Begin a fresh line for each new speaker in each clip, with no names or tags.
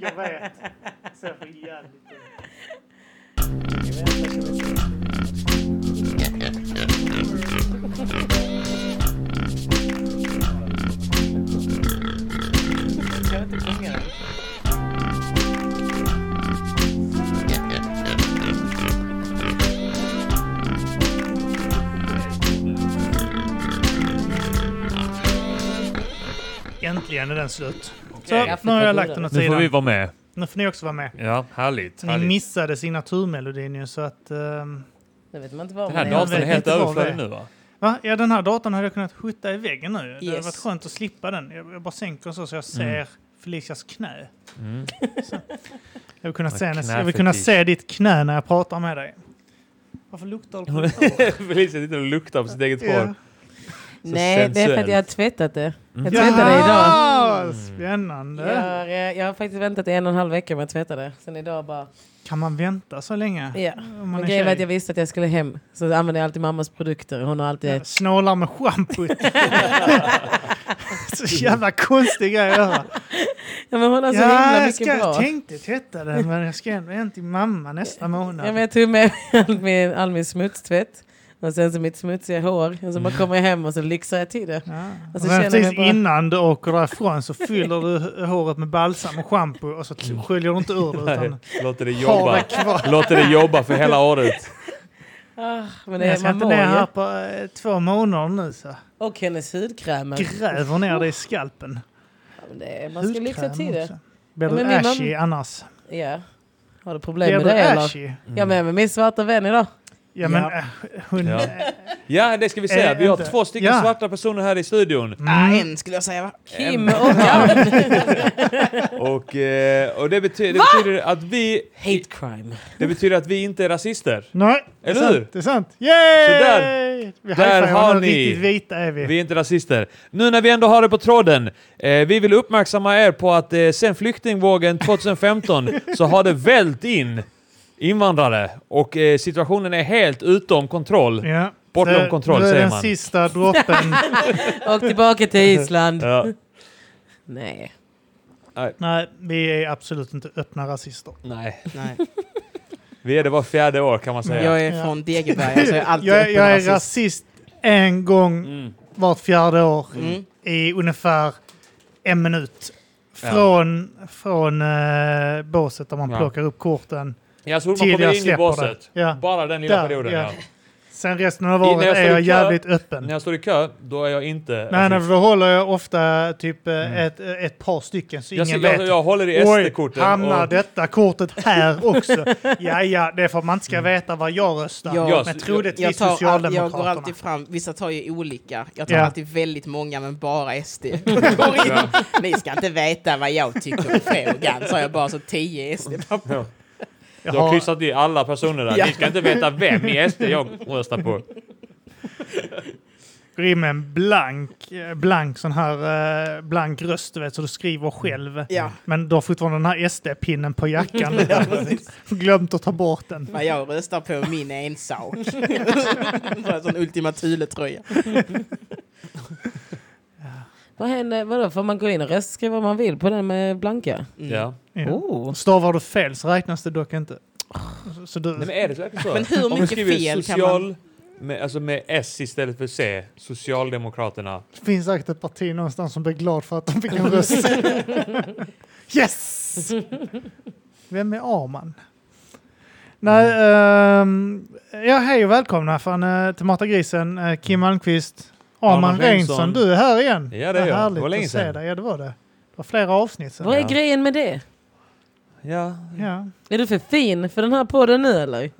Jag vet. Så jag får jävligt ont. Jag vet att jag vet inte. Jag kan inte sjunga den.
Äntligen är den slut.
Okej.
Så, nu har jag lagt den åt
Nu får vi
sidan.
vara med.
Nu får ni också vara med.
Ja, härligt.
Ni
härligt.
missade signaturmelodin ju så att... ehm,
Nu vet man inte vad
Den
man
här
Jag
är.
vet
datorn är helt
inte vad
överflödig
det är.
nu va?
Va? Ja, den här datorn hade jag kunnat skjuta i väggen nu. Det hade
Yes.
varit skönt att slippa den. Jag, jag bara sänker så så jag ser Felicias knä.
Mm.
Jag vill, kunna
Ja,
se hennes, jag vill kunna
knäfetisch.
se ditt knä när jag pratar med dig. Varför luktar du på mitt hår?
Felicia sitter och luktar på sitt eget
Ja.
hår.
Nej, det är för att
sensuellt.
jag har tvättat det.
Mm.
Jag tvättade det idag.
Jaha,
Mm.
Spännande.
Jag har, eh, jag har faktiskt väntat i en och en halv vecka med att tvätta det. Sen idag bara...
Kan man vänta så länge?
Ja.
Om man
Men
är
grejen var att
tjej?
jag visste att jag skulle hem. Så använde jag alltid mammas produkter. Hon har alltid...
Snålar med schampot. så jävla konstig grej att göra.
Ja, men hon har så Alltså, himla
ja, jag,
mycket
ska,
bra.
jag tänkte tvätta den men jag ska ändå hem till mamma nästa månad.
Ja, men jag tog med all min, all min smutstvätt. Och sen så mitt smutsiga hår. Och så
Mm.
bara kommer jag hem och så lyxar jag till det.
Ja.
Och så
men
Alltså, känner
precis
jag bara-
innan du åker därifrån så fyller du håret med balsam och schampo och så
Mm.
t- sköljer du inte ur det utan
Låter det
har det
jobba.
kvar.
Låter det jobba för hela året.
Ah,
jag
men det,
ska
man
inte
mår
ner här
ju.
på eh, två månader nu så.
Och hennes hudkrämer.
Gräver ner dig i skalpen.
Ja, men det, man ska lyxa
Hudkräm
till det.
också. Blir
Ja,
du
men min
ashy annars?
Ja. Har du problem
Blir
med
du
det eller?
ashy?
Jag är med min svarta vän idag.
Ja men
Ja.
eh, hon...
Ja.
eh,
Mm. Ja, det ska vi säga. Vi har
Inte.
två stycken
Ja.
svarta personer här i studion.
Mm.
en skulle jag säga va?
Kim och Ann.
Och, eh, och det, betyder, det betyder att vi...
Hate crime.
Det betyder att vi inte är rasister.
Nej, det
Eller
är sant.
hur?
Det är sant. Yay!
Sådär.
Vi
Där
high-fivar
har
nu.
ni.
Riktigt vita är vi.
Vi är inte rasister. Nu när vi ändå har det på tråden. Eh, vi vill uppmärksamma er på att eh, sen flyktingvågen 2015 så har det vält in invandrare och eh, situationen är helt utom kontroll.
Ja.
Bortom
Så
kontroll,
nu är
säger
den
man.
sista droppen.
Och tillbaka till Island.
Ja.
Nej.
Nej, vi är absolut inte öppna rasister.
Nej,
Nej.
vi är det var fjärde år kan man säga.
Jag är från Degeberga så alltså, jag är alltid
jag,
öppen
jag är
rasist.
rasist en gång
Mm.
vart fjärde år
Mm.
i ungefär en minut.
Ja.
Från, från eh, båset där man
Ja.
plockar upp korten.
Ja, så man
Till
kommer
jag
in i
släpper det.
båset.
Ja.
Bara den lilla
Där,
perioden.
ja.
Ja.
Sen resten av
I- när jag
året är
står i
jag
kö-
jävligt öppen.
När jag står i kö, då är jag inte
Nej, nej,
rasist.
för då håller jag ofta typ eh, ett, ett par stycken så
Mm. jag,
ingen
jag,
vet.
jag håller i
Oj,
SD-korten.
hamnar
och-
detta kortet här också? ja, ja, det är för att man inte ska veta vad jag röstar.
Ja.
men
Jag-
troligtvis
Mm. Jag, tar, all- jag går
Socialdemokraterna.
alltid fram, vissa tar ju olika. Jag tar
Ja.
alltid väldigt många men bara SD. Går in. Ni ska inte veta vad jag tycker i frågan, sa jag bara så 10 SD.
Du
Jaha.
har kryssat i alla personer där.
Ja. Mm.
Ni ska inte veta vem i SD jag röstar på.
Går in med en blank, eh, blank sån här eh, blank röst, du vet, så du skriver själv.
Mm. Ja.
Men du har fortfarande den här SD-pinnen på jackan. Glömt att ta bort den.
Vad jag röstar på, min är en sak. Så en sån Ultima Thule-tröja.
Vad händer? Vadå? Får man gå in och rösta, skriva vad man vill på den med blanka?
Mm.
Ja.
Ja.
Oh.
Stavar du fel så räknas det dock inte. Så, så
Nej, men
du,
är det verkligen så?
Ah. Men hur
Om du
mycket
skriver
fel kan
social, Med, alltså med S istället för C, Socialdemokraterna.
det finns säkert ett parti någonstans som blir glad för att de fick en röst. yes! Vem är Arman? Nej, ehm, ja, hej och välkomna fan, eh, till Mata Grisen, eh, Kim Malmqvist, Arman
Arman Reinsson.
Reinsson. Du är här igen.
Ja, det är
Vad
jag.
härligt
Det var länge
att se
sedan.
dig. Ja, det var det. Det var flera avsnitt sen.
Vad är
Ja.
grejen med det?
Ja.
Ja.
Är du för fin för den här podden nu eller?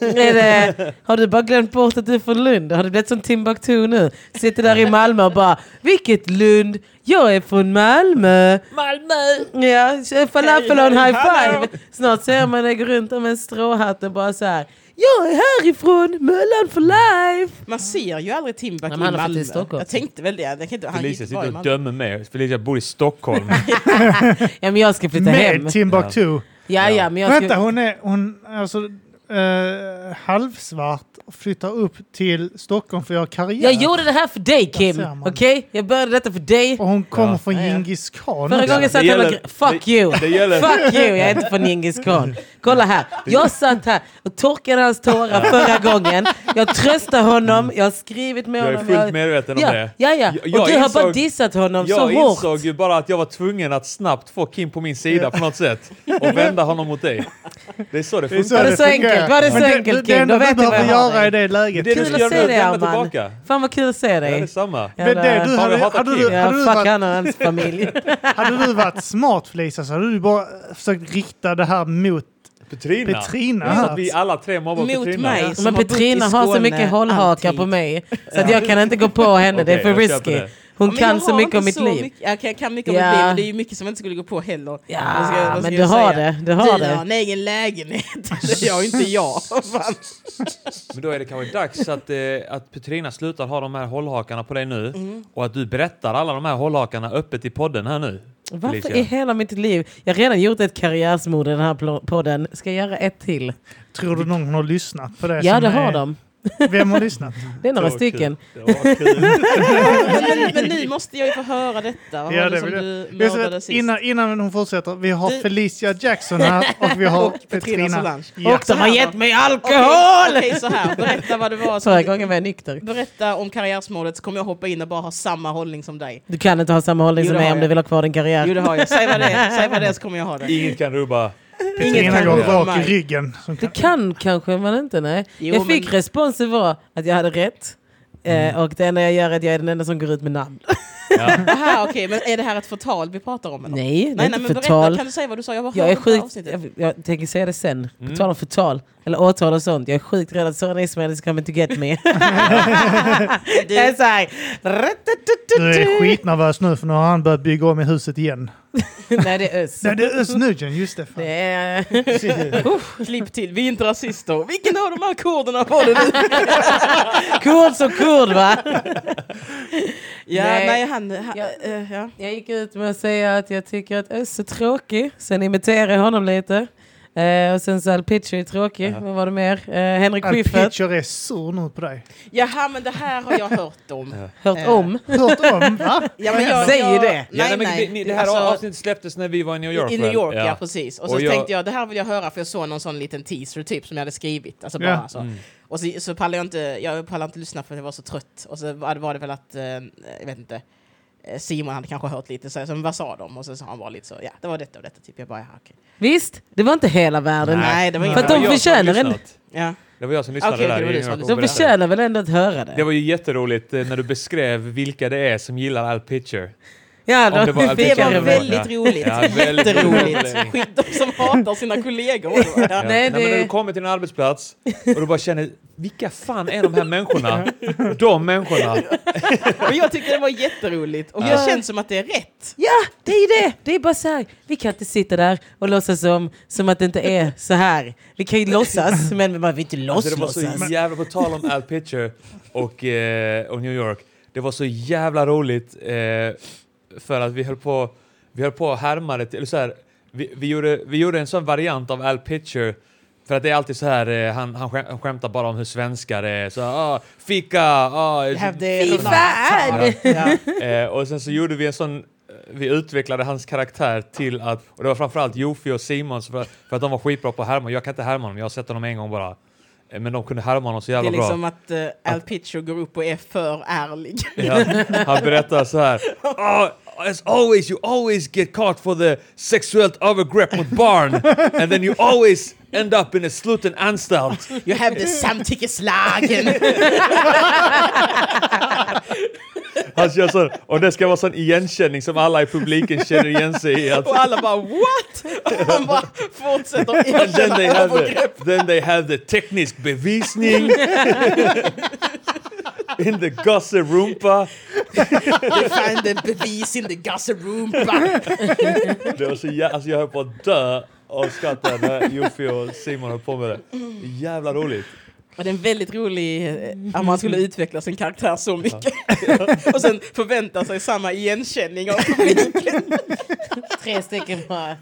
är det, har du bara glömt bort att du är från Lund? Har du blivit som Timbuktu nu? Sitter där i Malmö och bara Vilket Lund? Jag är från Malmö! Malmö! Ja, kör falafel och en high five! Snart ser man dig gå runt där med en stråhatt och bara så här Jag är härifrån! Möllan for life!
Man ser ju aldrig Timbuk
Nej,
i
men han har
Malmö.
flyttat till Stockholm.
Jag tänkte väl det. Jag kan inte, han gick
Felicia
inte vara i
sitter och
Malmö.
dömer mig. Felicia bor i Stockholm.
Ja men jag ska flytta hem.
Med Timbuktu.
Ja, ja, men jag ska...
Vänta, hon är hon, alltså, eh, halvsvart flyttar upp till Stockholm för att göra karriär.
Jag gjorde det här för dig Kim,
ser man.
okej? Jag började detta för dig.
Och hon kommer
Ja.
från
Ja, ja.
Djingis khan.
Förra
också.
gången satt
Det
han och
gäller-
gr- Fuck
det-
you!
det gäller-
Fuck you! Jag är inte från Djingis khan. Kolla här. Jag satt här och torkade hans tårar förra gången. Jag tröstar honom, jag har skrivit med
Jag är
honom.
fullt medveten om
ja,
det.
Ja, ja.
Jag- jag
och du har bara
insåg-
dissat honom så
Jag
hårt.
insåg ju bara att jag var tvungen att snabbt få Kim på min sida på något sätt och vända honom mot dig. Det är så det
Det är
funkar.
det så
fungerar.
enkelt? Var det så
Men
enkelt,
Det, det
Kim?
enda
Då
du
vet jag
behöver
vad jag har
göra i
dig.
det läget.
Det är
Kim.
du
Kul
ska
att
göra
se
är att
dig,
lämna
Arman.
tillbaka.
Fan vad kul att se
Ja, det är
dig.
samma.
Men det du
Jävla-
Fan,
hade,
jag hatar
hade,
Kim.
du,
Ja,
hade, du
fuck
varit,
han och hans familj.
hade du varit smart Felicia så hade du bara försökt rikta det här mot
Petrina.
Petrina.
Så
här.
att vi alla tre mobbar
Mot
Petrina.
mig. som
Men
har bott i
Petrina har så
Skåne
mycket hållhakar
alltid.
på mig så att jag kan inte gå på henne. Det är
Okej,
för
jag köper
risky.
det.
Hon
Ja, men
kan
jag
så
har
mycket om
inte
mitt
så
liv.
mycket- jag kan, kan mycket om
Ja.
mitt liv, men det är ju mycket som jag inte skulle gå på heller.
Ja,
Vad ska- vad ska
men
jag
du har
säga?
det, du har
du
det.
har en egen lägenhet. Det gör ju inte jag. Fan.
Men då är det kanske dags att, eh, att Petrina slutar ha de här hållhakarna på dig nu och att du berättar alla de här hållhakarna öppet i podden här nu.
Varför
Felicia.
i hela mitt liv? Jag har redan gjort ett karriärsmord i den här pl- podden. Ska jag göra ett till?
Tror du någon har lyssnat på det?
ja,
som
det
är-
har de.
Vem har lyssnat?
Det är några
Det var kul.
stycken.
Det var kul.
men, men nu måste jag ju få höra detta. Vad
Ja, det
var det som
vill jag.
du
Det är så
mördade
att
sist?
innan, innan hon fortsätter, vi har
Du-
Felicia Jackson här och vi har
Petrina
Petrina.
Solange.
Ja.
Och de har gett mig
Okej,
alkohol!
Okej, så här. Berätta vad det var.
Förra
Som,
gången var jag nykter.
berätta om karriärsmålet så kommer jag hoppa in och bara ha samma hållning som dig.
Du kan inte ha samma hållning
Jo,
som
det
mig
har
om
jag.
du vill ha kvar din
Jo, det
karriär.
har jag. Säg vad det är, Säg vad det är så kommer jag ha det.
Ingen kan rubba.
Petrina
kan
går
rubba
rak i
mig.
ryggen. Som
Det
kan,
kan kanske man inte, nej.
Jo,
jag fick
men- Mm.
responsen var att jag hade rätt. Eh, och det enda jag gör är att jag är den enda som går ut med namn.
Aha, okej, men är det här ett förtal vi pratar om? Eller?
Nej, det är
nej,
inte
nej men
förtal.
berätta. Kan du säga vad du sa? Jag bara
Jag
hörde
är
det här
sjukt,
avsnittet.
jag, jag tänker säga det sen, på tal om förtal, eller åtal och sånt. Jag är sjukt rädd att Soran Ismail is coming to get me. det är såhär...
du är skitnervös nu för nu har han börjat bygga om i huset igen.
Nej det är Özz.
Nej, det är Özz Nujen, just det. fan.
Det är-
Klipp till, vi är inte rasister. Vilken av de här kurderna var det nu?
Kurd som kurd va?
Ja,
Nej.
nej, han... han
Ja.
eh, ja.
Jag gick ut med att säga att jag tycker att Özz är tråkig, sen imiterade jag honom lite. Eh, och sen så Al Pitcher är tråkig, vad var det mer? Eh, Henrik
Al
Schyffert,
Pitcher är sur nu på dig.
Jaha, men det här har jag hört om.
hört om.
Hört om, va?
Ja, men jag,
Säg ju
jag,
det.
Nej,
Ja, nej, men
nej.
det- ni- Det här
Alltså,
avsnittet släpptes när vi var i New York.
I New
väl?
York, ja, precis. Och så
Och jag-
tänkte jag, det här vill jag höra för jag såg någon sån liten teaser typ som jag hade skrivit. Alltså bara
Ja.
så.
Mm.
Och så, så pallade jag inte, jag pallade inte lyssna för jag var så trött. Och så var det, var det väl att, eh, jag vet inte, eh, Simon hade kanske hört lite så, här, så men vad sa de? Och så sa han bara lite så, ja det var detta och detta typ. Jag bara, ja okej.
Visst, det var inte hela världen.
Nej, det var
För att
inget.
Det var
de
jag som
förtjänar en-
lyssnat.
Ja.
Det var jag som lyssnade
Okej,
där.
okej, det var
i
du
New
som
York
De
och
lyssnade. berätta.
berättade.
förtjänar väl ändå att höra
Det
det?
var ju jätteroligt eh, när du beskrev vilka det är som gillar Al Pitcher.
Ja,
Om det var Al
fick jag
Pitcher
var
eller
det.
vad
väldigt
var.
roligt.
Ja, väldigt
Jätteroligt.
roligt.
Skit, de som hatar sina kollegor. också. Ja.
Ja.
Nej,
Nej,
det-
men när du kommer till en arbetsplats och du bara känner vilka fan är de här människorna? De människorna.
Men jag tyckte det var jätteroligt. Och det känns som att det är rätt.
Ja, det är det! Det är bara så här. Vi kan inte sitta där och låtsas som, som att det inte är så här. Vi kan ju låtsas, men man vill inte
Alltså, det var
låtsas.
så jävla, på tal om Al Pitcher och, eh, och New York, det var så jävla roligt eh, för att vi höll på, vi höll på att härma det, till- eller så här, vi, vi, gjorde, vi gjorde en sån variant av Al Pitcher för att det är alltid så här, eh, han, han, skäm, han skämtar bara om hur svenskar är, så ah, fika, ah,
Fy fan! Ja.
Eh, och sen så gjorde vi en sån, eh, vi utvecklade hans karaktär till att, och det var framförallt Jofi och Simon för, för att de var skitbra på att härma. Jag kan inte härma dem, jag har sett honom en gång bara. Eh, Men de kunde härma honom så
Det
jävla
är liksom
bra.
att eh, Al Pitcher går upp och är för ärlig.
Ja, han berättar så här. "Ah, as always you always get caught for the sexual overgrip mot barn and then you always end up in a sluten anstalt.
You have the samtyckeslagen!
Han kör sån, och det ska vara sån igenkänning som alla i publiken känner igen sig i. Alltså, Att,
och alla bara what? Och han bara fortsätter
then they
erkänna
have the,
övergrepp.
then they have the teknisk bevisning in the gosse rumpa.
They find the bevis in the gasserumpa.
Det var så jä- alltså jag höll på att dö av skratt där när Jofi och Simon höll på med det. Jävla roligt.
Och det är en väldigt rolig, eh, att man skulle utveckla sin karaktär så mycket. och sen förvänta sig samma igenkänning av publiken.
Tre stycken bara.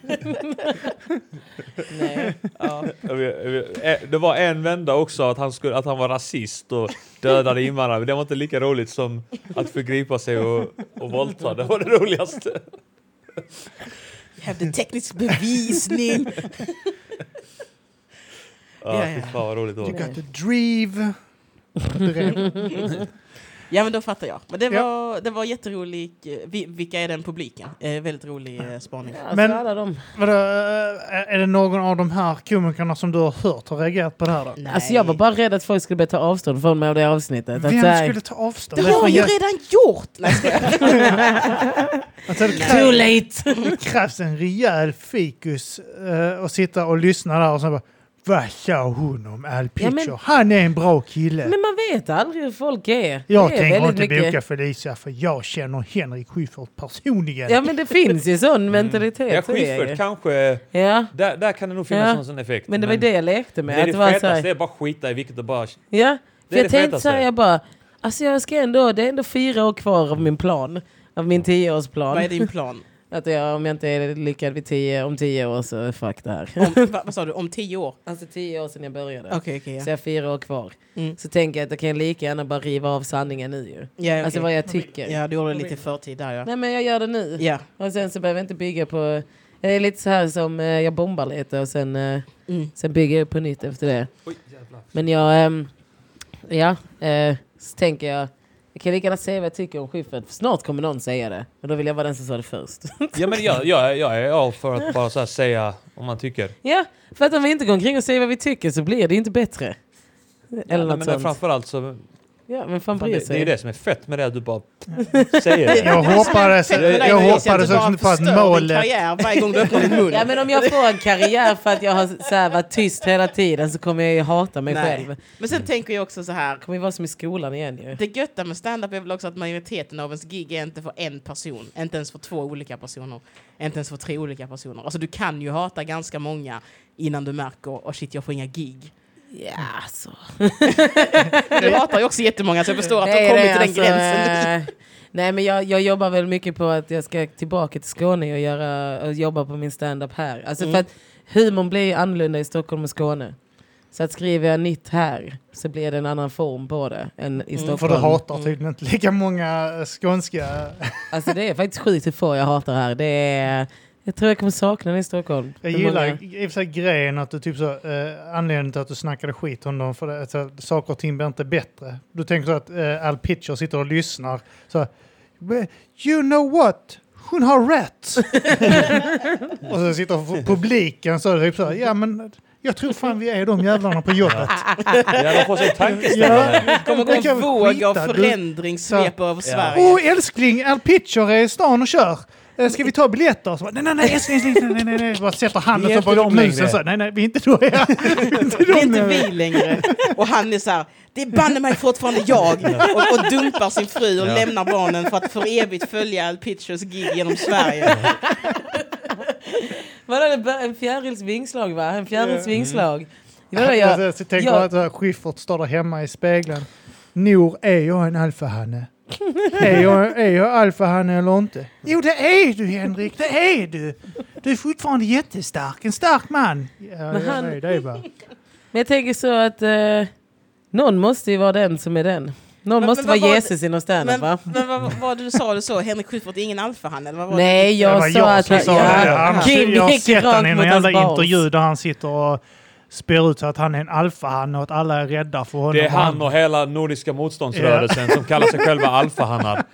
Nej.
Ja.
Jag vet- jag vet- eh, Det var en vända också att han, skulle, att han var rasist och dödade invandrare. Men det var inte lika roligt som att förgripa sig och, och våldta. Det var det roligaste.
Hävde teknisk bevisning.
Ja,
Ja, ja.
fy fan vad roligt det
You
var.
got the drive. Drev.
Ja men då fattar jag. Men det
Ja.
var, det var jätterolig, eh, vi, vilka är den publiken? Eh, väldigt rolig eh, spaning.
Alltså,
Men-
Men... alla de.
Vadå, eh, är det någon av de här komikerna som du har hört har reagerat på det här då?
Nej.
Alltså jag var bara rädd att folk skulle börja ta avstånd från mig av det avsnittet. Att,
Vem
så här-
skulle ta avstånd?
Det
Det är
har
från
jag ju
Jesper.
redan gjort! Nej, jag skojar.
Alltså, det
Too
krävs,
late!
det krävs en rejäl fikus eh, och sitta och lyssna där och sen bara Vad sa hon om Al
Ja, men-
Pitcher? Han är en bra kille.
Men man vet aldrig hur folk är.
jag
det är
tänker
väldigt
inte boka Felicia för jag känner Henrik Schyffert personligen.
Ja men det finns ju sån mentalitet.
Ja,
så är det ju.
skitfört kanske.
Ja,
Där, där kan det nog finnas
Ja.
någon sån effekt.
men det var ju det jag lekte med.
men det är
att
det
det var så
fetaste, det
här,
är bara skita i vilket och bara...
ja,
det
för jag
fetaste.
tänkte så här, jag bara, alltså jag ska ändå, det är ändå fyra år kvar av min plan. Av min tioårsplan.
Vad är din plan?
Att jag, om jag inte är lyckad vid tio, om tio år så fuck det här.
Om, va, vad sa du? Om tio år?
Alltså tio år sedan jag började.
Okej, okej.
Så jag har fyra år kvar.
Mm.
Så tänker jag att jag kan lika gärna bara riva av sanningen nu ju.
ja. Ja,
Alltså
okej.
vad jag tycker.
ja, du gjorde det lite i förtid där ja.
Nej men jag gör det nu.
Ja.
Och sen så behöver jag inte bygga på... Det är lite så här som eh, jag bombar lite och sen, eh,
Mm.
sen bygger jag på nytt efter det.
Oj, jävlar.
Men jag... ehm, ja, eh, så tänker jag... Jag kan lika gärna säga vad jag tycker om Schyffert, för snart kommer någon säga det. Och då vill jag vara den som sa det först.
Ja, men jag, jag, jag är all för att bara så här säga om man tycker.
ja, för att om vi inte går omkring och säger vad vi tycker så blir det inte bättre. Eller
men
något
men
sånt.
framförallt så...
ja, men fan
Fan,
bryr
det, det är
sig?
ju det som är fett med det, att du bara säger det.
Jag hoppades,
Tänk på dig,
Alltså, jag,
Louise, att
hoppades
du
också
bara
inte på att
förstör din
målet...
karriär varje gång du öppnar din mun.
Ja men om jag får en karriär för att jag har så här, varit tyst hela tiden så kommer jag ju hata mig
Nej.
själv.
Men sen tänker jag också så här.
kommer ju vara som i skolan igen ju.
Det götta med stand-up är väl också att majoriteten av ens gig är inte för en person, inte ens för två olika personer, inte ens för tre olika personer. Alltså du kan ju hata ganska många innan du märker åh shit jag får inga gig.
Ja, alltså.
Men du hatar ju också jättemånga så jag förstår att du
Nej,
har kommit
det är
till den
alltså,
gränsen.
eh, Nej men jag, jag jobbar väl mycket på att jag ska tillbaka till Skåne och, göra, och jobba på min stand-up här. Alltså för att humorn blir ju annorlunda i Stockholm och Skåne. Så att skriver jag nytt här så blir det en annan form på det än i Stockholm.
För du hatar
Mm.
tydligen inte lika många eh, skånska...
Alltså det är faktiskt sjukt hur få jag hatar här. Det är, jag tror jag kommer sakna den i Stockholm.
Jag
Hur
gillar
många-
i och för sig grejen att du typ så, eh, anledningen till att du snackade skit om dem för det, alltså, saker och ting blir inte bättre. Du tänker så att eh, Al Pitcher sitter och lyssnar. Så, "Well, you know what? Hon har rätt! och så sitter f- publiken så, typ så här, ja men jag tror fan vi är de jävlarna på jobbet.
Ja, de får sig en tankeställare.
ja,
Kommer gå
det kan
en
vi
våg av
skita, du.
förändring svepa över Sverige.
Åh älskling, Al Pitcher är i stan och kör. Eh, Ska vi ta biljetter? Så bara, nej, nej, nej, älskling, älskling, nej, nej, nej. Bara sätter handen
Vi är
så
inte
på
de längre.
musen. Så, nej, nej, vi är inte då. Ja.
Det är inte vi längre. Och han är så här, det är banne mig fortfarande jag. Och, och dumpar sin fru och
Ja.
lämnar barnen för att för evigt följa Al Pitchers gig genom Sverige.
Vadå, det bör- en fjärils vingslag va? En fjärils vingslag. Vadå, jag,
Jag, så tänker
jag-
att äh, Schyffert står där hemma i spegeln. Nor, är jag en alfahanne? är jag, är jag alfahanne eller inte? Jo, det är du Henrik, det är du! Du är fortfarande jättestark, en stark man. Ja,
Men
jag
han-
är det bara.
Men jag tänker så att eh, någon måste ju vara den som är den. Någon
men
måste
vad
vara
var det-
Jesus inom standup
Men,
va?
men vad, vad var det du sa du så? Henrik Schyffert är ingen alfahanne? eller Vad var det?
Nej,
Det
jag
var
sa
jag
att...
som sa det. Annars-
Kim
Jag har
gick
sett
rakt
honom i någon
mot hans
jävla
bas.
intervju där han sitter och spyr ut så att han är en alfahanne och att alla är rädda för honom.
Det är han och hela Nordiska motståndsrörelsen som kallar sig själva alfahannar.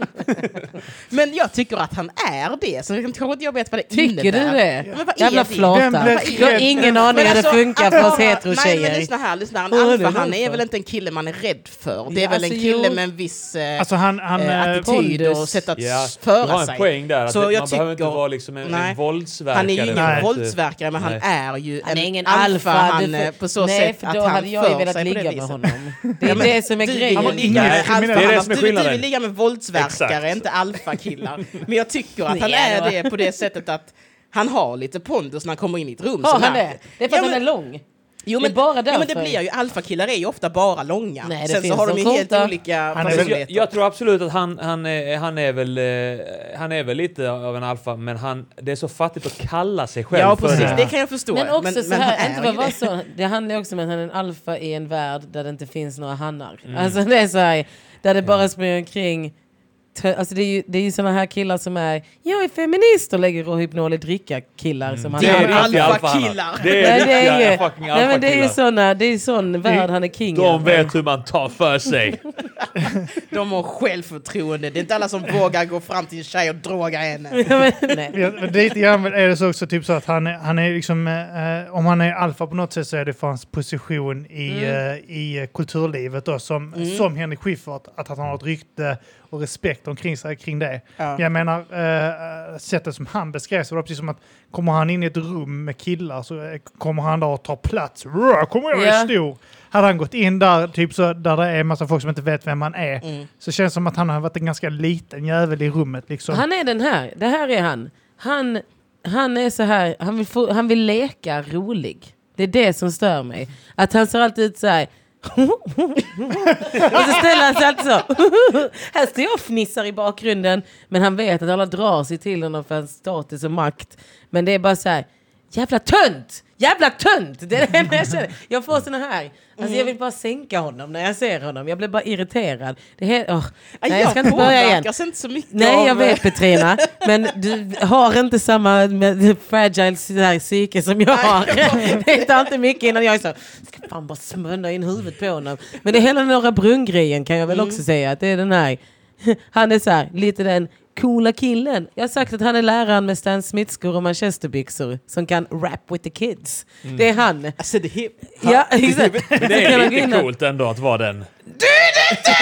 Men jag tycker att han är det, så jag tror inte jag vet vad det innebär.
Tycker du det?
Men vad är
Jävla
det?
Vem
flata.
blev
Jag har
rädd?
ingen aning hur
Men
det
alltså,
funkar för
att
oss
vara- Nej men
heterotjejer.
lyssna här, lyssna här. En
Ja, det är
alfahanne är
därför.
väl inte en kille man är rädd för? Det är
Ja,
väl en
alltså,
kille
jo.
med en viss eh,
Alltså han... han
eh,
eh,
attityd och
pondus.
sätt att
Ja,
s-
du
föra
har
sig.
en poäng där. Att
Så
man
jag
behöver inte
tycker-
vara liksom en,
Nej.
en våldsverkare.
Han är ju ingen
för att-
våldsverkare, men han
Nej.
är ju
Han är
en
ingen alfa. du
alfahanne
får-
eh, på så
Nej,
sätt
för
att
då hade
han
jag ju
för
velat
sig på det
ligga med
viset.
honom. Det är det som är
Du vill ju
grejen.
ligga med
Nej,
alfa-
det är
det som är
du- du
skillnaden.
vill ligga med våldsverkare,
Exakt.
inte alfakillar. Men jag tycker att han
Nej,
är
då.
det på det sättet att han har lite pondus när han kommer in i ett rum.
Har
så
han
märker-
det? Det är för
Ja,
att han är
men-
lång.
Jo,
Det är
men,
bara
ja, men det
därför.
blir ju, alfalkillar är ju ofta bara långa.
Nej, det
Sen så
finns
har de
de
ju helt
korta.
olika
Han är väl-
Alltså, jag,
personligheter.
jag tror absolut att han, han, är, han, är väl, eh, han är väl lite av en alfa, men han, det är så fattigt att kalla sig själv
Ja,
för
precis.
det.
Det kan jag förstå.
Men också så
han
här,
är
inte
ju
bara
det.
vara så. Det handlar ju också om att han är en alfa i en värld där det inte finns några hannar. Alltså det är så här, där det bara springer omkring tö- Alltså det är ju, det är ju såna här killar som är jag är feminist och lägger rohypnol i dricka killar som han
Det är
Alfa
riktiga
killar.
alfahannar. Det
Nej,
är
det är ju,
riktiga fucking
nej, men det är ju
alfakillar.
såna, det är sån värld han är king
De
över.
vet hur man tar för sig.
De har självförtroende. Det är inte alla som vågar gå fram till en tjej och droga henne.
Ja, men- nej.
Ja, men Lite grann är det så också typ så att han är, han är liksom, eh, om han är alfa på något sätt så är det för hans position i, eh, i eh, kulturlivet då som, som Henrik Schyffert, att han har ett rykte och respekt omkring sig kring det.
Ja.
Jag menar, eh, sättet som han beskrevs det var precis som att kommer han in i ett rum med killar så eh, kommer han där och tar plats. Rå, kommer jag
Ja.
är stor! Hade han gått in där, typ så, där det är en massa folk som inte vet vem han är, så känns det som att han har varit en ganska liten jävel i rummet. Liksom.
Han är den här, det här är han. Han, han är så här, han vill, få, han vill leka rolig. Det är det som stör mig. Att han ser alltid ut så här. och så ställer han sig alltid så. här står jag och fnissar i bakgrunden. Men han vet att alla drar sig till honom för hans status och makt. Men det är bara så här. Jävla tönt! Jävla tönt! Det är det enda jag känner. Jag får såna här. Alltså jag vill bara sänka honom när jag ser honom. Jag blir bara irriterad. Det är helt, åh. Nej, jag ska inte börja igen.
påverkas inte så mycket
Nej,
av- eh,
jag vet Petrina. Men du har inte samma med- fragile så här psyke som jag har. Det tar inte mycket innan jag är så... Ska fan bara smörja in huvudet på honom. Men det är hela Norra Brunn-grejen kan jag
Mm.
väl också säga. Att det är den här... Han är så här, lite den coola killen. Jag har sagt att han är läraren med Stan Smith-skor och manchesterbyxor som kan rap with the kids. Det är han.
Alltså, det är...
Ja, exakt.
Mm. Men
Så
det
kan man
är
gå in
lite
och-
coolt ändå att vara den. Du är det inte!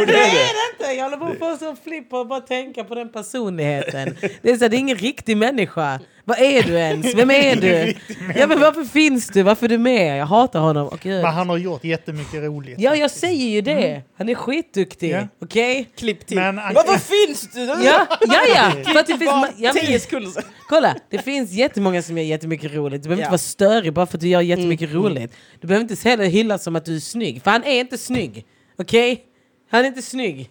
Jo, det är det.
inte. Jag håller på att få en sån flipp och bara tänka på den personligheten. Det är, så här, det är ingen riktig människa. Vad är du ens? Vem är du? Ja, men varför finns du? Varför är du med? Jag hatar honom. Åh, Gud.
Men han har gjort jättemycket roligt.
Ja, jag säger ju det. Han är skitduktig.
Ja.
Okej?
Klipp till.
Men han-
Varför finns du?
Ja, ja, ja. För att det finns, ma- ja, men-
Tio sekunder sedan.
kolla, det finns jättemånga som gör jättemycket roligt. Du behöver
Ja. Mm,
inte vara störig bara för att du gör jättemycket roligt. Du behöver inte heller hyllas som att du är snygg, för han är inte snygg. Okej? Han är inte snygg.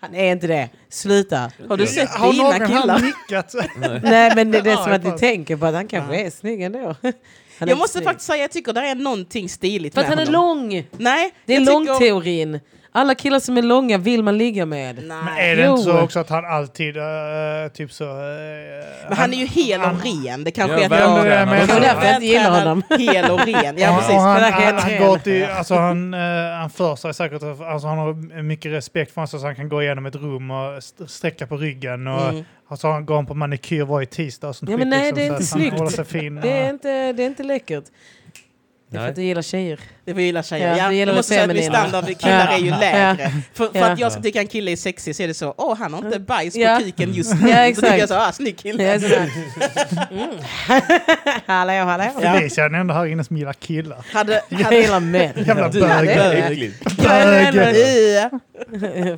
Han är inte det. Sluta. Har du sett
Har
dina
någon
killar?
han nickat?
Nej men det är det som
Ja,
att du
fan.
tänker på att han kanske är snygg ändå. Han är inte
Jag måste
snygg.
faktiskt säga jag tycker det är någonting stiligt
För att
med
han är
honom.
lång!
Nej,
Det är
jag tycker-
långteorin. Alla killar som är långa vill man ligga med.
Nej.
Men
Men,
är det inte
Jo.
så också att han alltid eh, typ så... eh,
han är ju hel
han-
och ren. Det kanske
Ja,
är att
väl-
jag...
Ja, men-
Det var därför jag inte gillar honom.
Hel och ren. Ja,
och-
precis.
och han,
men det är
han,
helt
han,
ren.
går till, alltså han, eh, han för sig säkert, alltså han har mycket respekt för honom så att han kan gå igenom ett rum och st- sträcka på ryggen. Och,
Mm.
alltså han går på manikyr varje tisdag. och sånt
Mm. Ja, men
skit, liksom
nej, det är
så
inte
att han
snyggt.
håller sig fin.
Det är
och-
inte, det är inte läckert. Det är för att du gillar tjejer.
Det får jag gilla
Ja,
tjejer. Ja,
det
jag
gäller det
måste säga att min
feminina.
standard för killar
Ja.
är ju lägre. För, för
Ja.
att jag ska tycka en kille är sexig så är det så, åh han har inte bajs på
Ja.
kuken just nu.
Ja,
Då
exakt.
tycker jag så, ah snygg kille.
Jag är sådär. Mm. hallå, hallå.
Felicia är den enda här inne som gillar killar.
Hade,
Jag
hade,
gillar män.
Jävla
Du hade-
bög.
Det är äckligt.
Bög.
Ja.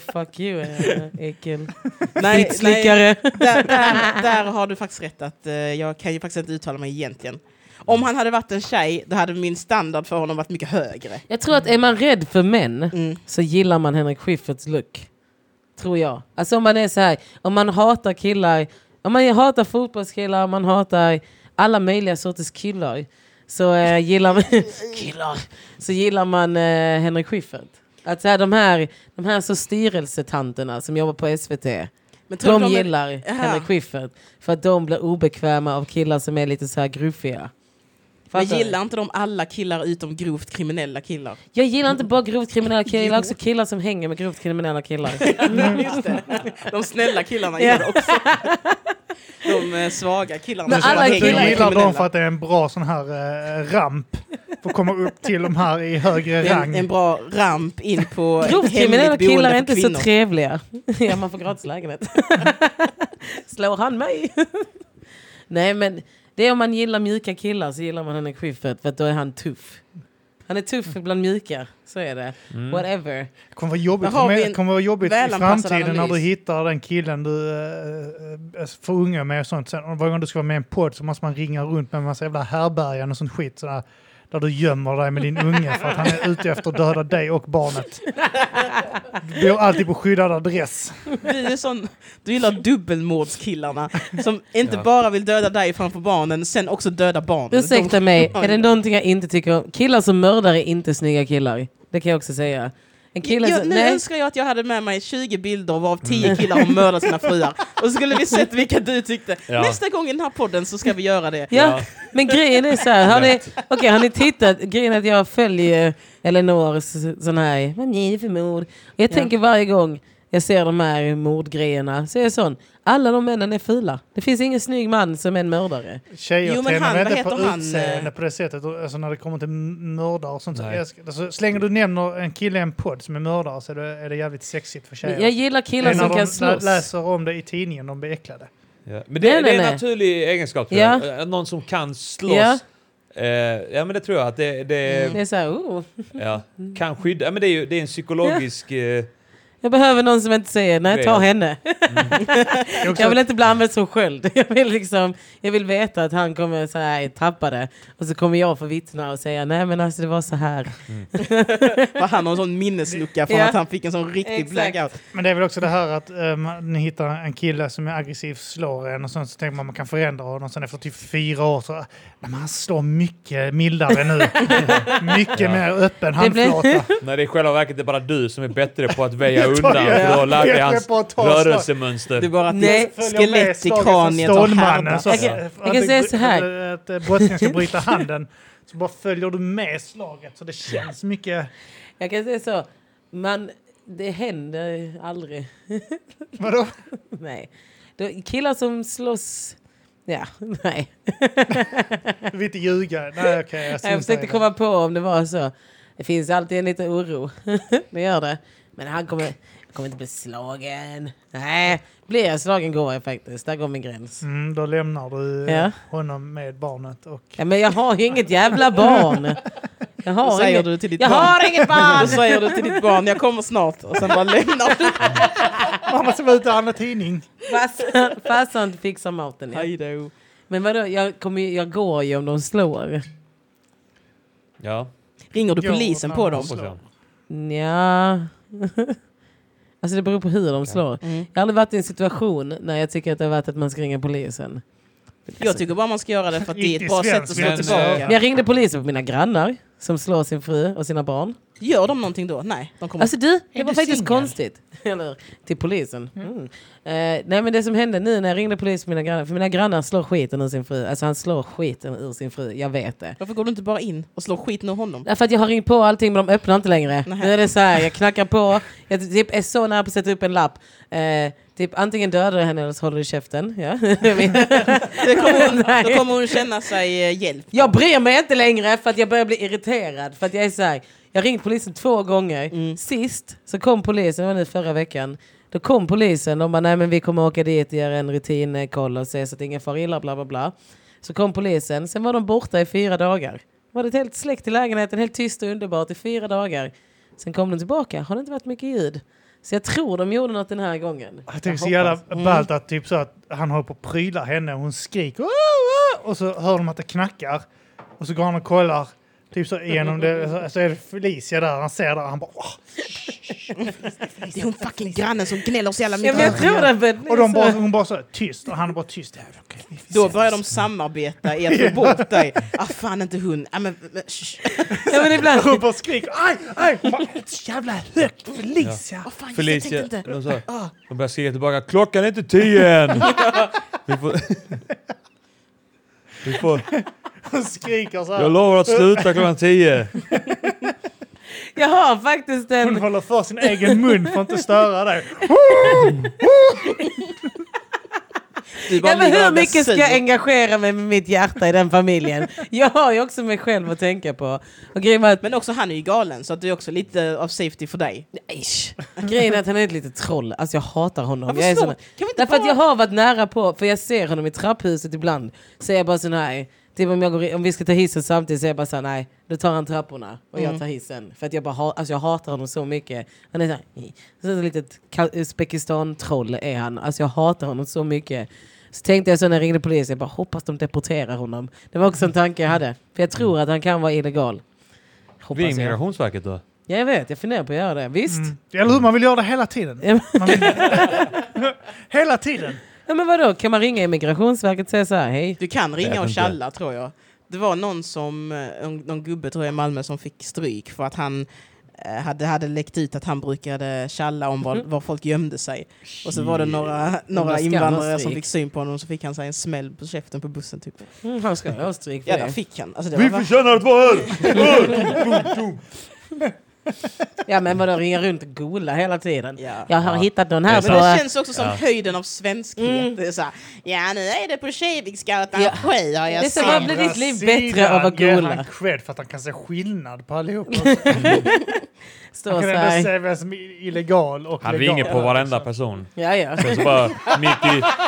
Fuck you, eh, äckel.
Nej, nej,
Fittslickare.
där, där, där har du faktiskt rätt att eh, jag kan ju faktiskt inte uttala mig egentligen. Om han hade varit en tjej, då hade min standard för honom varit mycket högre.
Jag tror att är man rädd för män
Mm.
så gillar man Henrik Schyfferts look. Tror jag. Alltså om man är så här, om man hatar killar, om man hatar fotbollskillar, om man hatar alla möjliga sorters killar så eh, gillar man, killar, så gillar man eh, Henrik Schyffert. Att så här, de här, de här så styrelsetanterna som jobbar på SVT,
Men tror
de
du är-
gillar Henrik Schyffert. För att de blir obekväma av killar som är lite så här gruffiga.
Men
Fattar du?
gillar inte de alla killar utom grovt kriminella killar?
Jag gillar inte bara grovt kriminella killar, jag gillar också killar som hänger med grovt kriminella killar.
Just det. De snälla killarna
Mm. Ja.
gillar det också. De eh, svaga killarna.
Men
som
alla
bara
Du
hänger
killar är
med
gillar dem
kriminella.
för att det är en bra sån här eh, ramp för att komma upp till de här i högre
Det är en, en
rang.
bra ramp in på ett
Grovt
hemligt
kriminella
boende
killar är
för
inte så
kvinnor.
trevliga. ja, man får gratis lägenhet. Slår han mig? Nej, men det är om man gillar mjuka killar så gillar man Henrik Schyffert för att då är han tuff. Han är tuff bland mjuka, så är det.
Mm.
Mm.
Whatever.
Det kommer vara jobbigt,
Där har vi en
kommer, kommer vara jobbigt i
välanpassad
framtiden när du
analys.
hittar den killen du eh, eh, får unga med och sånt. Sen, och varje gång du ska vara med i en podd så måste man ringa runt med en massa jävla härbärgen och sånt skit. Sådär. där du gömmer dig med din unge för att han är ute efter att döda dig och barnet. Du bor alltid på skyddad adress.
Du är sån, du gillar dubbelmordskillarna som inte
Ja.
bara vill döda dig framför barnen, sen också döda barnen.
Ursäkta mig, är det någonting jag inte tycker om? Killar som mördar är inte snygga killar. Det kan jag också säga. En kille
jag,
som,
nu
nej,
önskar jag att jag hade med mig 20 bilder varav 10 killar har mördat sina fruar. Och så skulle vi sett vilka du tyckte.
Ja.
Nästa gång i den här podden så ska vi göra det.
Ja, men grejen är så här. Har ni, okej, har ni tittat? Grejen är att jag följer Eleanors sån här, vad är det för mord? Och jag tänker varje gång jag ser de här mordgrejerna så är jag sån, alla de männen är fula. Det finns ingen snygg man som är en mördare.
Tjejer
Jo, men
tänder
han-
mig
vad
inte på
heter han,
utseende
eh?
på det sättet. Och, Alltså när det kommer till m- mördare och sånt. Så
Nej.
jag, ska- alltså, så länge du nämner en kille i en podd som är mördare så är det, är det jävligt sexigt för tjejer.
Jag gillar killar
Men när de
som kan
lä-
slåss.
läser om det i tidningen, de blir äcklade.
Ja. Men det,
Nej, nej,
det är en
nej.
naturlig egenskap tror
Ja.
jag. Eh, Någon som kan slåss.
Ja.
Eh, ja men det tror jag att det, det
Det är så här, oh.
ja, kan skydda. Ja, men det är ju det är en psykologisk... eh,
Jag behöver någon som inte säger nej, ta
Grejer.
henne.
Det är också
Jag vill inte bli använd som sköld. Jag vill, liksom, jag vill veta att han kommer så här, tappa det. Och så kommer jag få vittna och säga nej men alltså det var så här.
För han har en sån minneslucka från
Ja.
att han fick en sån riktig
Exakt.
blackout.
Men det är väl också det här att eh, man, ni hittar en kille som är aggressiv, slår en och sen så tänker man man kan förändra honom. Sen efter typ fyra år så, nej men han slår mycket mildare nu. mycket
Ja.
mer öppen
Det blir-
handflata.
när det i själva verket är bara du som är bättre på att väja
Jag tar
undan.
ju-
För du har lärt dig
Jag
hans
bara tar slag.
rörelsemönster.
Det är bara att
Nej.
det är skelett i kraniet och
Stålmannen.
härdat.
Så,
Jag kan-
att-
jag kan säga så här.
Att, att brottslingen ska bryta handen. Så bara följer du med slaget så det känns mycket...
Jag kan säga så, man, det händer aldrig.
Vadå?
Nej. Då- Killar som slåss... Ja, nej.
Du vill inte ljuga. Nej, okej. jag struntar
Jag
i
försökte
det.
komma på om det var så. Det finns alltid en liten oro. det gör det. Men han kommer, han kommer inte bli slagen. Nej, blir jag slagen går jag faktiskt. Där går min gräns.
Mm, då lämnar du eh,
Ja.
honom med barnet och...
Ja, men jag har ju inget jävla barn. Jag
Då
har,
säger
inget,
du till ditt
jag
barn.
har inget
Då
barn!
säger du till ditt barn, jag kommer snart. Och sen bara lämnar du.
Mamma ska vara ute och handla tidning.
Farsan- Farsan fixar maten. Ja.
Hej då.
Men vadå, jag, kommer, ju- jag går ju om de slår.
Ja,
Ringer du
Ja,
polisen på
mamma.
dem?
hoppas jag.
Ja. Alltså det beror på hur de slår.
Mm.
Jag har aldrig varit i en situation när jag tycker att det har varit att man ska ringa polisen.
Jag tycker bara man ska göra det för att det är ett bra
Riktigt
sätt att
svensk,
slå
men,
tillbaka.
Men jag ringde polisen på mina grannar som slår sin fru och sina barn.
Gör de någonting då? Nej, de kommer
Alltså du, det
Är
var
du
faktiskt
singel?
konstigt. Eller till polisen. Mm. Eh, nej men det som hände nu när jag ringde polisen på mina grannar, för mina grannar slår skiten ur sin fru. Alltså han slår skiten ur sin fru, jag vet det.
Varför går du inte bara in och slår skiten ur honom?
Därför att jag har ringt på allting men de öppnar inte längre.
Nej.
Nu är det så här, jag knackar på, jag typ är så nära på att sätta upp en lapp. Eh, typ antingen dödar du henne eller så håller du käften. Ja.
Det kommer hon,
Nej.
då kommer hon känna sig eh, hjälpt.
jag bryr mig inte längre för att jag börjar bli irriterad. För att jag är så här, jag har ringt polisen två gånger. Sist så kom polisen, det var nu förra veckan. Då kom polisen de bara nej men vi kommer åka dit och göra en rutinkoll och se så att ingen far illa bla bla bla. Så kom polisen, sen var de borta i fyra dagar. Var det ett helt släkt i lägenheten, helt tyst och underbart i fyra dagar. Sen kom de tillbaka, har det inte varit mycket ljud? Så jag tror de gjorde något den här gången.
Jag tycker det är så
Mm.
jävla ballt att typ så att han håller på att pryla henne och hon skriker "Åh, åh!" och så hör de att det knackar och så går han och kollar typ så igenom det så- så är det Felicia där han ser där han bara "Åh!"
Det är hon fucking grannen som gnäller så jävla
Ja, men jag
mycket.
tror det.
och de bara, hon bara så här, tyst och han är bara tyst. Ja, okej, vi får
Då
se.
börjar de samarbeta i att få bort dig. Ah fan inte hon. Ah, men, men, shh.
Ja, men ibland,
Hon bara skriker aj, aj! Hon bara, "Inte så jävla högt Felicia!
Ah, fan, just det, jag
Felicia,
tänkte inte.
de, sa,
Ah.
de började skrika tillbaka klockan är inte tio än! Vi får, vi får,
Hon skriker så
jag
här.
lovar att sluta klockan tio.
jag har faktiskt en...
Hon håller för sin egen mun för att inte störa dig.
Du bara
Ja, men
ligger
hur
där
mycket ska
sur.
jag engagera mig med mitt hjärta i den familjen? Jag har ju också mig själv att tänka på. Och grejen var att,
Men också han är ju galen så att du är också lite av safety för dig.
Ish. grejen är att han är ett litet troll. Alltså jag hatar honom.
Varför
Jag är
slår-
sån-
kan vi inte
Därför att
bara-
jag har varit nära på, för jag ser honom i trapphuset ibland. Så är jag bara sån här, typ om, jag går, i- om vi ska ta hissen samtidigt så är jag bara såhär, nej, då tar han trapporna och jag tar hissen. För att jag bara ha, alltså jag hatar honom så mycket. Han är såhär, så ett litet Ka- Uzbekistan-troll är han. Alltså jag hatar honom så mycket. Så tänkte jag så när jag ringde polisen, jag bara hoppas de deporterar honom. Det var också en tanke jag hade. För jag tror att han kan vara illegal. Hoppas
Ring
jag.
Migrationsverket då.
Ja, jag vet, jag funderar på att göra det. Visst.
Mm. Eller hur, man vill göra det hela tiden.
Ja, men-
Man vill... hela tiden!
Ja, men vadå, kan man ringa Immigrationsverket och säga så här, hej?
Du kan
Vet
ringa och
inte.
tjalla tror jag. Det var någon som, eh, en- någon gubbe tror jag i Malmö som fick stryk för att han eh, hade, hade läckt ut att han brukade tjalla om var, var folk gömde sig. Och så var det några,
där
några
Mhm. ska man
invandrare
stryk.
som fick syn på honom så fick han sig en smäll på käften på bussen typ.
Mm, han ska ha stryk för
Ja, där
det.
fick han. Alltså, det var,
förtjänar att vara här!
Ja, men vadå, ringa runt och gola hela tiden?
ja.
Jag har
Ja.
hittat någon
Det
här
är
Men det
på...
känns också som
Ja.
höjden av svenskhet.
alltså- Mm.
Det är så här, ja nu är det på Kiviksgatan
Ja.
7 har jag
Det är så
sett."
Vad blir ditt liv
Andra
bättre av att
sidan ger
gola?
han cred för att han kan se skillnad på allihopa.
Stå
Han
så
kan ändå
här.
se vem som är illegal och
Han
legal.
ringer på varenda person.
Ja, ja.
Sen så bara 90,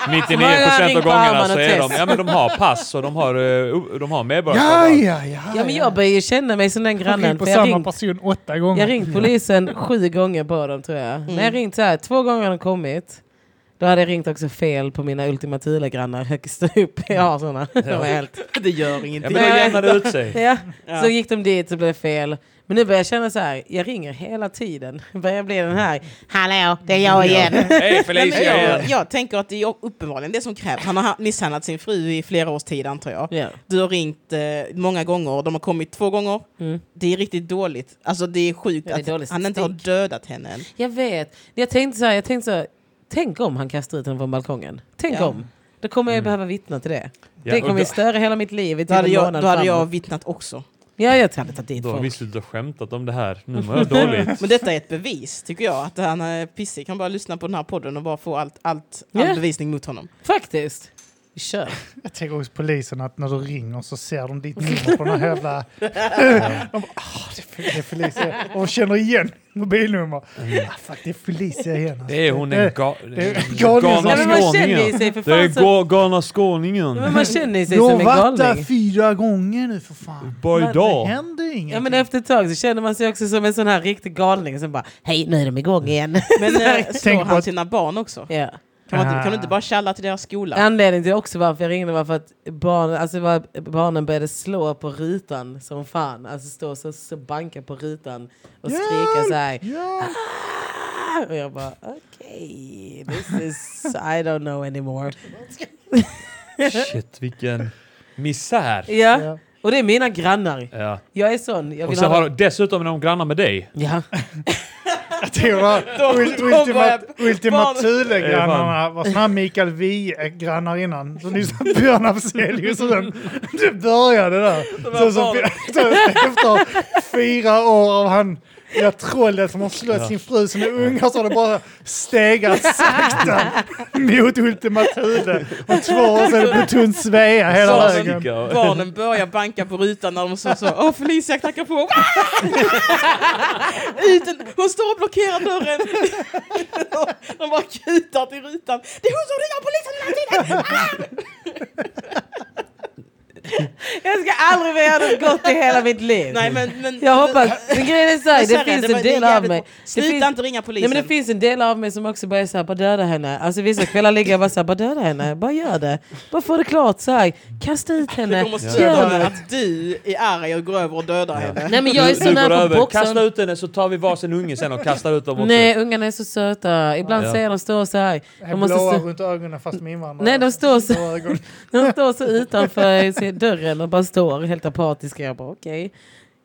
99% av
ringt på
gångerna
Arman
så
och
är de,
Tess?
ja men de har pass och de har, eh, u- de har
Ja,
medborgarskap.
ja, ja.
Ja, men jag börjar ju känna mig som den
Jag ringer
grannen.
på
För jag har
samma
ringt,
person åtta
jag
gånger.
har ringt polisen sju gånger på dem, tror jag. Men jag har ringt så här, två gånger har de kommit. Då hade jag ringt också fel på mina Ultima Thule-grannar högst upp. Jag har sådana. De är helt...
Det gör
Ja,
ingenting.
men då jämnar det ut sig.
Ja.
Ja.
Så gick de dit så blev det fel. Men nu börjar jag känna så här, jag ringer hela tiden. Börjar bli den här, hallå, det är jag igen.
Hej
Nej, men
Felicia!
jag, jag tänker att det är uppenbarligen det som krävs. Han har ha- misshandlat sin fru i flera års tid antar jag.
Ja.
Du har ringt eh, många gånger, de har kommit två gånger.
Mm.
Det är riktigt dåligt. Alltså det är sjukt
Ja, det är
att
dålig
han inte har
statistik.
dödat henne än.
Jag vet. Jag tänkte så här, jag tänkte så här, tänk om han kastar ut henne från balkongen. Tänk
Ja.
om. Då kommer jag ju behöva vittna till det.
Mm. Ja,
det
och
kommer ju
då-
störa hela mitt liv i
Då
typ
hade
en
jag,
månad
då hade jag
framåt.
vittnat också.
Ja, jag hade tagit dit
Då har vi
folk.
suttit och skämtat om det här. Nu mår jag dåligt.
Men detta är ett bevis tycker jag, att han är pissig. Kan bara lyssna på den här podden och bara få allt, allt, all
Ja.
bevisning mot honom.
Faktiskt. Vi kör.
Jag tänker också polisen att när du ringer så ser de ditt nummer på den här jävla... de bara, ah, det är Fel- det är Felicia. Och känner igen mobilnummer. Ah, fuck, det är Felicia igen. alltså.
Mm. Det är hon
Det-
den ga-
det-
den
galningen som-
galna
Nej, men man känner ju
skåningen.
sig för
Det är
fan som,
ga- galna skåningen.
men man känner sig
Jag
som
har
en
varit där
galning.
fyra gånger nu för fan.
Bara
Det
idag.
händer inget.
Ja, men efter ett tag så känner man sig också som en sån här riktig galning som bara hej nu är de igång igen.
Mm.
Men eh, slår
Tänk på
han
att-
sina barn också?
ja.
Kan, man, inte-
Ah.
kan du inte bara tjalla till deras skola?
Anledningen till också varför jag ringde var för att barn, alltså var, barnen började slå på rutan som fan. Alltså stå så, så banka på rutan och skrika så här.
Ja.
"Ah!" Och jag bara okej, this is, I don't know anymore.
Shit, vilken misär.
Ja,
Ja.
och det är mina grannar.
Ja.
Jag är sån. Jag
Och
vill
sen
ha
har dessutom är de grannar med dig.
Ja.
Jag tror det var ul-
de
Ultima,
börjar-
Ultima
barn-
Thule-grannarna var såna här Mikael Wiehe-grannar innan. Så lyssnade på Björn Afzelius och den, det började där. Så, så, så, efter fyra år av han Ja, trollet som har slått sin fru som är unga så har det bara stegat sakta mot Ultima Thule. Och två år sedan är det tunn Svea hela vägen.
Barnen, barnen börjar banka på rutan när de så så. Åh Felicia knackar på. Ut en, hon står och blockerar dörren. de bara kutar till rutan. Det är hon som ringer polisen hela tiden.
Jag ska aldrig mer göra något gott i hela mitt liv.
Nej men. men
Jag hoppas, men grejen är såhär,
men
det
Sarah,
finns
var-
en
det är
del av
jävligt-
mig.
Sluta
finns-
inte ringa polisen.
Nej, men det finns en del av mig som också börjar såhär, bara döda henne. Alltså vissa kvällar ligger jag bara såhär, bara döda henne, bara gör det. Bara få det klart såhär, kasta ut
det
henne,
kommer
gör
störa
det.
att du är arg och går över och dödar henne.
Nej men jag är
Du-
så
du går
nära på
över. Kasta
boxen.
ut henne så tar vi varsin unge sen och kastar ut dem också.
Nej, ungarna är så söta. Ibland
Ja.
ser jag de står så här. De, måste
Blåa
stå,
runt ögonen fast med invandrare.
Nej, de står så-
Blåa ögon.
de står så utanför i sin- dörren och bara står helt apatiska. Jag bara okej.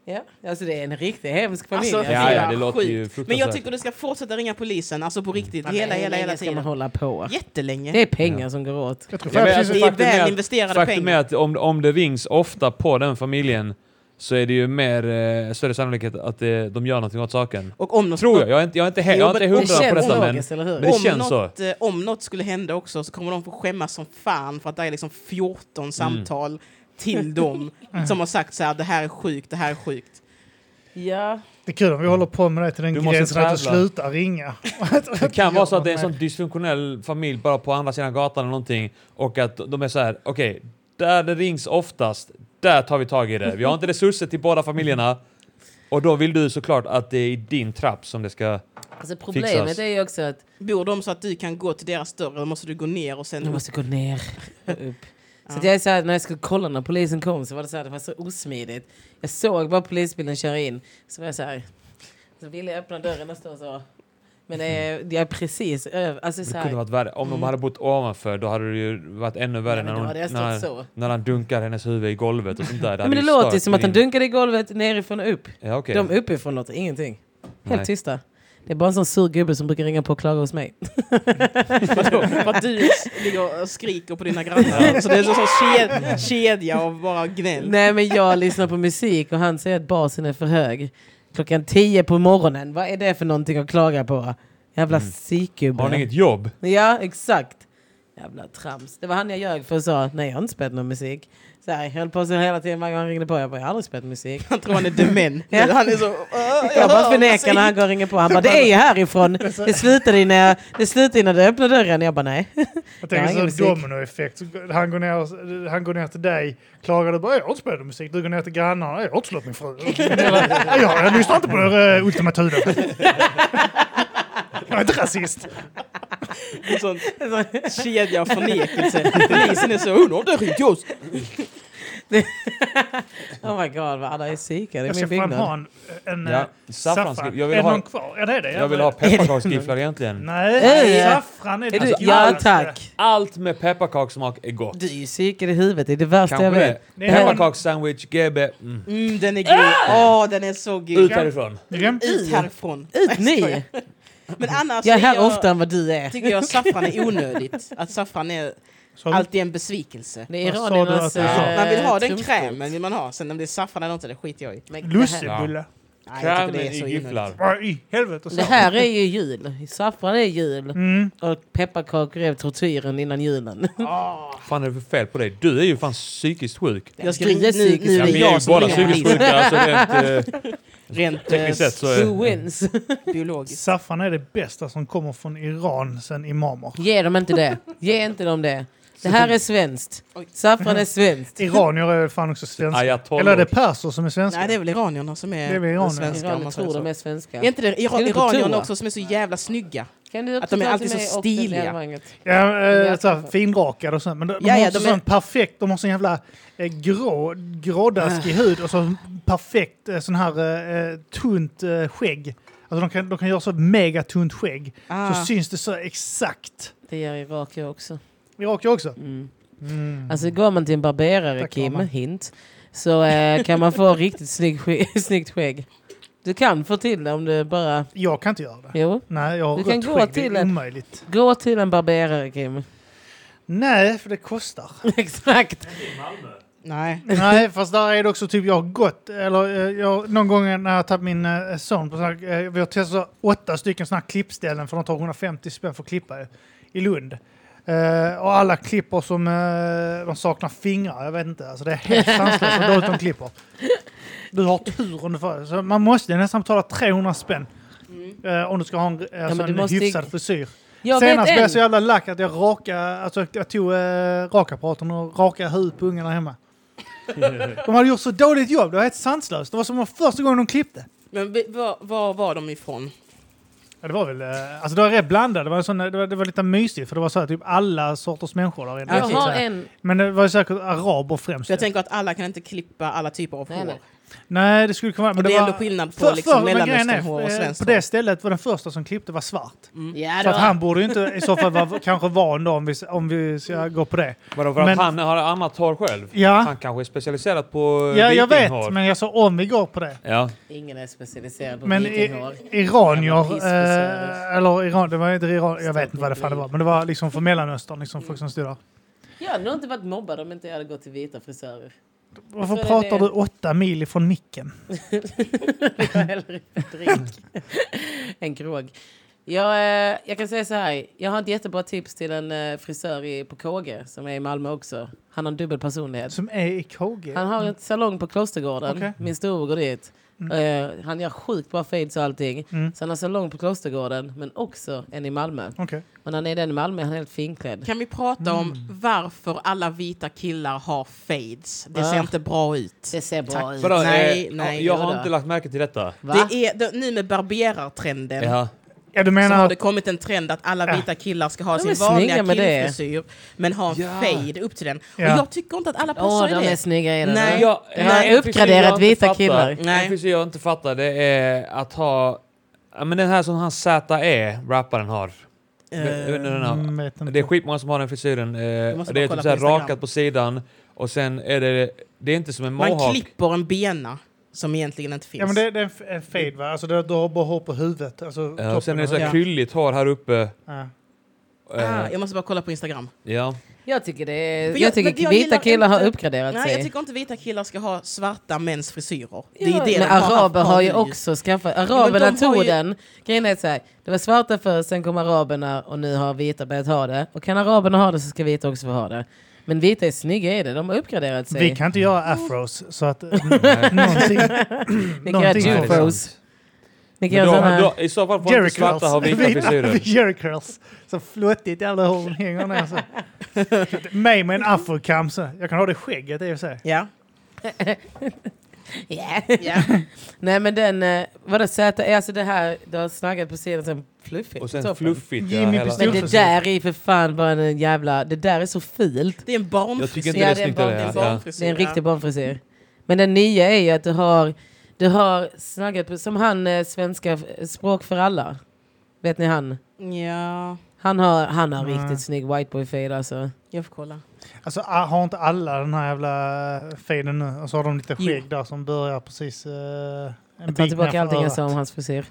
Ja, alltså det är en riktigt hemsk familj.
Alltså,
Alltså,
Ja, ja, det
sjukt.
låter ju fruktansvärt.
Men jag tycker du ska fortsätta ringa polisen, alltså på riktigt,
Men
hela,
hur
hela,
länge
hela
Ska man
tiden.
hålla på?
Jättelänge.
Det är pengar som går åt.
Jag tror
Ja, men
faktiskt-
alltså,
Det är
faktum
väl
att-
investerade
Faktum är
pengar.
att om, om det rings ofta på den familjen så är det ju mer eh, större sannolikhet att eh, de gör någonting åt saken.
Och om de
Tror jag. Jag är inte, jag är inte, he-
Jo,
jag är inte
men det
hundra på detta men...
logiskt, eller hur?
Det
om,
känns
något, eh, om något skulle hända också så kommer de få skämmas som fan för att det är liksom 14
Mm.
samtal till dem som har sagt så här, det här är sjukt, det här är sjukt.
Ja.
Det är kul om vi håller på med det till den
Mm. Du måste
gränsen att du
tävla.
slutar ringa.
Det kan vara så att det är en sån dysfunktionell familj bara på andra sidan gatan eller någonting och att de är så här, okej, där det rings oftast, där tar vi tag i det. Vi har inte resurser till båda familjerna och då vill du såklart att det är i din trapp som det ska
Alltså problemet
Fixas.
är ju också att
Bor de så att du kan gå till deras dörr eller måste du gå ner och sen...
jag måste gå ner och upp. Så
Ja.
att jag är så här, när jag skulle kolla när polisen kom så var det så här, det var så osmidigt. Jag såg bara polisbilen köra in. Så var jag så här, så ville jag öppna dörren och stå så. Men eh, jag är precis över, alltså så
Det
här.
kunde varit värre. Om de hade bott ovanför då hade det ju varit ännu värre
Ja, men
när,
då hade jag
hon,
stått
när,
så.
när han dunkar hennes huvud i golvet och sånt där.
Ja, men det låter ju som att han dunkade i golvet nerifrån och upp.
Ja, okej.
De uppifrån låter ingenting. Helt
Nej.
tysta. Det är bara en sån sur gubbe som brukar ringa på och klaga hos mig.
Vadå? För att du ligger och skriker på dina grannar. Så det är så, så ked, kedja av bara gnäll.
Nej men jag lyssnar på musik och han säger att basen är för hög. Klockan 10 på morgonen, vad är det för någonting att klaga på? Jävla psykgubbe.
Mm. Har ni inget jobb?
Ja, exakt. Jävla trams. Det var han jag ljög för och sa, nej jag har inte spelat någon musik. Så här, jag höll på så hela tiden varje gång han ringde på, jag bara, jag har aldrig spelat musik.
Han tror han är dement. nu.
Ja.
Han är så... "Åh,
Jag bara
hör
förnekar när han går och ringer på. Han bara, det är ju härifrån. Det slutade innan, jag, det slutade innan du öppnade dörren. Jag bara, nej.
Jag
Ja, ingen
tänker
musik.
så dominoeffekt. Så går- Han går, ner, och- han går ner till dig, klagar du bara “jag har inte spelat musik”. Du går ner till grannarna “jag har inte slått min fru”. Eller, jag, jag lyssnar inte på den här, eh, Ultima Thule. Jag är inte rasist.
En sån kedja av förnekelse. Polisen är så... "Oh, nu har det ringt oss.
Oh my god, vad alla är psykade i
Jag
min
ska fan ha
byggnad.
en, en
Ja,
eh,
saffran ska- jag
saffran.
vill
Är
ha-
någon kvar? Ja, det är det.
Jag vill ha pepparkaksgifflar egentligen.
Nej,
Äh,
saffran är,
Är du,
det
ja
godaste.
tack.
Allt med pepparkakssmak är gott.
Du är ju psykad i huvudet, det är det värsta
Kanske
jag
det.
vet.
Det är-
Pepparkakssandwich, GB. Mm.
Mm, den är god. Åh, den är så
Ut
god.
härifrån.
Rämt-
Ut härifrån.
Äh! Ut ni!
Men annars
Jag är
är
här oftare än vad du är.
tycker jag saffran är onödigt. Att saffran är
Så-
alltid en besvikelse.
Det är
Vad sa du
iraniernas...
att du sa?
eh,
Man vill ha den
trumfkort.
krämen vill man ha. Sen om det är saffran eller inte, det skiter jag i.
Men det här-
Lussebulle.
Nej, jag tycker
Krämen
det är så
i
onödigt.
gifflar.
Vad i helvete
Det
sa
här är ju jul. Saffran är jul.
Mm.
Och pepparkakor är tortyren innan julen.
fan är det för fel på dig? Du är ju fan psykiskt sjuk.
Jag
Gris är
skriver nu,
psykiskt
nu
Ja,
är
vi
det
är ju
jag som
båda
ringer
psykiskt
polisen.
sjuka. Alltså, rent, eh,
Rent eh,
tekniskt sett så
Who
är...
wins?
biologiskt.
Saffran är det bästa som kommer från Iran sen imamer.
Ge dem inte det. Ge inte dem det. Det här är svenskt.
Oj.
Saffran är svenskt.
Iranier är fan också svenska.
Ayatollah.
Eller är det perser som är svenska?
Nej, det är väl iranierna som
Det är
är,
väl iranierna.
svenskar om
Iranier
man säger
tror de
så.
är
Är
svenska.
inte det
Ska
ir-
du på toa?
iranierna också som är så jävla snygga?
Kan du
Att de är
ta
alltid
till mig
så
och den
stiliga.
evenemanget?
Ja,
är
eh, såhär,
kanske.
finrakade och sånt. Men de, de
Ja,
har
ja,
också
de är-
sån perfekt, de har sån jävla eh, grå, grådaskig
Ah.
hud och så perfekt eh, sån här eh, tunt eh, skägg. Alltså de kan, de kan göra så megatunt skägg. Så
Ah.
syns det så exakt.
Det gör irakier också.
Irakier också.
Mm.
Mm.
Alltså går man till en barberare,
Tack,
Kim,
mamma.
hint, så eh, kan man få riktigt snygg sk- snyggt skägg. Du kan få till det om du bara...
Jag kan inte göra det.
Jo.
Nej, jag har
Du kan
rött
gå
skägg.
till
det är
en-
omöjligt.
Gå till en barberare, Kim.
Nej, för det kostar.
Exakt.
Ah, Nej.
Nej, fast där är det också typ jag har gått, eller eh, jag, någon gång när jag har tagit min eh, son på sån här, eh, vi har testat åtta stycken sådana här klippställen för de tar 150 spänn för att klippa i- i Lund. Eh, och alla klipper som eh, de saknar fingrar, jag vet inte. Alltså det är helt sanslöst hur dåligt de klipper. Du har tur om du får så Man måste nästan betala 300 spänn eh, om du ska ha en, eh, alltså
Mm. men du
en
måste ju-
hyfsad frisyr.
Jag
Senast blev jag
vet
så
en.
jävla lack att jag rakade, alltså jag tog eh, rakapparaten och rakade huvudet på ungarna hemma. de hade gjort så dåligt jobb, det var helt sanslöst. Det var som första gången de klippte.
Men vi- var, var var de ifrån?
Ja, det var väl, eh, alltså det var rätt blandat. Det var, en sån, det var, det var lite mysigt för det var så här, typ alla sorters människor där inne.
Jag
Okej.
har en...
Men det var ju säkert araber främst.
För jag tänker att alla kan inte klippa alla typer av
Nej,
hår.
nej.
Nej, det skulle kunna vara...
Och det är ändå skillnad på liksom
men grejen är,
mellanösternhår och
eh,
svenskt
På det
hår.
stället var den första som klippte var svart.
Ja,
Så att
då.
han borde ju inte i så fall vara kanske van då om vi, om vi ska gå på det.
Vadå, för att
Men-
han har annat hår själv?
Ja.
Han kanske är specialiserad på eh,
Ja, jag
vikinghår.
vet, men jag sa om vi går på det.
Ja.
Ingen är specialiserad på
Men
vikinghår.
i, iranier,
Jävla pissfrisörer.
eh, eller Iran, det var inte Iran, jag vet inte vad det fan det var, men det var liksom från Mellanöstern, liksom folk som stod där.
Jag hade nog inte varit mobbad om inte jag hade gått till vita frisörer.
Varför
Så Alltså, är det
pratar
det.
du åtta mil ifrån micken?
Det var hellre en drink än krog. Jag, eh, jag kan säga så här. Jag har ett jättebra tips till en eh, frisör i, på KG som är i Malmö också. Han har en dubbel personlighet.
Som är i KG?
Han har en salong på Klostergården.
Okej.
Min storebror går dit.
Mm.
Eh, han gör sjukt bra fades och allting.
Mm.
Så han har salong på Klostergården men också en i Malmö.
Okej.
Och när han är i den i Malmö är han helt finklädd.
Kan vi prata om
Mm.
varför alla vita killar har fades? Det ser
Ah.
inte bra ut.
Det ser bra
Tack.
ut.
Vadå,
Nej,
eh,
nej,
jag
vadå?
har inte lagt märke till detta.
Va?
Det är det, nu med barberartrenden.
Ja.
Ja, du
så har
menar
det
att...
kommit en trend att alla vita killar ska ha
De är
sin
snygga
vanliga
med det.
killfrisyr men ha en
Ja.
fade upp till den.
Ja.
Och jag tycker inte att alla
Åh,
passar
de
i
är
det.
snygga i den.
Nej.
va?
Ja,
Det
nej,
har
en frisyr
uppgraderat
jag inte
vita
fattar.
killar.
Nej.
En frisyr jag inte fattar det är att ha... Ja, men den här som han ZE, rapparen, har.
Eh,
Jag vet inte hur den har.
Mm, vet inte.
Det är skitmånga som har den frisyren. Eh,
måste
det är
bara kolla
typ såhär
på Instagram.
rakat på sidan och sen är det... Det är inte som en
Man
mohawk.
klipper en bena som egentligen inte finns.
Ja, men det, det är en f- en fade va? Alltså det, du har bara hår på huvudet. Alltså,
Ja, Eh, och sen är det såhär
Ja.
krylligt hår här uppe.
Ja.
Eh,
ah, jag måste bara kolla på Instagram.
ja.
Jag tycker, det är,
För
jag,
jag-
tycker
men jag
vita
gillar
killar har
inte-
uppgraderat
Nej,
sig.
jag tycker inte vita killar ska ha svarta mäns frisyrer.
Ja, men
de har
araber
haft
har ju
nu.
också skaffat...
men de
Araberna
har
tog
ju-
den. Grejen är så här, det var svarta först, sen kom araberna och nu har vita börjat ha det. Och kan araberna ha det så ska vita också få ha det. Men vita är snygga i det, de har uppgraderat sig.
Vi kan inte göra afros, så att någonting...
Ni
någonting
kan göra
Nej, det är
får-
sant.
jufros. Ni kan
Men
göra såna
då,
här...
då, I så fall får
Jerry
inte svarta ha vita frisyrer.
Jerry curls. Så flottigt jävla hår hon hänger ner. Så. Mig med en afrokam. så. Jag kan ha det i skägget i och för sig.
Ja.
Yeah.
ja.
Nej men den, eh, vadå Z, är alltså det här, du har snaggat på sidan sen fluffigt
Och
på
sen
toppen.
fluffigt. Ja,
Jimmy
hela-
Pistol.
Men det där är för fan bara en jävla, det där är så filt.
Det är en
Jag tycker
barnfrisyr.
inte
Ja, det
det är
är
snyggt.
en
eller?
barn-
Det är
Det är
Ja, ja.
en barnfrisyr.
en riktig barnfrisyr. Men den nya är ju att du har, du har snaggat på, som han eh, svenska f- språk för alla. Vet ni han?
Ja,
Han har, han har
Nej.
riktigt snygg whiteboy-fade alltså.
jag får kolla.
Alltså, ah, har inte alla den här jävla faden nu? Och så har de lite
Jo.
skägg där som börjar precis eh, en
Jag tar
bit
tillbaka
nerför
allting jag
örat.
sa om hans frisyr.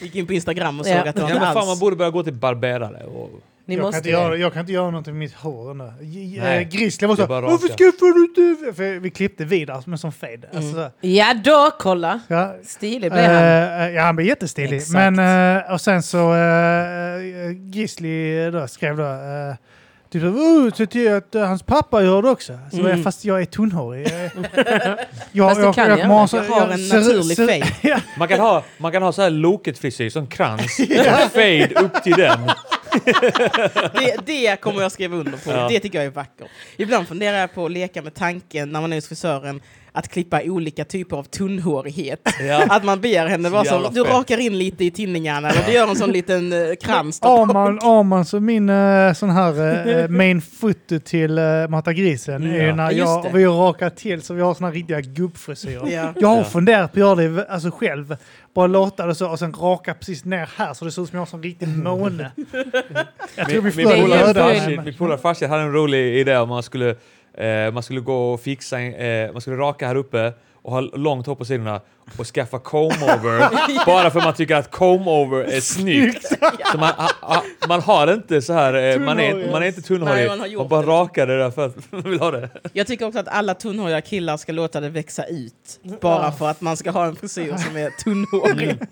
Gick in på Instagram och
Ja.
såg att det
Ja,
var
men
inte
fan, man
alls...
borde börja gå till barberare. Och,
Ni
jag, kan
måste
inte
det.
göra, jag kan inte göra något med mitt hår nu. J-
Nej.
eh, Grizzly var så
Det är bara
Varför
raka."
skaffar du inte... För vi klippte vidare som en sån fade. Alltså, så här.
Ja då, kolla!
ja,
Stilig blev han.
Eh, eh, ja, han blev jättestilig.
Exakt.
Men, eh, och sen så uh, Grizzly då, skrev då eh, typ oh, se till att eh, hans pappa gör det också. Så
Mm.
jag, fast jag är tunnhårig. Jag, jag,
Fast det kan
kommer
jag inte.
ha så-
Jag har en
ser-
naturlig
ser-
fade.
ja,
man kan ha, man kan ha så här loket frisyr, som krans. Och fade upp till den.
Det, det kommer jag skriva under på.
Ja.
Det tycker jag är vackert. Ibland funderar jag på att leka med tanken när man är hos frisören att klippa olika typer av tunnhårighet.
Ja.
Att man ber henne vara
Jävla
så, du
fett.
rakar in lite i tinningarna eller du gör en sån liten eh, krans. där på.
Arman, Arman som min eh, sån här eh, main foto till uh, Mata Grisen är ju
Ja.
när
Ja, just
jag,
det.
vi rakar till så vi har såna här riktiga gubbfrisyrer.
Ja.
Jag har
Ja.
funderat på att göra det alltså själv. Bara låta det så och sen raka precis ner här så det ser ut som jag har en sån riktig måne. Jag tror vi
Min- min
förlorade
polare
ögonen.
Farshid- Min polare Farshid hade en rolig idé om man skulle, eh, man skulle gå och fixa, en- eh, man skulle raka här uppe och ha långt hår på sidorna och skaffa comb-over bara för man tycker att comb-over är snyggt. så man, ha, ha, man har inte så här, eh, man, är,
Tunnhårig.
man är inte
Nej,
tunnhårig.
man har
Man,
gjort
bara
det.
rakar det där för att man vill ha det.
Jag tycker också att alla tunnhåriga killar ska låta det växa ut. Bara för att man ska ha en frisyr som är tunnhårig.
Mm.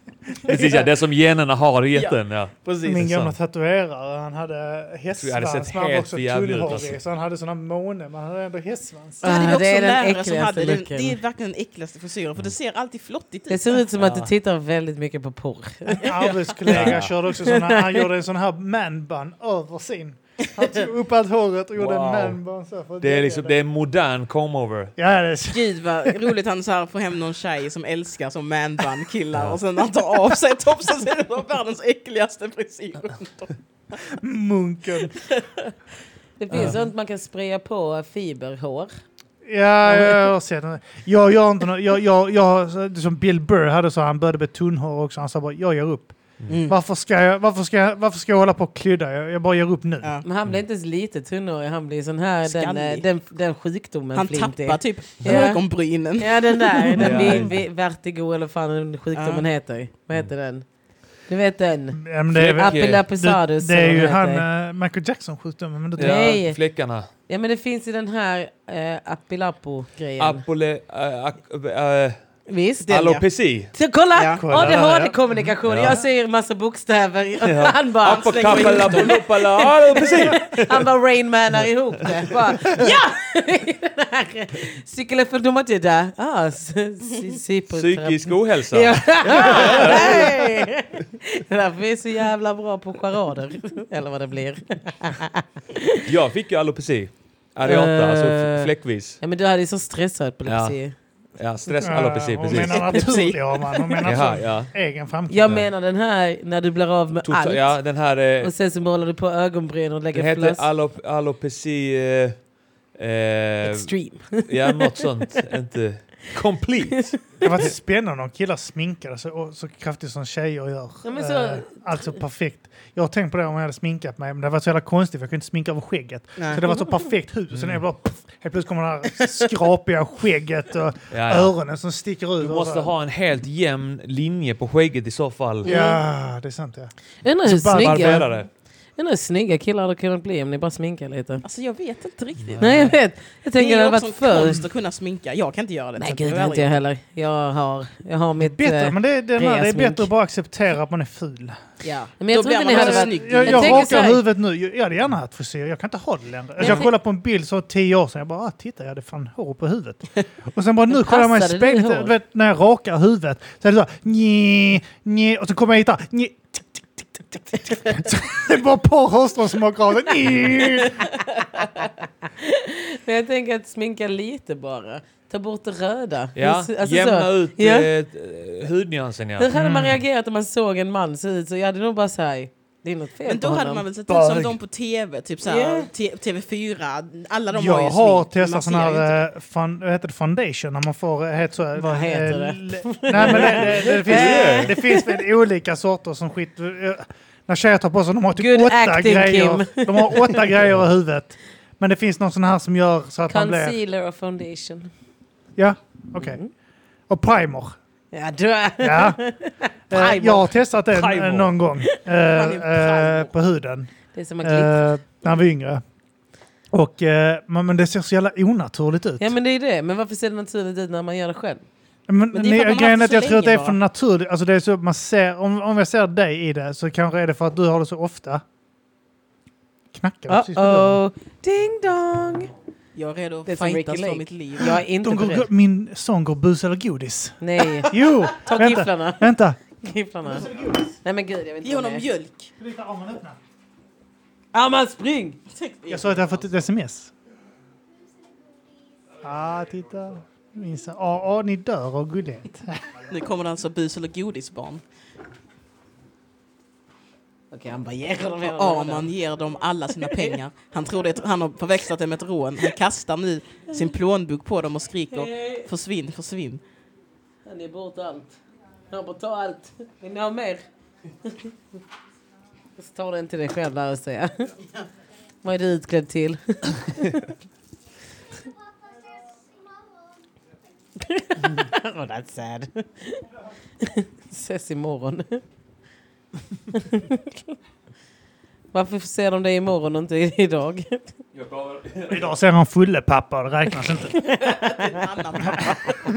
Precis, ja, det som generna har gett en. Ja.
Precis.
Min
Det är
gamla
sant.
tatuerare, han hade
Jag hade sett
hästsvans, men han var
helt
också
för jävligt ut,
tunnhårig.
alltså.
Så han hade sån här måne, men han hade ändå hästsvans.
Det hade vi
Ah,
också
det är
en
den
lärare som
äckligaste
hade. Det,
looken.
det är verkligen den äckligaste frisyren för det ser alltid flottigt
Det
ut.
ser ut som att du
Ja.
tittar väldigt mycket på porr.
En arbetskollega
Ja.
körde också sån här, han gjorde en sån här manbun över sin. Han tog upp allt håret och gjorde
Wow.
en manbun så. För att
Det är
dölja
liksom, det är en modern comb-over.
Ja, det är så.
Gud vad roligt han så här får hem någon tjej som älskar som manbun killar och sen när han tar av sig topsen ser det ut som världens äckligaste frisyr.
munken.
Det finns sånt man kan spraya på fiberhår.
Ja, jag har sett den. Jag gör inte något. Jag, jag, jag, så- som Bill Burr hade så, han började med tunnhår också. Han sa bara, jag ger upp.
Mm.
Mm.
Varför, ska jag, varför, ska jag, varför ska jag hålla på och klydda? Jag, jag bara ger upp nu.
Ja.
Men han blir
Mm.
inte ens lite tunnhårig, han blir sån här, den,
Skallig.
eh, den, den sjukdomen
Han
Flinty.
tappar typ
Ja.
ögonbrynen.
Ja den där, den
Ja.
vi, vi, vertigo eller fan den sjukdomen
Ja.
heter. Vad heter den? Du vet den?
Ja, men det, är, väl-
Okej.
det,
Apilapisadus
det är
eller
ju
vad
han,
heter.
eh, Michael Jackson-sjukdomen. Men det,
Nej.
Ja, fläckarna.
Ja men det finns i den här eh, apilapo-grejen.
Apole... Äh, ak- äh,
Visst?
alopeci.
Så kolla!
Ja.
Kolla där, ja.
ADHD-kommunikation.
Ja.
Jag säger massa bokstäver.
Ja.
Han bara,
Apokapalapolopala... Alopeci!
han bara rainmanar ihop det. Bara, ja! Den här, Psykolefodomatida. Ah, sy- sy- psykoterapi.
Psykisk ohälsa.
Ja. Nej. Det är därför vi är så jävla bra på charader. Eller vad det blir.
Jag fick ju alopeci. Areata,
Eh.
alltså f- fläckvis.
Ja, men du hade ju så stressad epilepsi.
Ja, stress, alla precis,
hon
precis.
menar naturlig har man. Hon menar
Jaha,
alltså
ja.
egen framtid.
Jag menar den här när du blir av med
Total,
allt.
ja, den här... Eh,
Och sen så målar du på ögonbryn och
den
lägger
heter
flass.
alop, alopeci... Eh, eh,
Extreme.
ja, något sånt. Inte... Complete!
Det var spännande om killar sminkade sig och så kraftigt som tjejer gör.
Ja, men så-
Eh, alltså perfekt. Jag har tänkt på det om jag hade sminkat mig, men det var så jävla konstigt för jag kunde inte sminka över skägget.
Nej.
Så det var så perfekt hud. Sen är det bara... Pff, helt plötsligt kommer det här skrapiga skägget och
Mm. Ja, ja.
öronen som sticker ut.
Du måste
överallt.
ha en helt jämn linje på skägget i så fall.
Ja, det är sant ja.
Undrar hur,
Så bara
snygga,
Barbera det.
undrar hur snygga killar hade kunnat bli om ni bara sminkar lite.
Alltså jag vet inte riktigt.
Nej jag vet. Jag
Det
tänker det hade
är ju
varit
också
för...
en konst att kunna sminka. Jag kan inte göra det.
Nej
så
gud,
det
det
är
är inte jag heller. Jag har, jag har mitt...
Bättre,
eh,
men det, är- den här, det är
Andreas
bättre
smink.
att bara acceptera att man är ful. Alltså,
Ja.
Men jag
Då
tror inte
blir
ni
man
hade
också
varit...
snygg.
Jag,
Jag
jag
tänker så
rakar
här-
huvudet nu. Jag hade gärna haft frisyr. Jag kan inte ha det längre. Alltså,
jag
jag
tänk-
kollar på en bild så tio år sedan. Jag bara, ah, titta jag hade fan hår på huvudet. Och sen bara nu kollar jag mig i
passade det
spegeln.
hår?
Du vet, när jag rakar huvudet så är det så här, nje, nje, Och så kommer jag hit där. nje, tick, tick, tick, tick, tick, tick, tick. Så Det är bara ett par hårstrån som åker av. Nje.
Men jag tänker att sminka lite bara. Ta bort det röda.
Ja,
Alltså, så.
jämna ut
Ja.
eh, hudnyansen ja.
Hur hade
Mm.
man reagerat om man såg en man se ut så? Jag hade nog bara såhär, det är något fel
Men då
på
hade
honom.
man väl sett ut
Bög.
som de på tv, typ såhär,
Ja.
T- TV4, alla de har ju
Jag har
smink, men man
testat sån
ser ju inte.
här eh, fan, vad heter det, foundation när man får... eh, Heter så,
Vad heter
eh,
det?
l- Nej, men det, det, det,
Eh.
finns, det finns väl olika sorter som skit... eh, När tjejer tar på sig, de har typ
Good
åtta
acting,
grejer. De har åtta grejer i huvudet. Men det finns någon sån här som gör så att man blir...
Concealer och foundation.
Ja, okej. Och primer.
Mm. Ja, du
Ja. Eh,
Primer.
Jag har testat det
Primer.
eh, någon gång. eh,
är primer.
eh, På huden.
Det är som en glitter.
eh, När jag var yngre. Och, eh, men men det ser så jävla onaturligt ut.
Ja men det är det, men varför ser det naturligt ut när man gör det själv?
Men,
det är
nej,
för att man har
grejen är
haft
att
det
jag
så
tror att det är
länge
för
bara.
naturligt. Alltså det är så att man ser, om, om jag ser dig i det så kanske är det för att du har det så ofta. Knackar det precis på dörren?
Uh-oh, ding dong!
Jag är redo
Det är
att
som
fightas
Ricky Lake.
för mitt liv.
Jag är inte
De går,
beredd.
min son går bus eller godis.
Nej,
Jo!
ta
vänta,
gifflarna.
vänta.
gifflarna. Nej men gud, jag vet
Ge
inte vad
honom
det är.
mjölk.
Ja men spring!
Jag sa att jag har fått ett sms. Ah, titta. Minns jag. Ja, ah, ni dör av gullighet.
Nu kommer det alltså bus eller godisbarn.
Okej han bara ger honom hela
Ja,
lådan.
man ger dem alla sina pengar. Han tror det, han har förväxlat det med ett rån. Han kastar nu sin plånbok på dem och skriker försvinn, försvinn.
Han är bort allt. Han bara ta allt. Vill ni ha mer? Så tar den till dig själv där och säger. Vad är du utklädd till? oh, that's sad. Ses imorgon. Varför ser de dig imorgon och inte idag?
Idag ser han fulle pappa, det räknas inte.
En annan pappa. Vad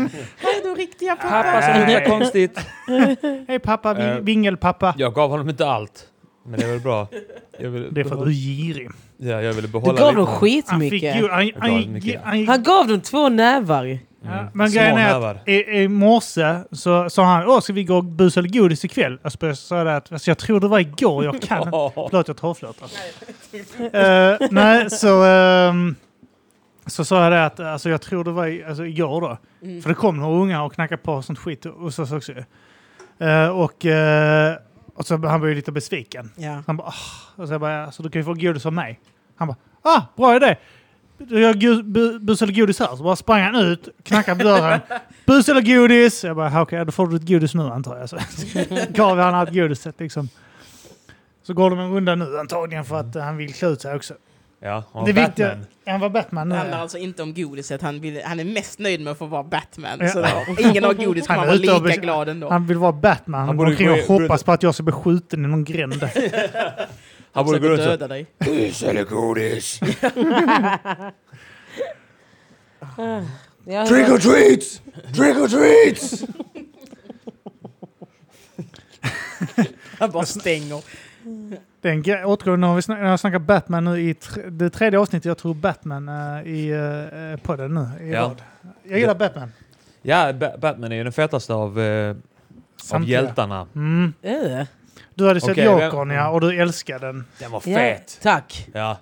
är du riktiga pappa?
Pappa som luktar konstigt.
Hej pappa, vi-
Eh.
vingelpappa.
Jag gav honom inte allt. Men det är väl bra. Jag ville
Det är för att du är girig.
ja, jag ville behålla
Du gav dem
lite.
Han fick ju... Han,
skitmycket.
han,
Jag gav
han,
mycket.
han,
Han gav dem två nävar.
Ja, men grejen är
Mm. nävar.
att i, i morse så sa han åh ska vi gå och busa eller godis ikväll? Jag spö- sa det att alltså, jag tror det var igår, jag kan inte. Förlåt jag torrflörtar. Eh, nej, så, ehm, så sa jag det att alltså, jag tror det var i, alltså, igår då. För det kom några unga och knackade på och sånt skit. Och, så, så också. Eh, och, eh, och så han var ju lite besviken.
Ja.
Han bara, ah. och så jag bara, alltså, du kan ju få godis av mig. Han bara, ah, bra idé! Jag gu- bu- bus eller godis här. Så bara sprang han ut, knackade på dörren. Bus eller godis? Jag bara, "Ah, okej, då får du ett godis nu antar jag. Så gav han allt godiset liksom. Så går de en runda nu antagligen för att eh, han vill klä ut sig också.
Ja, och
det
Batman.
viktiga... Han var Batman
Det
nu.
handlar
ja.
alltså inte om godiset, han, vill, han är mest nöjd med att få vara Batman.
Ja.
Så då, ingen har godis kommer
Han
han
är
vara
ute och
lika
bes-
glad ändå.
Han vill vara Batman.
Han
Han
borde
går omkring
gå
och
i-
hoppas på att jag ska bli skjuten i någon gränd.
Han borde gå
försöker
runt så.
döda dig.
Alltså-
Ah.
Ja,
or treats! Trick or treats!
Han bara stänger.
Det är en grej- återgång. Nu har vi sn- jag snackar Batman nu i tr- det tredje avsnittet. Jag tror Batman eh, i uh, podden nu. I
Ja.
rad. Jag gillar Batman.
Ja, ba Batman är ju den fetaste av, eh, av
Samtliga.
hjältarna.
Mm.
Äh.
Du hade sett
Okej,
Jokern
vem-
ja, och du älskade den.
Den var
Ja,
fet!
tack.
Ja.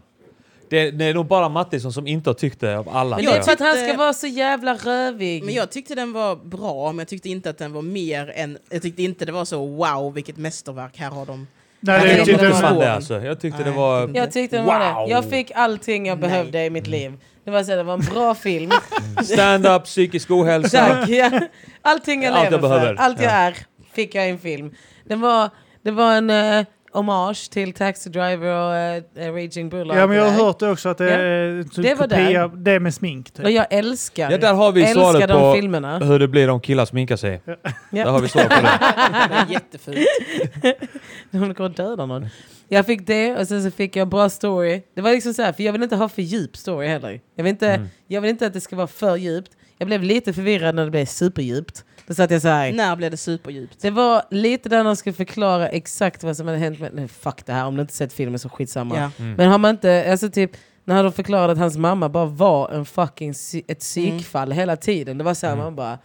Det, det är nog bara Mattisson som inte har tyckt det av alla.
Men
tror
det är typ-
jag.
för att han ska
Eh,
vara så jävla rövig.
Men jag tyckte den var bra, men jag tyckte inte att den var mer än... Jag tyckte inte det var så wow, vilket mästerverk, här har de...
Nej,
Ja,
det,
det
jag
jag tyckte
tyckte
är
den var-
inte fan
svår.
det alltså. Jag tyckte det
Nej,
var...
jag
Jag tyckte den var
Wow.
det. Jag fick allting jag
Nej.
behövde i mitt liv. Det var, så, här, det var en bra film.
Stand-up, psykisk ohälsa.
Tack! Ja. Allting jag
Allt jag
lever
behöver.
för, allt jag
Ja.
är, fick jag i en film. Det var, det var en uh, hommage till Taxi Driver och eh, Raging Bull. och
Ja,
allt
men
det
jag har
där.
hört det också att det
Ja.
är typ
Det
det
var
kopia,
där.
det med smink. Typ.
Och jag älskar,
Ja, där har vi
älskar
svaret
de
på
filmerna.
hur det blir om killar sminkar sig. Där har
Ja.
vi svar på det.
Det var jättefult.
Hon kommer döda någon. Jag fick det och sen så fick jag bra story. Det var liksom så här, för jag vill inte ha för djup story heller. Jag vill inte,
Mm.
jag vill inte att det ska vara för djupt. Jag blev lite förvirrad när det blev superdjupt. Då satt jag så här.
När blev det superdjupt?
Det var lite där de skulle förklara exakt vad som hade hänt. Med, nej, fuck det här, om du inte sett filmen så skitsamma.
Ja.
Mm.
Men har man inte, alltså typ, när de förklarade att hans mamma bara var en fucking sy-
Mm.
ett psykfall hela tiden. Det var så här, man bara,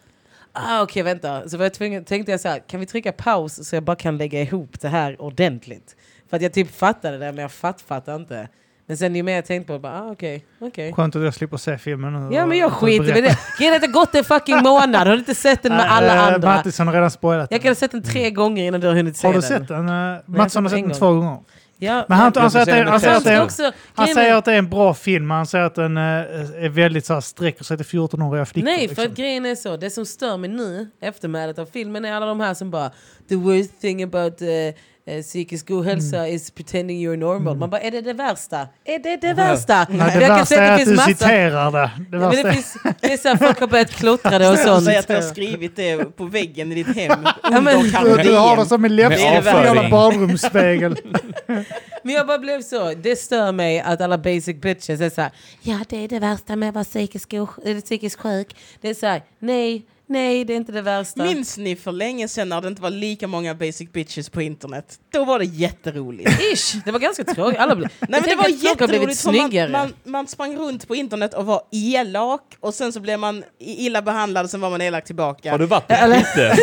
ah, okej vänta. Så var jag tvungen, tänkte jag så här, kan vi trycka paus så jag bara kan lägga ihop det här ordentligt? För att jag typ fattade det, men jag fatt, fattar inte. Men sen ju mer jag tänkte på det, bara, ah, okej, okej.
Skönt att jag slipper se filmen nu.
Ja
och-
men jag
och
skiter
berätta.
med det. Grejen är att det har gått en fucking månad, har du inte sett den med alla
Eh,
andra?
Mattisson har redan spoilat
Jag
den.
kan ha sett den tre gånger innan du har hunnit se
Har du
den.
sett den? Eh,
jag
Mattsson har
har sett
sett den
en
två gånger.
Ja,
Men han, han,
Jag
säger, att
får se
det-
den
han, säger,
med
att det är,
Frost
också,
han
grejen är-
säger att det är en bra film, han säger att den eh, är väldigt så här, sträcker sig till 14-åriga flickor.
Nej, för
liksom.
att grejen är så. Det som stör mig nu, eftermälet av filmen, är alla de här som bara “the worst thing about uh, uh, psykisk ohälsa is pretending you're normal”. Man bara, är det det värsta? Är det det värsta?
Mm. Nej, det
Jag kan
värsta
säga
är att
finns
du
massa-
citerar det. Det
Ja, men
värsta
det
är...
finns, det är så här, folk har börjat klottra det och
Sånt.
sånt.
Säg att du har skrivit det på väggen i ditt hem
men-
under
Du, du har det
karantän.
som en
Med
läppstift på en jävla
avföring.
badrumsspegel.
Men jag bara blev så, det stör mig att alla basic bitches är så här, ja det är det värsta med att vara psykisk, och- eller psykisk sjuk. Det är så här, nej, nej det är inte det värsta.
Minns ni för länge sedan när det inte var lika många basic bitches på internet? Då var det jätteroligt.
Ish, det var ganska tråkigt. Alla blev...
Nej,
Jag
men det
tänker
var
att folk har blivit
jätteroligt för
snyggare.
man, man, man sprang runt på internet och var elak och sen så blev man i- illa behandlad och sen var man elak tillbaka.
Har du varit på Twitter?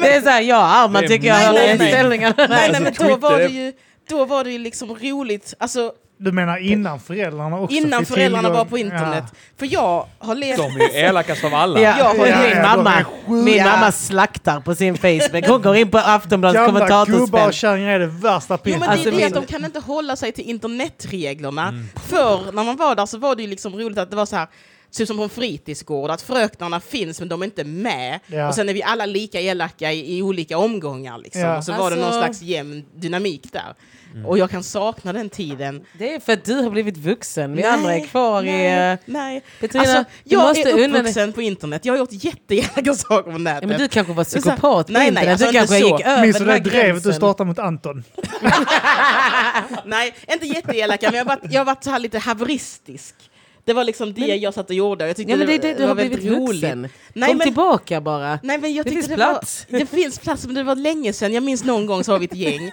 det är såhär, jag och Arman
Det är
tycker jag
nej,
har
nej, nej.
inställningar.
Nej, nej
Alltså,
men då
Twitter
var det
är-
ju, då var det ju liksom roligt, alltså
Du menar innan föräldrarna också?
innan
fick
föräldrarna
tillgång-
var på internet. För jag har levt...
De är ju elakast av alla.
Ja,
Ja,
min,
ja,
ja, de är
mamma,
sjuka.
min mamma slaktar på sin Facebook. Hon går in på
Ja.
Aftonbladets
Gamla gubbar och
Alltså, kommentatorspel.
kärringar är det värsta
Jo men
pillret.
det
Alltså,
är det
min-
att de kan inte hålla sig till internetreglerna. Förr när man var där så var det ju liksom roligt att det var så här, typ som på en fritidsgård, att fröknarna finns men de är inte med.
Ja.
Och sen är vi alla lika elaka i, i olika omgångar liksom.
Ja.
Och så var det någon
Alltså-
slags jämn dynamik där. Och jag kan sakna den tiden.
Det är för att du har blivit vuxen. Vi
Nej,
andra är kvar
nej,
i... eh,
Nej.
Petrina,
Alltså,
du
jag
måste
är
unna dig-
uppvuxen på internet, jag har gjort jätteelaka saker på nätet.
Ja, men du kanske var
Det är så-
psykopat på
Nej, nej,
internet.
alltså
du
inte
kanske
så.
gick över
Minns du
den
det
här
drevet du
gränsen.
startade mot Anton?
Nej, inte jätteelaka, men jag har varit, jag har varit så här lite haveristisk. Det var liksom det jag satt och gjorde. Jag tyckte
Ja, men det är
var-
det du har
var väldigt
blivit vuxen.
Nej,
Kom
men-
tillbaka bara.
Nej, men jag
Det
tyckte
finns
det
plats.
Var, det finns plats, men det var länge sedan. Jag minns någon gång så var vi ett gäng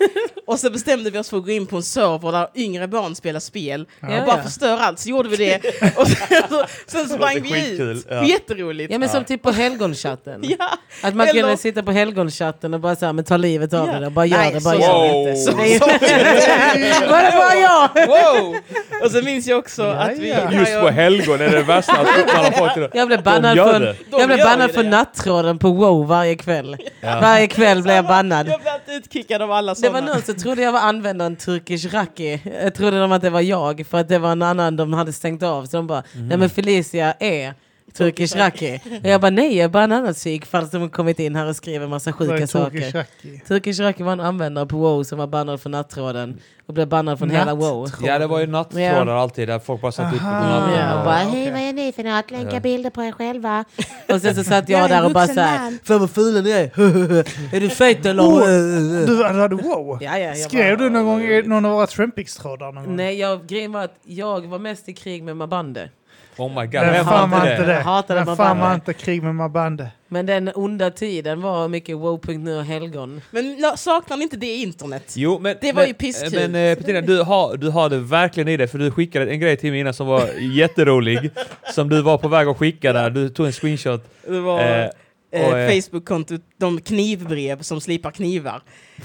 och så bestämde vi oss för att gå in på en server där yngre barn spelar spel
Ja,
och bara
ja.
förstör allt. Så gjorde vi det och sen, så, sen sprang
låter
vi
skitkul,
ut.
ja.
Jätteroligt.
Ja men som typ på helgonchatten.
Ja.
Att man
Eller-
kunde sitta på helgonchatten och bara såhär, men ta livet av
Ja.
det. Bara gör
Nej,
det, bara
så
gör det.
var
Wow.
det. inte. Så,
Nej.
så var det inte.
Var det bara jag?
Wow! Och så minns jag också att vi...
ja.
Just på helgon är det värsta att uppmana folk till
Jag blev
De
bannad
gör
från,
det.
De
jag blev
gör
bannad
ju
från
det.
nattråden på wow varje kväll. Varje kväll blev jag bannad.
Jag blev utkickad av alla
Det
sådana.
var någon som trodde jag var användaren Turkish Raki. Jag trodde de att det var jag för att det var en annan de hade stängt av. Så de bara,
Mm.
nej men Felicia är Turkish Raki. Och jag bara, nej jag är bara en annan psykfall som har kommit in här och skriver massa
Det var
sjuka
ju tokig
saker.
Chucky.
Turkish Raki var en användare på wow som var bannad från nattråden. Och blev bannad från hela wow.
Ja, det var ju nattrådar
Ja.
alltid där folk bara satt ut på
Aha.
natten.
Ja, och bara,
okej.
hej vad är ni för något? Länka bilder på er själva.
Och sen så satt
Jag
jag
är en
där och bara
vuxen
såhär,
man.
fan vad fula ni är. är du fet eller?
Du du hade wow?
Ja, ja, jag
Oh. Skrev
bara-
du någon gång i någon av våra Trumpix-trådar? någon gång?
Nej, jag, grejen var att jag var mest i krig med Mabande.
Oh my god,
Men
vem
fan
fan
var
inte
inte
det?
det?
Jag hatar
Men
det, man
fan var
bara-
inte krig med Mabande?
Men den onda tiden var mycket wow.nu och helgon.
Men nå- saknar ni inte det internet?
Jo, men,
Det var
men,
ju pisskul.
Men eh, Petrina, du har, du har det verkligen i dig för du skickade en grej till mig innan som var jätterolig. som du var på väg att skicka där. Du tog en screenshot.
Det var...
Eh,
eh,
Och, eh,
Facebook-kontot De knivbrev som slipar knivar.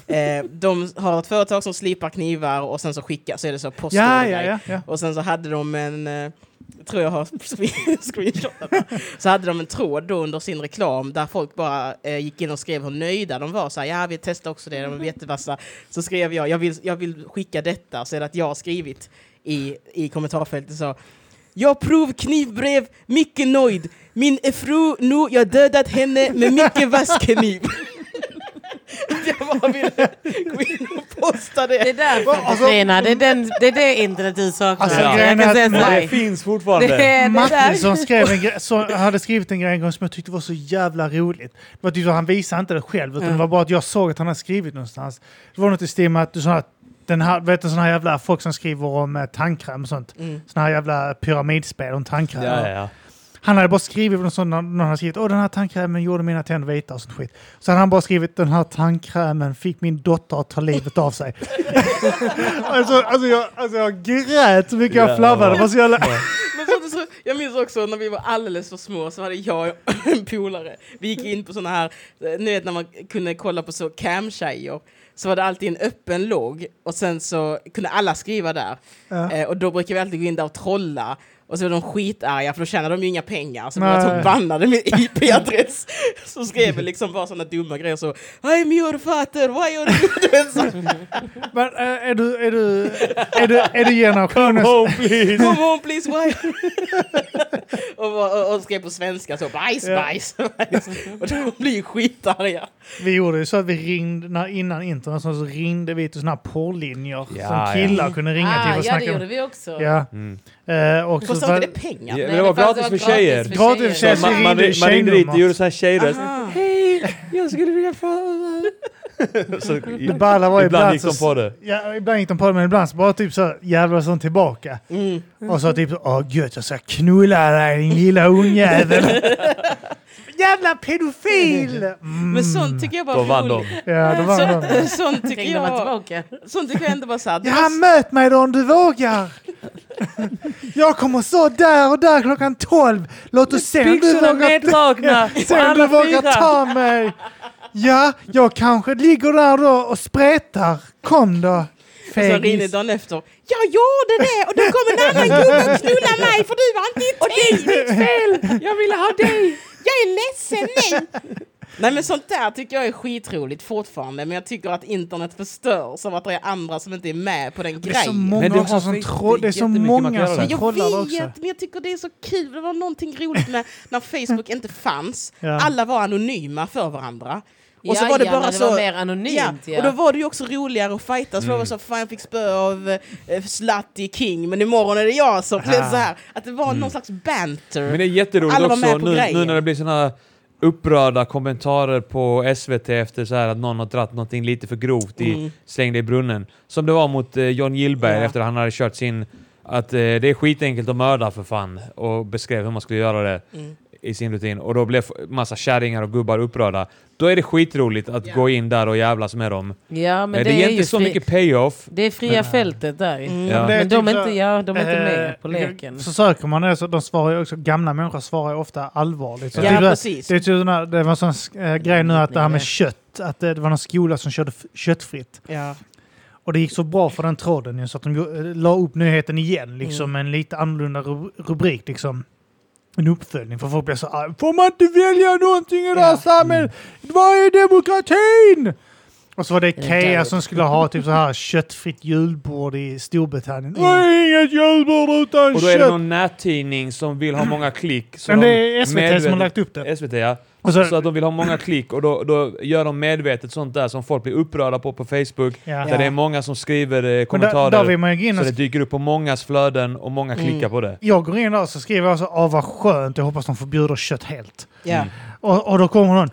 Eh, de har ett företag som slipar knivar och sen så skickar, så är det så post
Ja, ja, ja. ja.
Och sen så hade de en, eh, tror jag har screen- screenshotat, här. så hade de en tråd då under sin reklam där folk bara eh, gick in och skrev hur nöjda de var. Så här, ja, vi testar också det, de är jättevassa. Så skrev jag, jag vill, jag vill skicka detta, så är det att jag har skrivit i, i kommentarfältet så jag prov knivbrev, mycket nöjd. Min fru nu, jag dödat henne med mycket vass kniv. jag bara ville gå in och posta
Det är därför,
alltså-
Katarina. Det är, den, det är det internet du saknar.
Alltså,
jag
grejen
kan
är
säga
att-
så här.
Det finns fortfarande.
Eh, Det är det där.
Mattisson skrev en gre- så, hade skrivit en grej en gång som jag tyckte var så jävla roligt. Det var typ, så- han visade inte det själv, utan det var bara att jag såg att han hade skrivit någonstans. Det var något i stil med att du sa att den här, vet du sådana här jävla folk som skriver om eh, tandkräm och sånt.
Mm.
Sådana här jävla pyramidspel om tandkräm.
Ja, ja,
Han hade bara skrivit någon sån, någon hade skrivit åh den här tandkrämen gjorde mina tänder vita och sånt skit. Så hade han bara skrivit den här tandkrämen fick min dotter att ta livet av sig. alltså, alltså, jag, alltså jag grät så mycket jag
Ja.
flabbade. Det var så jävla...
Men så, så, jag minns också när vi var alldeles för små så hade jag och en polare, vi gick in på såna här, eh, ni vet när man kunde kolla på så camtjejer, så var det alltid en öppen logg och sen så kunde alla skriva där.
Ja.
Eh, och då brukade vi alltid gå in där och trolla och så var de skitarga för då tjänade de ju inga pengar så
Nej.
blev de bannade med IP-adress. Så skrev vi liksom bara såna dumma grejer så I'm your father, why are you... Du vet, så,
Men eh, är du, är du, är du, är du generationens...
Oh, please.
Come on please, why? och, bara- och, och skrev på svenska så, bajs,
Ja.
bajs, bajs. Och de blir ju skitarga.
Vi gjorde ju så att vi ringde, när, innan internet så ringde vi till sådana här porrlinjer
Ja,
som killar kunde ringa till och
Ah, ja, det
snacka
gjorde
med.
vi också.
Ja.
Mm.
Eh, och så
Kostar
var,
inte det pengar?
Ja,
Ja.
men det var
fast
gratis för tjejer.
gratis för
Gratis för
Så
tjejer.
man, man,
Tjejnummer.
man ringde dit och gjorde så här tjejröst. Hej, jag skulle vilja få... så,
det balla var
ibland
ibland,
gick de
så,
på det.
ja, ibland gick de på det, men ibland så bara typ så jävlas de tillbaka.
Mm.
Och så typ så, åh gud jag ska knulla dig din lilla ungjävel. jävla pedofil! Mm.
Men sånt tycker jag bara
Då vann
är
de.
roligt.
Ja, det var de.
Så, sånt, tycker
Ringde man
jag,
tillbaka?
sånt tycker jag ändå var såhär...
Ja, möt mig då om du vågar! Jag kommer stå där och där klockan tolv. Låt oss se om du
Byxorna
vågar,
neddragna
se om du vågar
fyra.
ta mig. Ja, jag kanske ligger där då och spretar. Kom då,
Så ringde
fegis.
dagen efter. Jag gjorde det och då kom en annan gubbe och knullade mig för du var inte i tid. Och det är ditt fel. Jag ville ha dig. Jag är ledsen nu. Nej men sånt där tycker jag är skitroligt fortfarande. Men jag tycker att internet förstörs av att det är andra som inte är med på den
Det är så
grejen.
Men
många
du har
också som
skit-
tro- det är så
jättemycket
många
material
som
där.
Jag
trollar
vet,
också.
men jag tycker det är så kul. Det var någonting roligt med när Facebook inte fanns.
Ja.
Alla var anonyma för varandra. Och så
Ja,
var det
ja,
bara
men
så...
Det var mer anonymt.
Ja, och då var det ju också roligare att fightas. Mm. Jag var så, fan jag fick spö av eh, Slutty King, men imorgon är det jag som...
Ja.
Så här, att det var någon slags banter.
Men det är jätteroligt
Alla var
också
med på
nu,
grejen.
nu när det blir såna här upprörda kommentarer på SVT efter så här att någon har dratt någonting lite för grovt i,
Mm.
slängde i brunnen. Som det var mot eh, John Gillberg
Ja.
efter han hade kört sin att eh, det är skitenkelt att mörda för fan och beskrev hur man skulle göra det
Mm.
i sin rutin och då blev f- massa kärringar och gubbar upprörda. Då är det skitroligt att gå in där och jävlas med dem.
Ja, men
Eh,
det, är, ju
inte så
fri,
mycket payoff.
Det är fria fältet där. ju.
Mm.
Ja.
Det är
Men de är
typ
inte,
så-
ja, de är inte
Eh,
med på leken.
Så söker man det, så de svarar ju också, gamla människor svarar ju ofta allvarligt. Så
Ja,
typ det-
precis.
Det, är typ sån här- det var en sån eh, grej nu att det här med kött, att det, det var någon skola som körde f- köttfritt.
Ja.
Och det gick så bra för den tråden ju, så att de ju- eh, la upp nyheten
Mm.
igen, liksom med en lite annorlunda ru- rubrik. Liksom. En uppföljning, för folk blev så arga. Får man inte välja någonting i det här
Ja.
samhället?
Mm.
Vad är demokratin? Och så var det
det
Ikea
där?
som skulle ha typ så här köttfritt julbord i Storbritannien.
Mm.
Nej, inget julbord utan
Och då är det
kött! Mm.
någon nättidning som vill ha många klick. så
Men det
de
är SVT som har
medvetet-
lagt upp det.
SVT ja.
Och så-
Så att de vill ha många klick och då, då gör de medvetet sånt där som folk blir upprörda på på Facebook.
Ja.
Där det är många som skriver eh,
Men där,
kommentarer.
där vill man ju gå in
så
och
det dyker upp på mångas flöden och många
Mm.
klickar på det.
Jag går in där och så skriver jag så åh vad skönt, jag hoppas de förbjuder kött helt.
Ja.
Och, och då kommer någon,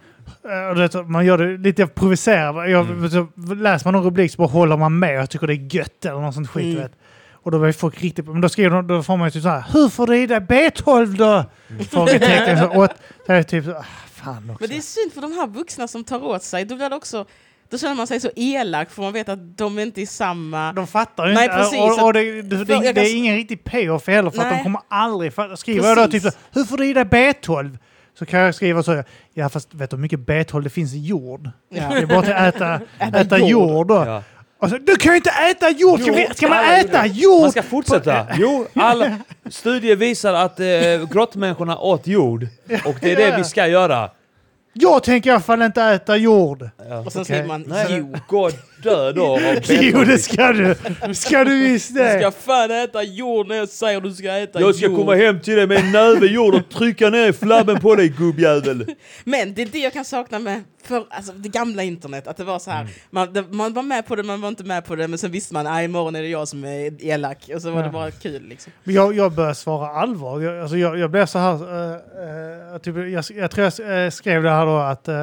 eh, och det, så- man gör det lite provocerande. Jag,
Mm.
så, läser man någon rubrik så bara håller man med, jag tycker det är gött eller något sånt skit.
Mm.
du Vet. Och då blir folk riktigt... Men då skriver de, då får man ju typ så här, hur får du i dig B12 då? Frågetecken. Så, åt, så är det typ så, ah, fan också.
Mm. Men det är synd för de här vuxna som tar åt sig. Då, blir det också, då känner man sig så elak för man vet att de inte är samma...
De fattar ju
Nej,
inte.
precis.
och, och det, det,
För jag
det,
kan
det
s-
är ingen riktig payoff heller för att
Nej.
de kommer aldrig fatta. Skriver jag då typ
Precis.
så, hur får du i dig B12? Så kan jag skriva så. Ja fast vet du hur mycket bethåll det finns i jord?
Ja.
Det är bara till att äta,
Äta
äta
jord.
jord då.
Ja.
Och så, Alltså, du kan ju inte äta jord! Ska, vi, ska man
alla
äta jord?
Man ska fortsätta. Jo, alla studier visar att eh, grottmänniskorna åt jord. Och det är det vi ska göra.
Jag tänker i alla fall inte äta jord.
Och sen
Okej.
skriver man
Nej,
jo.
Gå dö då. och beta.
Jo det ska du! Ska du visst
Du ska
det!
fan äta jord när jag säger du ska äta
Jag ska
jord.
komma hem till dig med en näve jord och trycka ner flabben på dig gubbjävel.
Men det är det jag kan sakna med för, alltså, det gamla internet, att det var så här, man, det, man var med på det, man var inte med på det, men sen visste man, nej imorgon är det jag som är elak, och så var det
Ja.
bara kul liksom.
Men Jag, jag börjar svara allvar. Jag, alltså, jag, jag blev så här... eh, eh, typ, jag, jag tror jag eh, skrev det här då att... eh,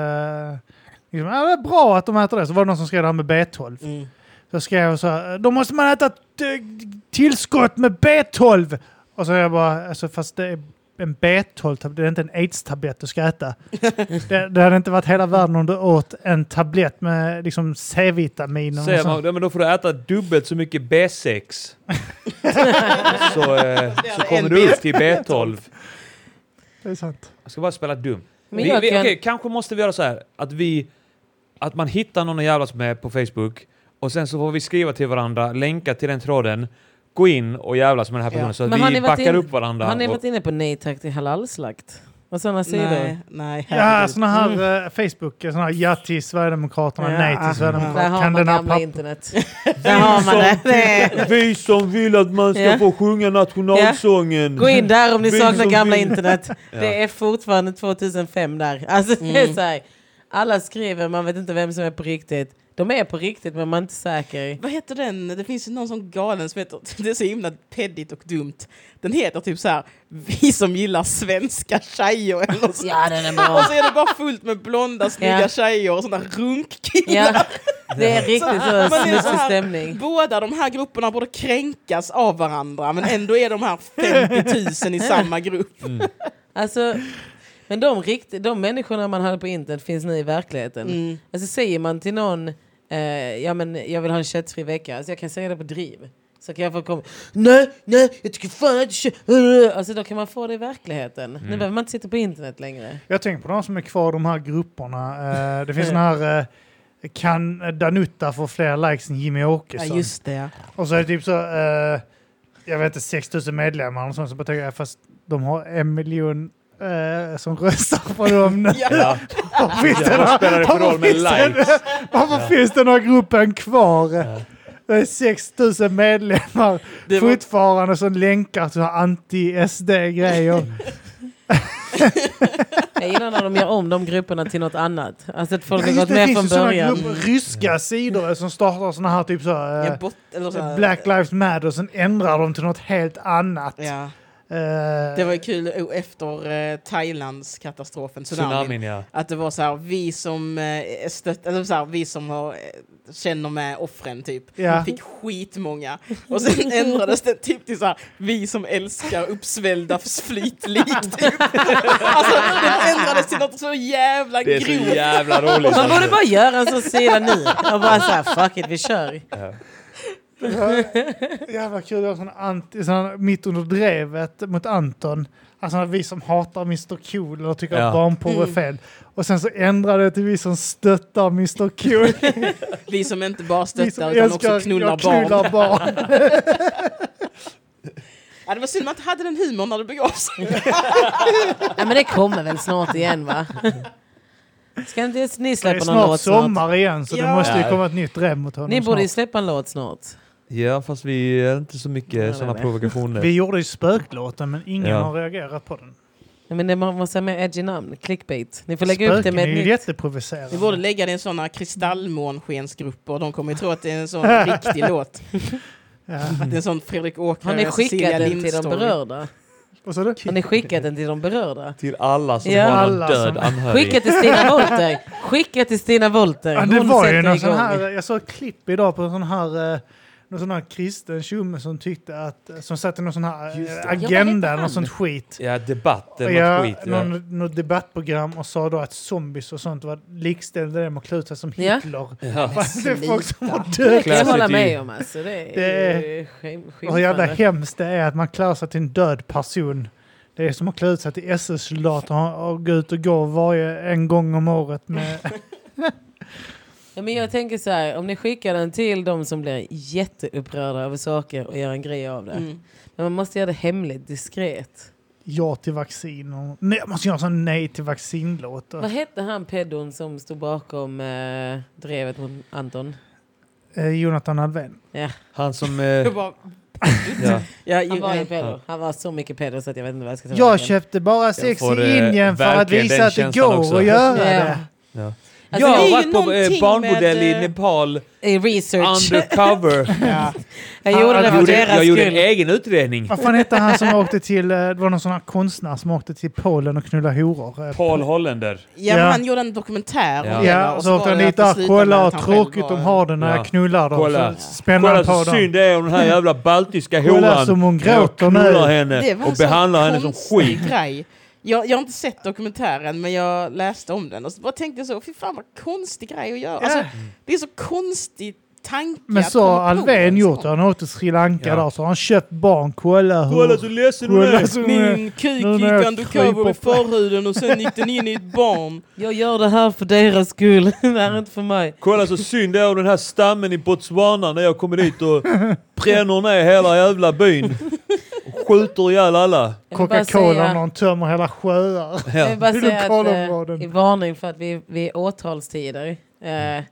liksom, ja, det är bra att de äter det. Så var det någon som skrev det här med B12.
Mm.
Så skrev jag så här, "Eh, då måste man äta ett eh, tillskott med B12! Och så är jag bara, alltså fast det är en B12-tablett, det är inte en aids-tablett du ska äta. det, det hade inte varit hela världen om du åt en tablett med liksom C-vitamin och
Säger man,
sånt.
ja, men då får du äta dubbelt så mycket B6. eh, så, eh, så kommer du upp till B12.
Det är sant.
Jag ska bara spela dum.
Men
vi,
jag
vi,
kan-
okej, kanske måste vi göra så här att vi... Att man hittar någon att jävlas med på Facebook och sen så får vi skriva till varandra, länka till den tråden, gå in och jävlas med den här personen
Ja.
så att
Men har
vi
ni varit
backar
in-
upp varandra.
Har ni
och-
varit inne på nej tack till halalslakt? Och sådana sidor?
Nej, nej. Mm.
Ja, såna här eh, Facebook, såna här ja till Sverigedemokraterna,
Ja,
nej
aha.
till Sverigedemokraterna.
Där har
Kan
man
den här
gamla
papp-
internet. Där har man det. Nej.
Vi som vill att man ska
Ja.
få sjunga nationalsången.
Gå in där om ni
Vi
saknar
som
gamla
vill-
internet.
Ja.
Det är fortfarande 2005 där. Alltså, det är så här. Alla skriver, man vet inte vem som är på riktigt. De är på riktigt men man är inte säker.
Vad heter den? Det finns ju någon sån galen som heter, det är så himla peddigt och dumt. Den heter typ så här, vi som gillar svenska tjejer eller något sånt.
Ja, den är bra.
Och så är det bara fullt med blonda snygga
Ja.
tjejer och såna runkkillar.
Ja, det är riktigt så
Man är så
smutsig
här-
stämning.
Båda de här grupperna borde kränkas av varandra, men ändå är de här 50 000 i samma grupp.
Mm.
Alltså, men de, rikt, de människorna man hade på internet finns nu i verkligheten.
Mm.
Alltså säger man till någon, eh, ja men jag vill ha en köttfri vecka, alltså jag kan säga det på driv. Så kan jag få komma, nej, nej, jag tycker fan inte kött. Alltså då kan man få det i verkligheten. Nu behöver man inte sitta på internet längre.
Jag tänker på de som är kvar i de här grupperna. Eh, Det finns såna här... eh, Kan Danutta få fler likes än Jimmy Åkesson?
det.
Och så är det typ så, eh, jag vet inte, 6 000 medlemmar och sånt. Så bara tänker jag, fast de har en miljon eh, som röstar på dem nu.
Ja.
Varför finns det
Ja, vad
några-
spelar det för
varför
roll med
finns det-
likes?
Varför finns det några gruppen kvar? Det är 6 000 medlemmar
Det var-
fortfarande som länkar till anti-SD-grejer.
Jag gillar när de gör om de grupperna till något annat. Alltså att folk har
Just
gått
det,
med
finns
från
ju såna
början.
grupper, ryska sidor som startar såna här typ så, eh,
Mm. Ja, bot, eller så här-
Black Lives Matter och sen ändrar de till något helt annat.
Ja.
Eh,
Det var ju kul oh, efter eh, Thailands katastrofen, tsunamin.
Tsunamin, ja.
Att det var så här, vi som eh, är stött, eller så här, vi som har, eh, känner med offren typ.
Ja.
Fick skitmånga. Och sen ändrades det typ till så här, vi som älskar uppsvällda flytlik typ. Alltså det ändrades till något så jävla
Det är så
grovt.
jävla roligt.
Man borde
alltså.
bara göra en sån sida nu. Och bara såhär, fuck it, vi kör.
Jävla kul, det var sån anti, sån, mitt under drevet mot Anton. Alltså vi som hatar Mr Cool och tycker
Ja.
att barnporr
Mm.
är fel. Och sen så ändrade det till vi som stöttar Mr Cool.
Vi som inte bara
vi som
stöttar utan också
älskar-
knullar
jag
barn.
knullar barn.
Ja, det var synd man inte hade den humorn när det begav sig.
Ja, men det kommer väl snart igen va? Ska inte ni
Det är
släppa någon
snart
låt snart?
sommar igen så det
Ja.
måste ju
Ja.
komma ett nytt drev mot honom
Ni borde ju
snart.
släppa en låt snart.
Ja, fast vi är inte så
Nej,
mycket sådana
nej.
provokationer.
Vi gjorde ju spöklåten men ingen
Ja.
har reagerat på den.
Nej, men det man måste ha med edgy namn, clickbait. Ni får lägga upp det
Spöken
med
är
ett
ju
nytt.
Vi borde
jätteprovocerande.
lägga det i en sån här kristallmånskensgrupper. De kommer ju tro att det är en sån riktig låt.
Ja.
Att det är en sån Fredrik
Har
Åkare,
ni skickat den till de
Lindstory.
berörda?
Vad sa du?
Har ni skickat den till de berörda?
Till alla som
Ja.
har någon
Alla
död
som-
anhörig.
Skicka till Stina Wolter! Skicka till Stina Wolter!
Ja, det
Hon
var
sätter
ju någon sån
igång.
här, eh, jag såg ett klipp idag på en sån här, eh, någon sån här kristen tjomme som tyckte att, som satte någon sån här
Just
eh,
det.
Ja, vad
agenda,
heter han?
någon sånt skit.
Ja, debatt eller
Ja,
något skit. Ja.
någon, något debattprogram och sa då att zombies och sånt var likställde det med att klä ut sig som
Ja.
Hitler.
Ja.
Fast det är folk som har
Det
dött.
kan jag
Classic
hålla
i-
med om alltså. Det är,
Det är-
ju skäm-
Och hur jävla
skymfande.
hemskt det är att man klär sig till en död person. Det är som att klä ut sig till SS-soldater och, och gå ut och gå varje, en gång om året med...
Ja, men jag tänker så här, om ni skickar den till de som blir jätteupprörda över saker och gör en grej av det.
Mm.
Men man måste göra det hemligt, diskret.
ja till vaccin och... Nej, man ska göra en sån nej till vaccinlåt.
Vad hette han pedon som stod bakom eh, drevet mot Anton?
Eh, Jonathan Alvén.
Han som...
Jag
Alltså,
Eh,
bara,
ja.
ja, ju,
Han var, en pedo.
Ja.
han var så mycket pedo så att jag vet inte vad jag ska ta
Jag
vägen.
köpte bara sex
får,
i
eh,
Indien för att
verkligen
visa
den
att det
känslan
går
också.
att göra
Ja.
det.
ja.
Alltså,
jag
det är
har
ju
varit på eh,
någonting
barnbordell
med, eh,
i Nepal,
Eh, Research.
undercover.
Ja.
jag gjorde
han
det
Jag
för
gjorde, jag
deras
gjorde en
skull.
egen utredning.
Vad fan hette han som åkte till... eh, Det var någon sån här konstnär som åkte till Polen och knullade horor. eh,
Paul Holländer.
ja,
Ja.
men han gjorde en dokumentär om
Ja.
det,
Ja,
va?
och
var
så åkte han
det
dit
att det
där.
slutade
Kolla
med
vad
att han själv
tråkigt
var-
de har det när
Ja.
jag knullar dem.
Kolla.
Så spänner
Kolla Mm.
han
så
på
synd
dem.
det är om den här jävla baltiska
Kolla
horan.
som hon
När jag
gråter nu.
knullar
Det
henne
var en
och
sån
behandlar henne som
konstig
skit.
Grej. Jag, jag har inte sett dokumentären, men jag läste om den och så bara tänkte jag så, fy fan vad konstig grej att göra. Alltså, det är så konstig tanke
Men
att
så har
komma på alltså.
Alvén
en
gjort det.
sån.
Han åkte till Sri Lanka
Ja.
där så har han köpt barn. Kolla hur...
Kolla så ledsen hon är.
så-
Min kuk
Alltså, Nu när
gick
jag
undercover
kryper
i förhuden och sen gick den in i ett barn.
Jag gör det här för deras skull. det här är inte för mig.
Kolla så synd det är om den här stammen i Botswana när jag kommer dit och bränner ner hela jävla byn. Och skjuter ihjäl alla.
Jag vill bara
Coca-Cola
säga-
och någon tömmer hela sjöar.
Jag vill bara
Det är
säga att
lokalområden.
eh, i varning för att vi, vi är åtalstider. Eh,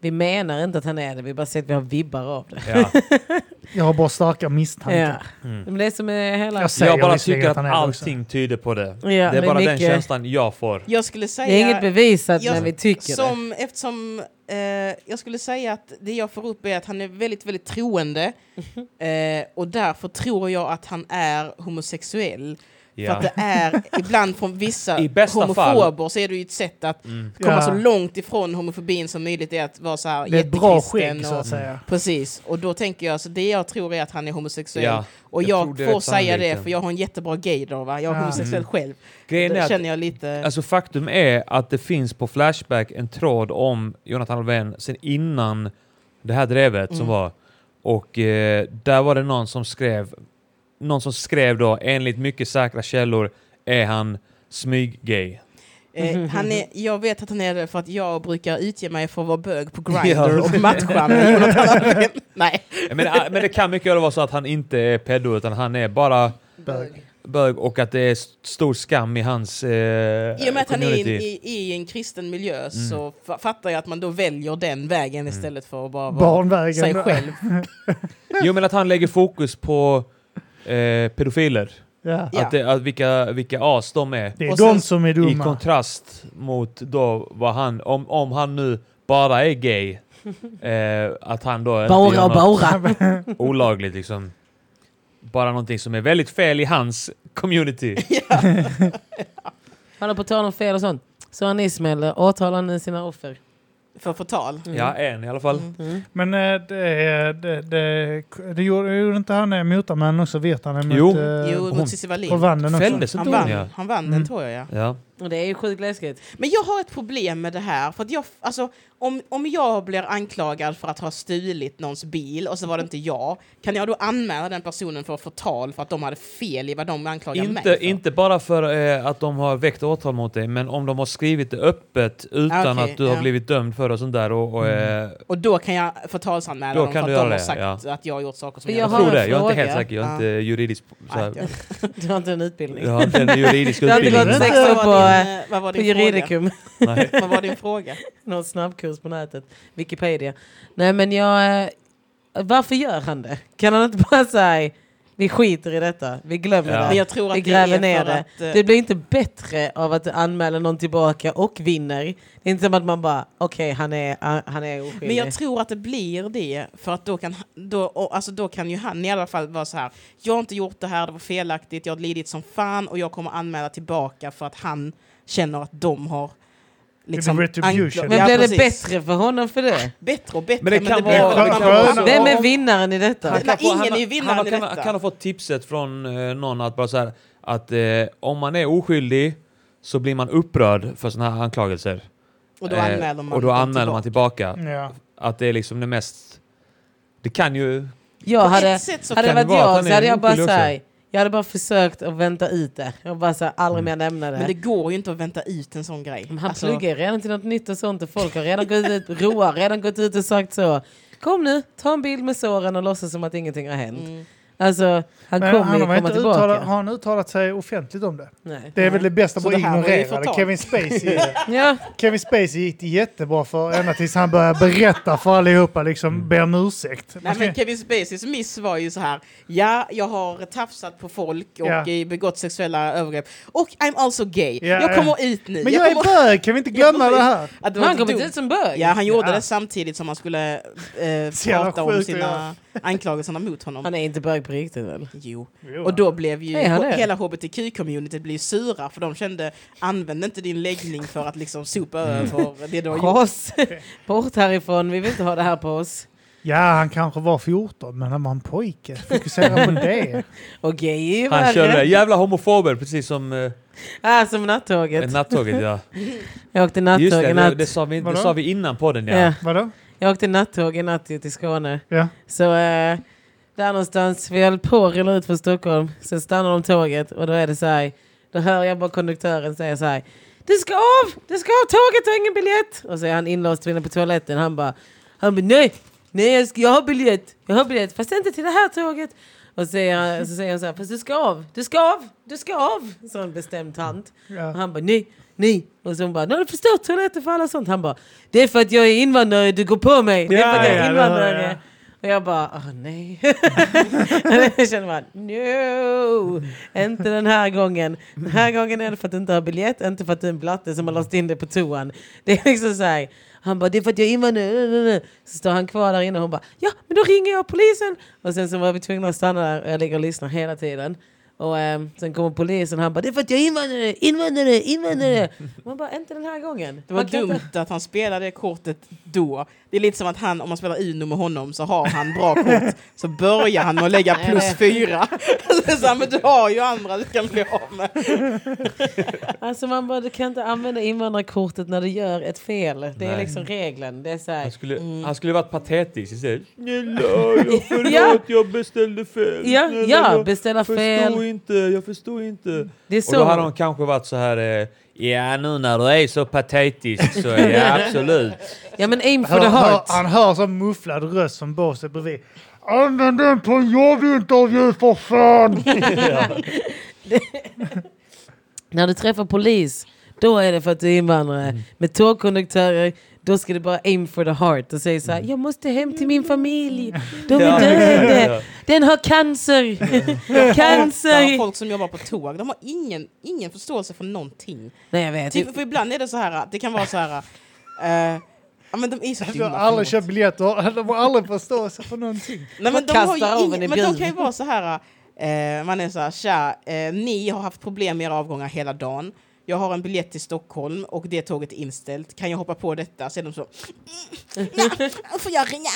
vi menar inte att han är det, vi bara säger att vi har vibbar av det.
Ja. Mm.
Jag har bara starka misstankar.
Ja. Men det är som är hela...
Jag säger
Jag bara
visserligen
tycker att
han är det också.
allting tyder på det.
Ja,
det är
men
bara den
mycket-
känslan jag får.
Jag skulle säga...
Det är inget bevisat,
Jag-
men vi tycker det.
Som, eftersom eh, jag skulle säga att det jag får upp är att han är väldigt, väldigt troende. Eh, och därför tror jag att han är homosexuell. För
Ja.
att det är ibland från vissa
I bästa
homofober så är det ju ett sätt att
Mm.
komma
Ja.
så långt ifrån homofobin som möjligt är att vara så här
Det är ett bra
jättekristen
skägg så
och-
att säga.
Precis, och då tänker jag, så det jag tror är att han är homosexuell.
Ja,
och
jag tror
jag,
det är
får
rätt
säga det
sannolikt.
för jag har en jättebra gaydar, va? jag är
Ja.
homosexuell själv.
Grejen är
Det
att
känner jag lite... eh,
Alltså faktum är att det finns på Flashback en tråd om Jonathan Alvén sen innan det här drevet som
Mm.
var. Och eh, där var det någon som skrev, någon som skrev då enligt mycket säkra källor är han smyg-gay. Alltså,
Eh, han
mm.
är, jag vet att han är det för att jag brukar utge mig för att vara bög på Grindr
Ja.
och matcha med Jonathan Alvén. Nej.
Jag menar, ah, men det kan mycket väl vara så att han inte är pedo utan han är bara
Bög.
bög och att det är st- stor skam i hans eh,
I och med att han är i,
community. Mm.
i, i en kristen miljö så fa- fattar jag att man då väljer den vägen istället för att bara vara sig
Barnvägen.
själv.
Jo men att han lägger fokus på eh, pedofiler.
Ja.
Ja.
Att det, att vilka, vilka as de är.
Det är
Och
de
sen-
som är
I
dumma.
kontrast mot då vad han, om, om han nu bara är gay, eh, att han då inte gör
Bara,
något
bara.
olagligt liksom. Bara någonting som är väldigt fel i hans community.
Han har på tal om fel och sånt. Så han Ismail eh, åtalar nu sina offer.
För förtal.
Ja, en i alla fall.
Mm.
Men eh, det, är- det, det, det gjorde, gjorde inte han det mot men också vet han det mot...
Jo.
eh,
Jo,
hon
mot Cissi Wallin.
Och vann den också.
Fälldes
Han
inte hon?
vann,
Ja.
han vann
Mm.
den tror jag ja.
ja.
Och det är ju sjukt läskigt.
Men jag har ett problem med det här. För att jag, alltså, om, om jag blir anklagad för att ha stulit någons bil och så var det inte jag, kan jag då anmäla den personen för förtal för att de hade fel i vad de anklagar mig
Inte,
för?
inte bara för eh, att de har väckt åtal mot dig, men om de har skrivit det öppet utan
Okej,
att du har
ja.
blivit dömd för det och sånt där. Och, och, eh,
Och då kan jag förtalsanmäla
Då
dem
kan
för
du
att de
göra
har
det,
sagt att jag har gjort saker som
Men
jag,
jag
har
tror
en
det, jag är inte helt
fråga.
säker. Jag är
Ja.
inte juridisk. Så här,
Nej,
Du har inte en utbildning.
jag har inte en juridisk
Det har inte
utbildning.
gått
men-
sex
Vad
år på,
var din, eh, vad var
på
din fråga?
juridikum.
Nej.
Vad var din fråga?
Någon snabbkurs på nätet. Wikipedia. Nej men jag... eh, Varför gör han det? Kan han inte bara säga vi skiter i detta, vi glömmer
Ja.
Men
det.
jag tror att
Vi
det
gräver
är
ner
för
det.
att, eh,
Det blir inte bättre av att anmäla någon tillbaka och vinner. Det är inte som att man bara, okej han, är, eh, han är oskyldig.
Men jag tror att det blir det, för att då kan, då, och, alltså, då kan ju han i alla fall vara så här. Jag har inte gjort det här, det var felaktigt, jag har lidit som fan och jag kommer anmäla tillbaka för att han känner att de har...
retribution.
anklag-
men
Ja,
blir det
precis.
bättre för honom för det?
Bättre och bättre.
Men det kan
blir
vara-
väl-
det kan
Alltså,
vara-
Vem är
om-
vinnaren i detta?
Han- Nej,
kanske-
ingen är ju
han,
vinnaren
har-
i
kan,
detta.
kan ha fått tipset från eh, någon att bara så här, att eh, om man är oskyldig så blir man upprörd för sådana här anklagelser.
Och då
Eh,
anmäler man
och då
dem
anmäler man tillbaka.
Ja.
Att det är liksom det mest... Det kan ju...
Jag
På
hade,
ett sätt så
hade det
kan det
varit
vara att
jag
han
så
är
hade jag bara
oskyldig också.
såhär, Jag hade bara försökt att vänta ut det. Jag bara så här, aldrig
Mm.
mer nämna det.
Men det går ju inte att vänta ut en sån grej.
Men han
Alltså,
pluggar ju redan till något nytt och sånt och folk har redan gått ut, Roa har redan gått ut och sagt så. Kom nu, ta en bild med såren och låtsas som att ingenting har hänt.
Mm.
mm.
Alltså, han
Men
kommer ju
har,
komma
inte
tillbaka.
uttalat, har han uttalat sig offentligt om det?
Nej.
Det är väl det bästa,
Så
bara
det här var ju
ignorera det.
förtal.
Kevin Spacey,
Ja,
Kevin Spacey gick det jättebra för ända tills han började berätta för allihopa, liksom be om ursäkt. Man
Nej,
ska-
men Kevin Spaceys miss var ju så här. Ja, jag har tafsat på folk och
Ja.
eh, begått sexuella övergrepp. Och I'm also gay.
Ja,
jag
ja.
kommer ut nu.
Men jag är
kommer-
bög, kan vi inte glömma
Jag
det
kommer-
här?
Att det var
han
inte
kom inte
dumt.
ut som bög.
Ja, han gjorde
Ja.
det samtidigt som han skulle eh,
Så jävla
prata om
sjukt att
sina anklagelserna mot honom.
Han är inte bög på riktigt väl?
Jo.
Jo,
Och då blev ju
Är han det?
hela hbtq-communityt blev sura för de kände använd inte din läggning för att liksom sopa
Mm.
över det du har gjort.
Ras! Bort härifrån, vi vill inte ha det här på oss.
Ja, han kanske var 14, men han var en pojke. Fokusera på det.
Och gay är ju
Han körde
värre.
jävla homofober, precis som eh,
Ah, som nattåget.
nattåget. Ja.
Jag åkte
Just
nattåg
det,
i
det,
natt.
det, sa vi, det
Vadå?
sa vi innan podden ja.
Ja.
Vadå?
Jag åkte nattåg i natt till Skåne.
Ja.
Så eh, där någonstans, vi höll på att rulla ut från Stockholm. Sen stannar de tåget och då är det så här. Då hör jag bara konduktören säga så här. Det ska av! Det ska av tåget, jag har ingen biljett! Och så är han inlåst inne på toaletten. Han bara, han bara nej! Nej, jag, ska, jag har biljett! Jag har biljett, fast inte till det här tåget! Och så säger, han, så säger han så här, fast du ska av! Du ska av! Du ska av! Sån bestämd tant.
Ja.
Och han bara nej, nej. Och så hon bara, nu har du förstört toaletten för alla sånt. Han bara, det är för att jag är invandrare, du går på mig. Det är för att jag
Ja, ja,
är
det
invandrare.
hör jag.
Och jag bara, åh nej. jag känner man, no, inte den här gången. Den här gången är det för att du inte har biljett, inte för att du är en blatte som har låst in dig på toan. Det är liksom så här. Han bara, det är för att jag är invandrare. Så står han kvar där inne och hon bara, ja men då ringer jag polisen. Och sen så var vi tvungna att stanna där och jag ligger och lyssnar hela tiden. Och ehm, sen kommer polisen han bara, det är för att jag är invandrare, invandrare, invandrare. Man bara, inte den här gången.
Det var
Man kan inte-
dumt att han spelade det kortet då. Det är lite som att han, om man spelar Uno med honom så har han bra kort. Så börjar han med att lägga plus fyra. Så han, men du har ju andra du kan bli av med.
Alltså man bara, du kan inte använda invandrarkortet när du gör ett fel. Det är
Nej. Alltså,
liksom regeln. Det är så
Han
här.
skulle, han skulle varit patetisk istället. Snälla, jag förlåt,
Ja.
jag beställde fel.
Ja,
Snälla,
ja,
jag
beställa
förstod
fel.
inte, jag förstod inte.
Det är
Och då hade
så.
hon kanske varit så här... Eh, ja, nu när du är så patetisk så ja, absolut.
Ja men aim for
Hör,
the
hör,
heart.
han hör som mufflad röst som båset bredvid. Använd den på en jobbintervju för fan!
När du träffar polis, då är det för att du är invandrare.
Mm.
Med tågkonduktörer, då ska du bara aim for the heart och säga så här, jag måste hem till min familj. De
Mm. Ja,
är
ja.
döende. Den har cancer.
Hatar
cancer.
Folk som jobbar på tåg, de har ingen, ingen förståelse för någonting.
Nej jag vet.
Typ, för ibland är det så här, det kan vara så här... eh, ja, men de är
Du
så
har
himla
aldrig
förlåt.
köpt Alltså, biljetter, de har aldrig förståelse för någonting.
Man
Nej, men de, har
kastar av
ju
en i
ingen, men de
bilen.
kan ju vara så här... eh, man är så här, tja, eh, ni har haft problem med era avgångar hela dagen. Jag har en biljett till Stockholm och det tåget är inställt. Kan jag hoppa på detta? Så är de så... "Mm, ja, Får jag ringa?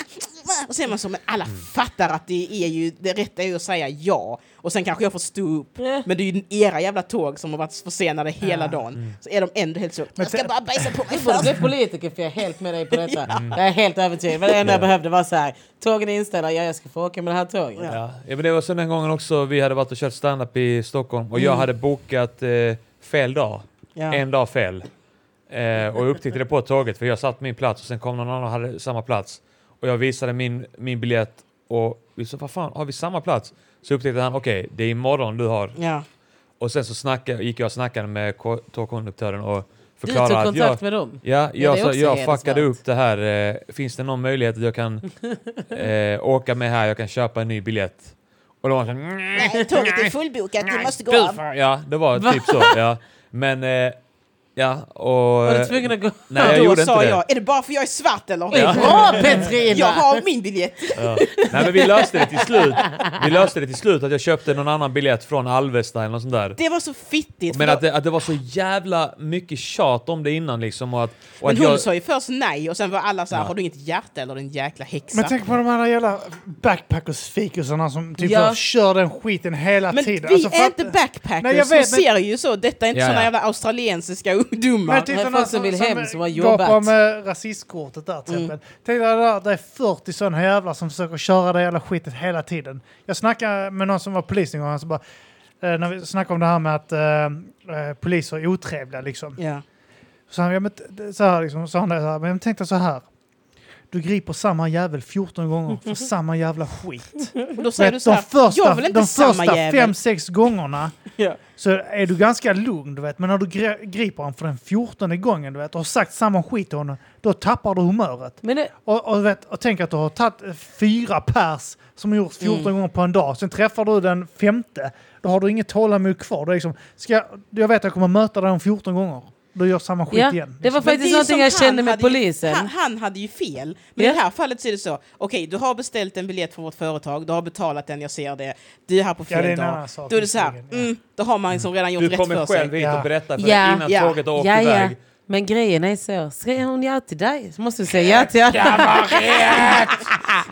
Och så är man så, men alla
Mm.
fattar att det är ju... Det rätta är ju att säga ja. Och sen kanske jag får stå upp. Men det är ju era jävla tåg som har varit försenade hela dagen. Så är de ändå helt så... Jag ska bara bajsa på mig
borde
först.
bli politiker Mm. för alltså, jag är helt med dig på detta.
Mm.
Jag är helt övertygad. Men det enda jag behövde var så här, tågen är inställda, ja jag ska få åka med det här tåget.
Ja. ja, men det var så den gången också vi hade varit och kört standup i Stockholm och
Mm.
jag hade bokat eh, fel dag.
Ja.
En dag fel. Eh, och jag upptäckte det på tåget för jag satt min plats och sen kom någon annan och hade samma plats. Och jag visade min, min biljett och vi sa, vad fan, har vi samma plats? Så upptäckte han, okej, det är imorgon du har.
Ja.
Och sen så snackade, gick jag och snackade med ko- tågkonduktören och
Du
förklarade
tog
att jag... Eh,
kontakt med dem?
Ja,
det är
jag, sa,
också
jag
hedersvärt.
fuckade upp det här. Eh, finns det någon möjlighet att jag kan eh, åka med här? Jag kan köpa en ny biljett. Och de var så "Nej,
Nej, tåget är fullbokat, du måste gå
du
av.
fan." Ja, det var
Va?
typ så. Ja. Men, eh, ja, och... eh,
Var du tvungen att gå?
Nej, jag
då
gjorde
sa
inte det.
jag, är det bara för jag är svart eller?
Ja. Bra Petrina!
Jag har min biljett.
Ja. Nej, men vi löste det till slut. Vi löste det till slut att jag köpte någon annan biljett från Alvesta eller något sånt där.
Det var så fittigt.
Men
för
att det, att det var så jävla mycket tjat om det innan liksom och att... Och
men
att
hon
jag,
sa ju först nej och sen var alla så här, har du inget hjärta eller din jäkla häxa?
Men tänk på de här jävla backpackers-fikusarna som typ
Ja.
så, kör den skiten hela
Men
tiden.
vi
Alltså,
är
fatt-
inte backpackers,
Nej, jag vet,
de
men-
ser ju så, detta är inte
Ja,
såna
ja.
jävla australiensiska dumma.
Men titta
folk
när
som vill hem, som har
gapar
jobbat. Mm.
med rasistkortet där till exempel. Titta där, det är 40 sådana jävlar som försöker köra det jävla skitet hela tiden. Jag snackade med någon som var polis en gång, han så bara, eh, när vi snackade om det här med att eh, eh, poliser är otrevliga liksom.
Ja.
Så han, ja, men, t- t- så här liksom, så han det så här, men tänk dig så här. Du griper samma jävel 14 gånger för samma jävla skit.
Och då säger
Vet,
du så här,
de första,
jag vill inte
de
samma
första
jävel.
fem, sex gångerna
Ja.
så är du ganska lugn, du vet. Men när du gre- griper honom för den fjortonde gången, du vet, och har sagt samma skit till honom, då tappar du humöret.
Men det,
Och, och, du vet, och tänk att du har tagit eh, fyra pers som har gjort
Mm.
14 gånger på en dag. Sen träffar du den femte. Då har du inget tålamod kvar. Du är liksom, ska jag, jag vet att jag kommer möta dig om 14 gånger. Du gör samma skit
ja,
igen.
det var
Men det är
faktiskt
ju
någonting
som
jag
han
kände med
hade ju-
polisen.
Han, han hade ju fel. Men
Ja.
i det här fallet så är det så. Okej, du har beställt en biljett från vårt företag. Du har betalat den, jag ser det. Du är här på
Ja, det är
fel
en annan
dag.
sak,
Då är det så här.
visserligen, ja.
Mm, då har man liksom redan gjort
Du
rätt
kommer
för sig.
själv hit
Ja.
och berättar för
Ja.
dig innan
Ja.
tåget har åkt
Ja, ja.
iväg.
Men grejen är så, säger hon ja till dig så måste du säga ja till alla.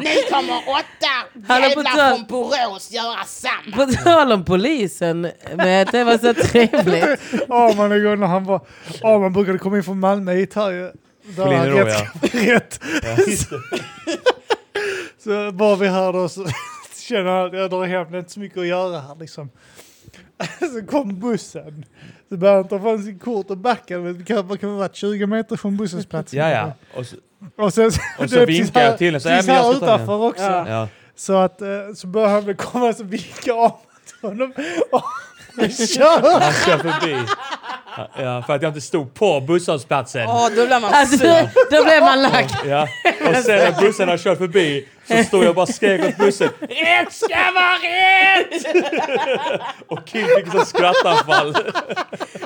Nu kommer åtta
Hallå, på tal-
jävlar från Borås göra samma.
På tal om polisen, men det var så trevligt.
Ja, man är god när han var... Ja, man brukade komma in från Malmö hit här ju. Där
Skulle in
hade
i Rom,
rätt, rätt. Så var Eh, vi här då så känner jag att jag drar hem, det är inte så mycket att göra här liksom. Så kom bussen. Så började han ta fram sin kort och backade, men det kan vad kan det ha varit 20 meter från bussens plats.
Ja, ja. Och så,
Och sen
Och så
det är
vinkar
precis här-
jag till den, så,
Precis
"Ja, men jag
här
ska ta den."
utanför också.
ja.
Så att eh, så började han väl komma så vinka av honom. Och kör!
Han kör förbi. Ja, för att jag inte stod på busshållplatsen.
Ja, då blir man
Alltså,
sur.
då blev man lack.
Ja. Och sen när bussen har kört förbi så stod jag och bara skrek åt bussen. Rätt ska vara rätt! och Kim fick sånt skrattanfall.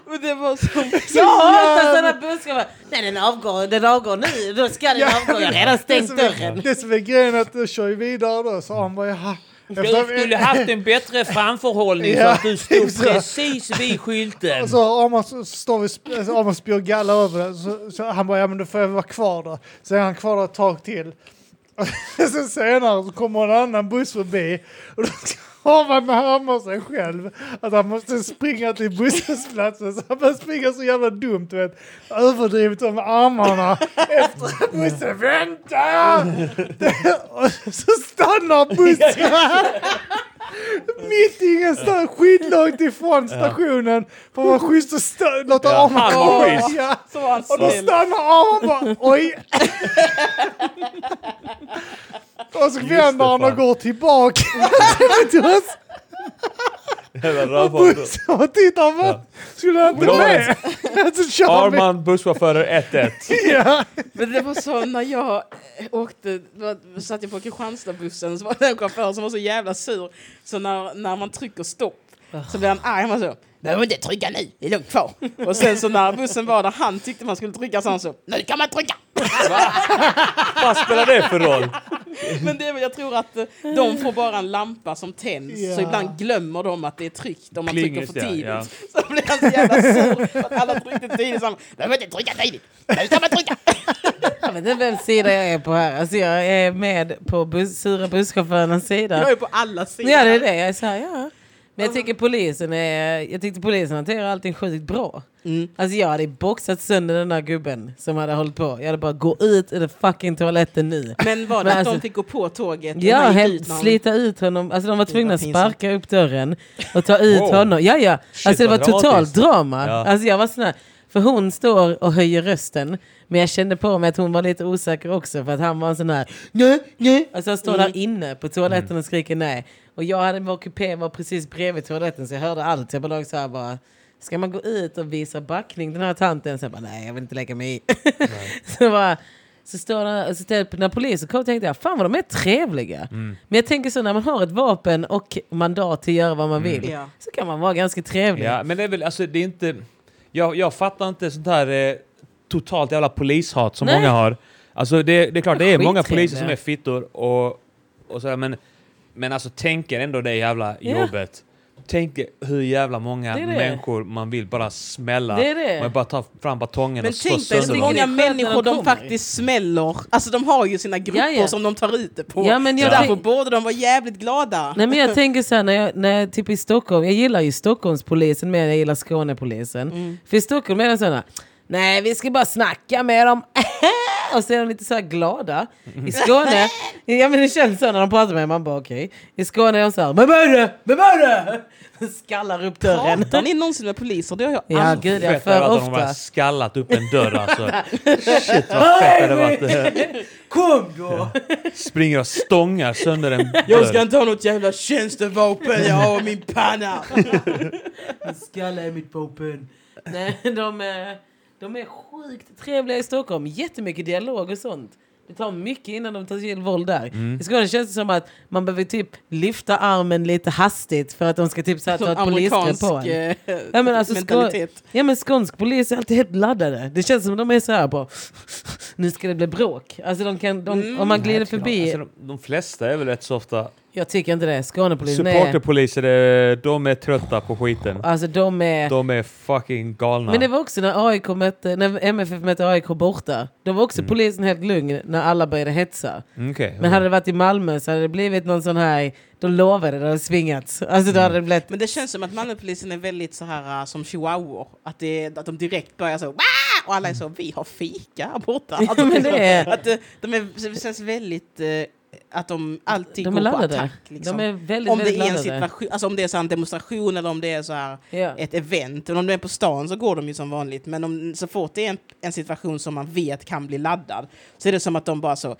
Men det var så...
Jag hatar sådana buskar. Nej, den avgår, den avgår nu. Då ska den avgå. Jag har redan
Det
stängt
som är-
dörren.
Det som är grejen är att du kör ju vidare då, så han bara jaha.
haft en bättre framförhållning
så Ja, att du stod exakt.
precis vid skylten.
Och så har Amos, så står vi, sp- alltså, så Amos spyr galla över det. Så, så han bara, ja men då får jag vara kvar då. Så är han kvar där ett tag till. Och sen senare så kommer en annan buss förbi. Och då har man närmar sig själv att han måste springa till busshållplatsen. Så han börjar springa så jävla dumt, du vet. Överdrivet med armarna efter bussen. Vänta! Och så stannar bussen! Mitt i ingenstans, skitlångt ifrån stationen. För att vara schysst och stö- låta
Ja,
Arman
han var
gå.
schysst.
Ja.
Så var han
Och då
snäll.
stannar Arman bara, oj! Och så vänder han
fan.
och går tillbaka till oss. Och bussen och tittar på
Ja.
Skulle han inte
Bra.
med? Så kör han med.
Arman busschaufförer 1-1.
Ja.
Men det var så när jag eh, åkte, då satt jag på Kristianstadsbussen så var det en chaufför som var så jävla sur. Så när, när man trycker stopp
Ah.
så blir han arg. Han var så, behöver inte trycka nu, det är lugnt kvar. Och sen så när bussen var där han tyckte man skulle trycka så han så, nu kan man trycka.
Vad spelar det för roll?
Men det, är väl- jag tror att eh, de får bara en lampa som tänds
Ja.
så ibland glömmer de att det är tryckt om man
Pling,
trycker
just
för
det,
tidigt.
ja.
Så blir han så jävla sur för att alla tryckte tidigt. Så han, behöver inte trycka tidigt, nu kan man trycka.
Jag vet inte vems sida jag är på här. Alltså, jag är med på bus, sura busschaufförernas sida.
Jag är på alla sidor.
Ja, det är det. Jag är så här, ja. Men jag tycker polisen är, jag tyckte polisen hanterar allting sjukt bra. Alltså jag hade boxat sönder den där gubben som hade hållit på. Jag hade bara gå ut ur den fucking toaletten nu.
Men var det
Men
att
alltså-
de fick gå på tåget? och
Ja,
han gick
helt,
ut när han-
slita ut honom. Alltså de var tvungna att
pinsamt.
sparka upp dörren och ta ut
Wow.
honom. Ja, ja. Alltså det var
vad
totalt
dramatiskt.
drama.
Ja.
Alltså jag var sån här, för hon står och höjer rösten. Men jag kände på mig att hon var lite osäker också för att han var en sån här nej, nej. Alltså han står där inne på toaletten och skriker nej. Och jag hade vår kupé var precis bredvid toaletten så jag hörde allt. Jag bara låg så här bara Ska man gå ut och visa backning den här tanten? Så jag bara, nej jag vill inte lägga mig i. så bara, så står det, och så ställer- när polisen kom tänkte jag, fan vad de är trevliga. Men jag tänker så när man har ett vapen och mandat till att göra vad man vill
Ja.
så kan man vara ganska trevlig.
Ja, men det är väl, alltså det är inte... Jag, jag fattar inte sånt här eh, totalt jävla polishat som
Nej.
många har. Alltså det, det är klart, det är många
Skittrevliga.
poliser som är fittor och, och sådär, men, men alltså tänker ändå det jävla
Ja.
jobbet. Tänk er hur jävla många
Det är det.
människor man vill bara smälla.
Det är det.
Man bara tar fram batongen
Men
och slår
tänk dig så
sönder dem.
många
Vilken sköld när
människor
de
de,
kommer.
faktiskt smäller. Alltså de har ju sina grupper
Ja, ja.
som de tar ut det på.
Ja, men
så
jag
därför
tänk-
borde de vara jävligt glada.
Nej men jag tänker så här, när jag, när jag typ i Stockholm, jag gillar ju Stockholmspolisen mer än jag gillar Skånepolisen.
Mm.
För i Stockholm är de sådana, nej vi ska bara snacka med dem. Och så är de lite så här glada. I Skåne, ja men det känns så när de pratar med mig, man bara okej. I Skåne är de så här, vem är det? Vem är det? Skallar upp dörren.
Pratar ni någonsin med poliser? Det har jag
Ja
aldrig.
gud ja,
Fett hade
för
varit om de
ofta.
hade skallat upp en dörr alltså. Shit vad fett hade varit.
Kom då!
Springer och stångar sönder en dörr.
Jag ska inte ha något jävla tjänstevapen, jag har min panna!
Skalle är mitt vapen. Nej, de, är- de är sjukt trevliga i Stockholm. Jättemycket dialog och sånt. Det tar mycket innan de tar till våld där. I Skåne känns det som att man behöver typ lyfta armen lite hastigt för att de ska typ så här ta ett polisgrepp
Amerikansk
på en.
eh,
Ja men, alltså, skå-
mentalitet.
ja men skånsk polis är alltid helt laddade. Det känns som de är så här på. Nu ska det bli bråk. Alltså de kan, de, om
Mm.
man glider förbi.
Alltså, de, de flesta är väl rätt så ofta...
jag tycker inte det. Skånepolisen är...
Supporterpoliser, eh, de är trötta på skiten.
Alltså de är...
De är fucking galna.
Men det var också när, AIK mötte, när MFF mötte AIK borta. Då var också polisen helt lugn när alla började hetsa.
Mm, okej, okej.
Men hade det varit i Malmö så hade det blivit någon sån här... Då lovade det, det hade svingats. Alltså då hade det blivit...
Men det känns som att Malmöpolisen är väldigt så här äh, som chihuahuor. Att, det, att de direkt börjar så "Wah!" och alla är så vi har fika här borta. Att de,
men det är-
att eh, de är, det känns väldigt eh, att de alltid
De är
går på
laddade.
attack. Liksom.
De är väldigt,
om det
väldigt
är en
laddade.
situation, alltså om det är så här en demonstration eller om det är så här
Ja.
ett event. Men om de är på stan så går de ju som vanligt. Men om, så fort det är en, en situation som man vet kan bli laddad så är det som att de bara så ah,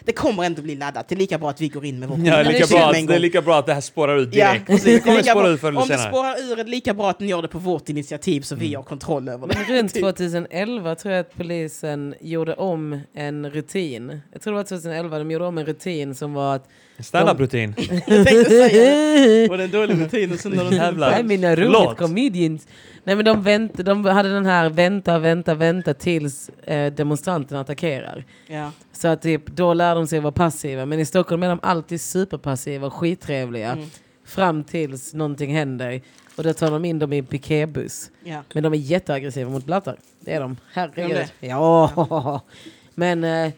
det kommer ändå bli laddat. Det är lika bra att vi går in med vår
Ja, det, är lika
politik
bra
med en
att, det är
gång."
lika bra att det här spårar ut
Ja,
direkt.
precis.
det kommer
Lika
spåra
bra-
ut förr eller
Om det
senare.
spårar ur är det lika bra att ni gör det på vårt initiativ så vi har kontroll över det.
Men runt 2011 tror jag att polisen gjorde om en rutin. Jag tror det var 2011 de gjorde om en rutin som var att...
Standup-rutin.
Jag tänkte säga det. Var det en dålig rutin? Och sen när de-
Jävlar.
Nej, mina roligt
Låt.
comedians. Nej, men de, vänt, de hade den här vänta, vänta, vänta tills eh, demonstranterna attackerar.
Ja.
Så att typ, då lär de sig vara passiva. Men i Stockholm är de alltid superpassiva och skittrevliga. Fram tills någonting händer. Och då tar de in dem i en piketbuss.
Ja.
Men de är jätteaggressiva mot blattar. Det är de.
Är
Herregud.
de
Ja. Men eh,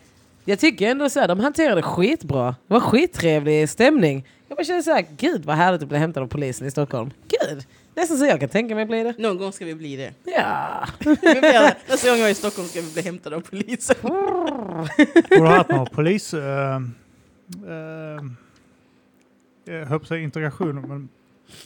jag tycker ändå så här, de hanterade det skitbra. Det var skittrevlig stämning. Jag bara känner så här, gud vad härligt att bli hämtad av polisen i Stockholm. Gud, nästan så jag kan tänka mig bli det.
Någon gång ska vi bli det.
Ja.
Vi blir det. Nästa gång jag är i Stockholm ska vi bli hämtade av polisen.
Borde ha haft någon polis... Eh, eh, jag höll på att säga integration, men...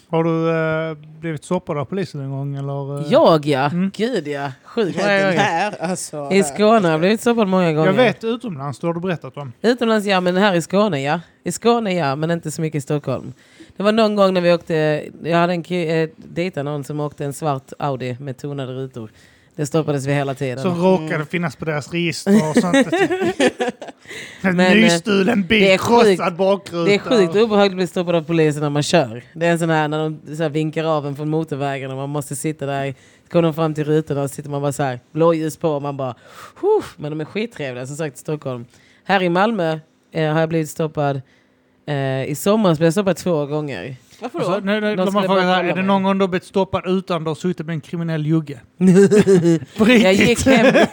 Har du eh, blivit stoppad av polisen en gång eller? eh?
Jag ja,
Mm.
gud ja. Sjukt
Den
många gånger.
här, alltså.
I Skåne har jag blivit stoppad många gånger.
Jag vet utomlands, du har du berättat om.
Utomlands ja, men här i Skåne ja. I Skåne ja, men inte så mycket i Stockholm. Det var någon gång när vi åkte, jag hade en ki- eh, dejtat någon som åkte en svart Audi med tonade rutor. Det stoppades vi hela tiden.
Som råkade finnas på deras register och sånt. en
Men, eh,
nystulen
det
bil,
är sjukt-
krossad bakruta.
det är sjukt obehagligt att bli stoppad av polisen när man kör. Det är en sån här när de så här, vinkar av en från motorvägen och man måste sitta där. i- Så kommer de fram till rutorna och sitter man bara så här, blåljus på och man bara... "Huff", Men de är skittrevliga som sagt i Stockholm. Här i Malmö eh, har jag blivit stoppad. Eh, I somras blev jag stoppad två gånger.
Varför
Och så,
då?
nu, nu,
De
de
skulle
har frågat
bara
här,
kolla
är det
mig.
någon gång du har blivit stoppad utan du har suttit med en kriminell jugge? På
Jag
riktigt?
gick, hem.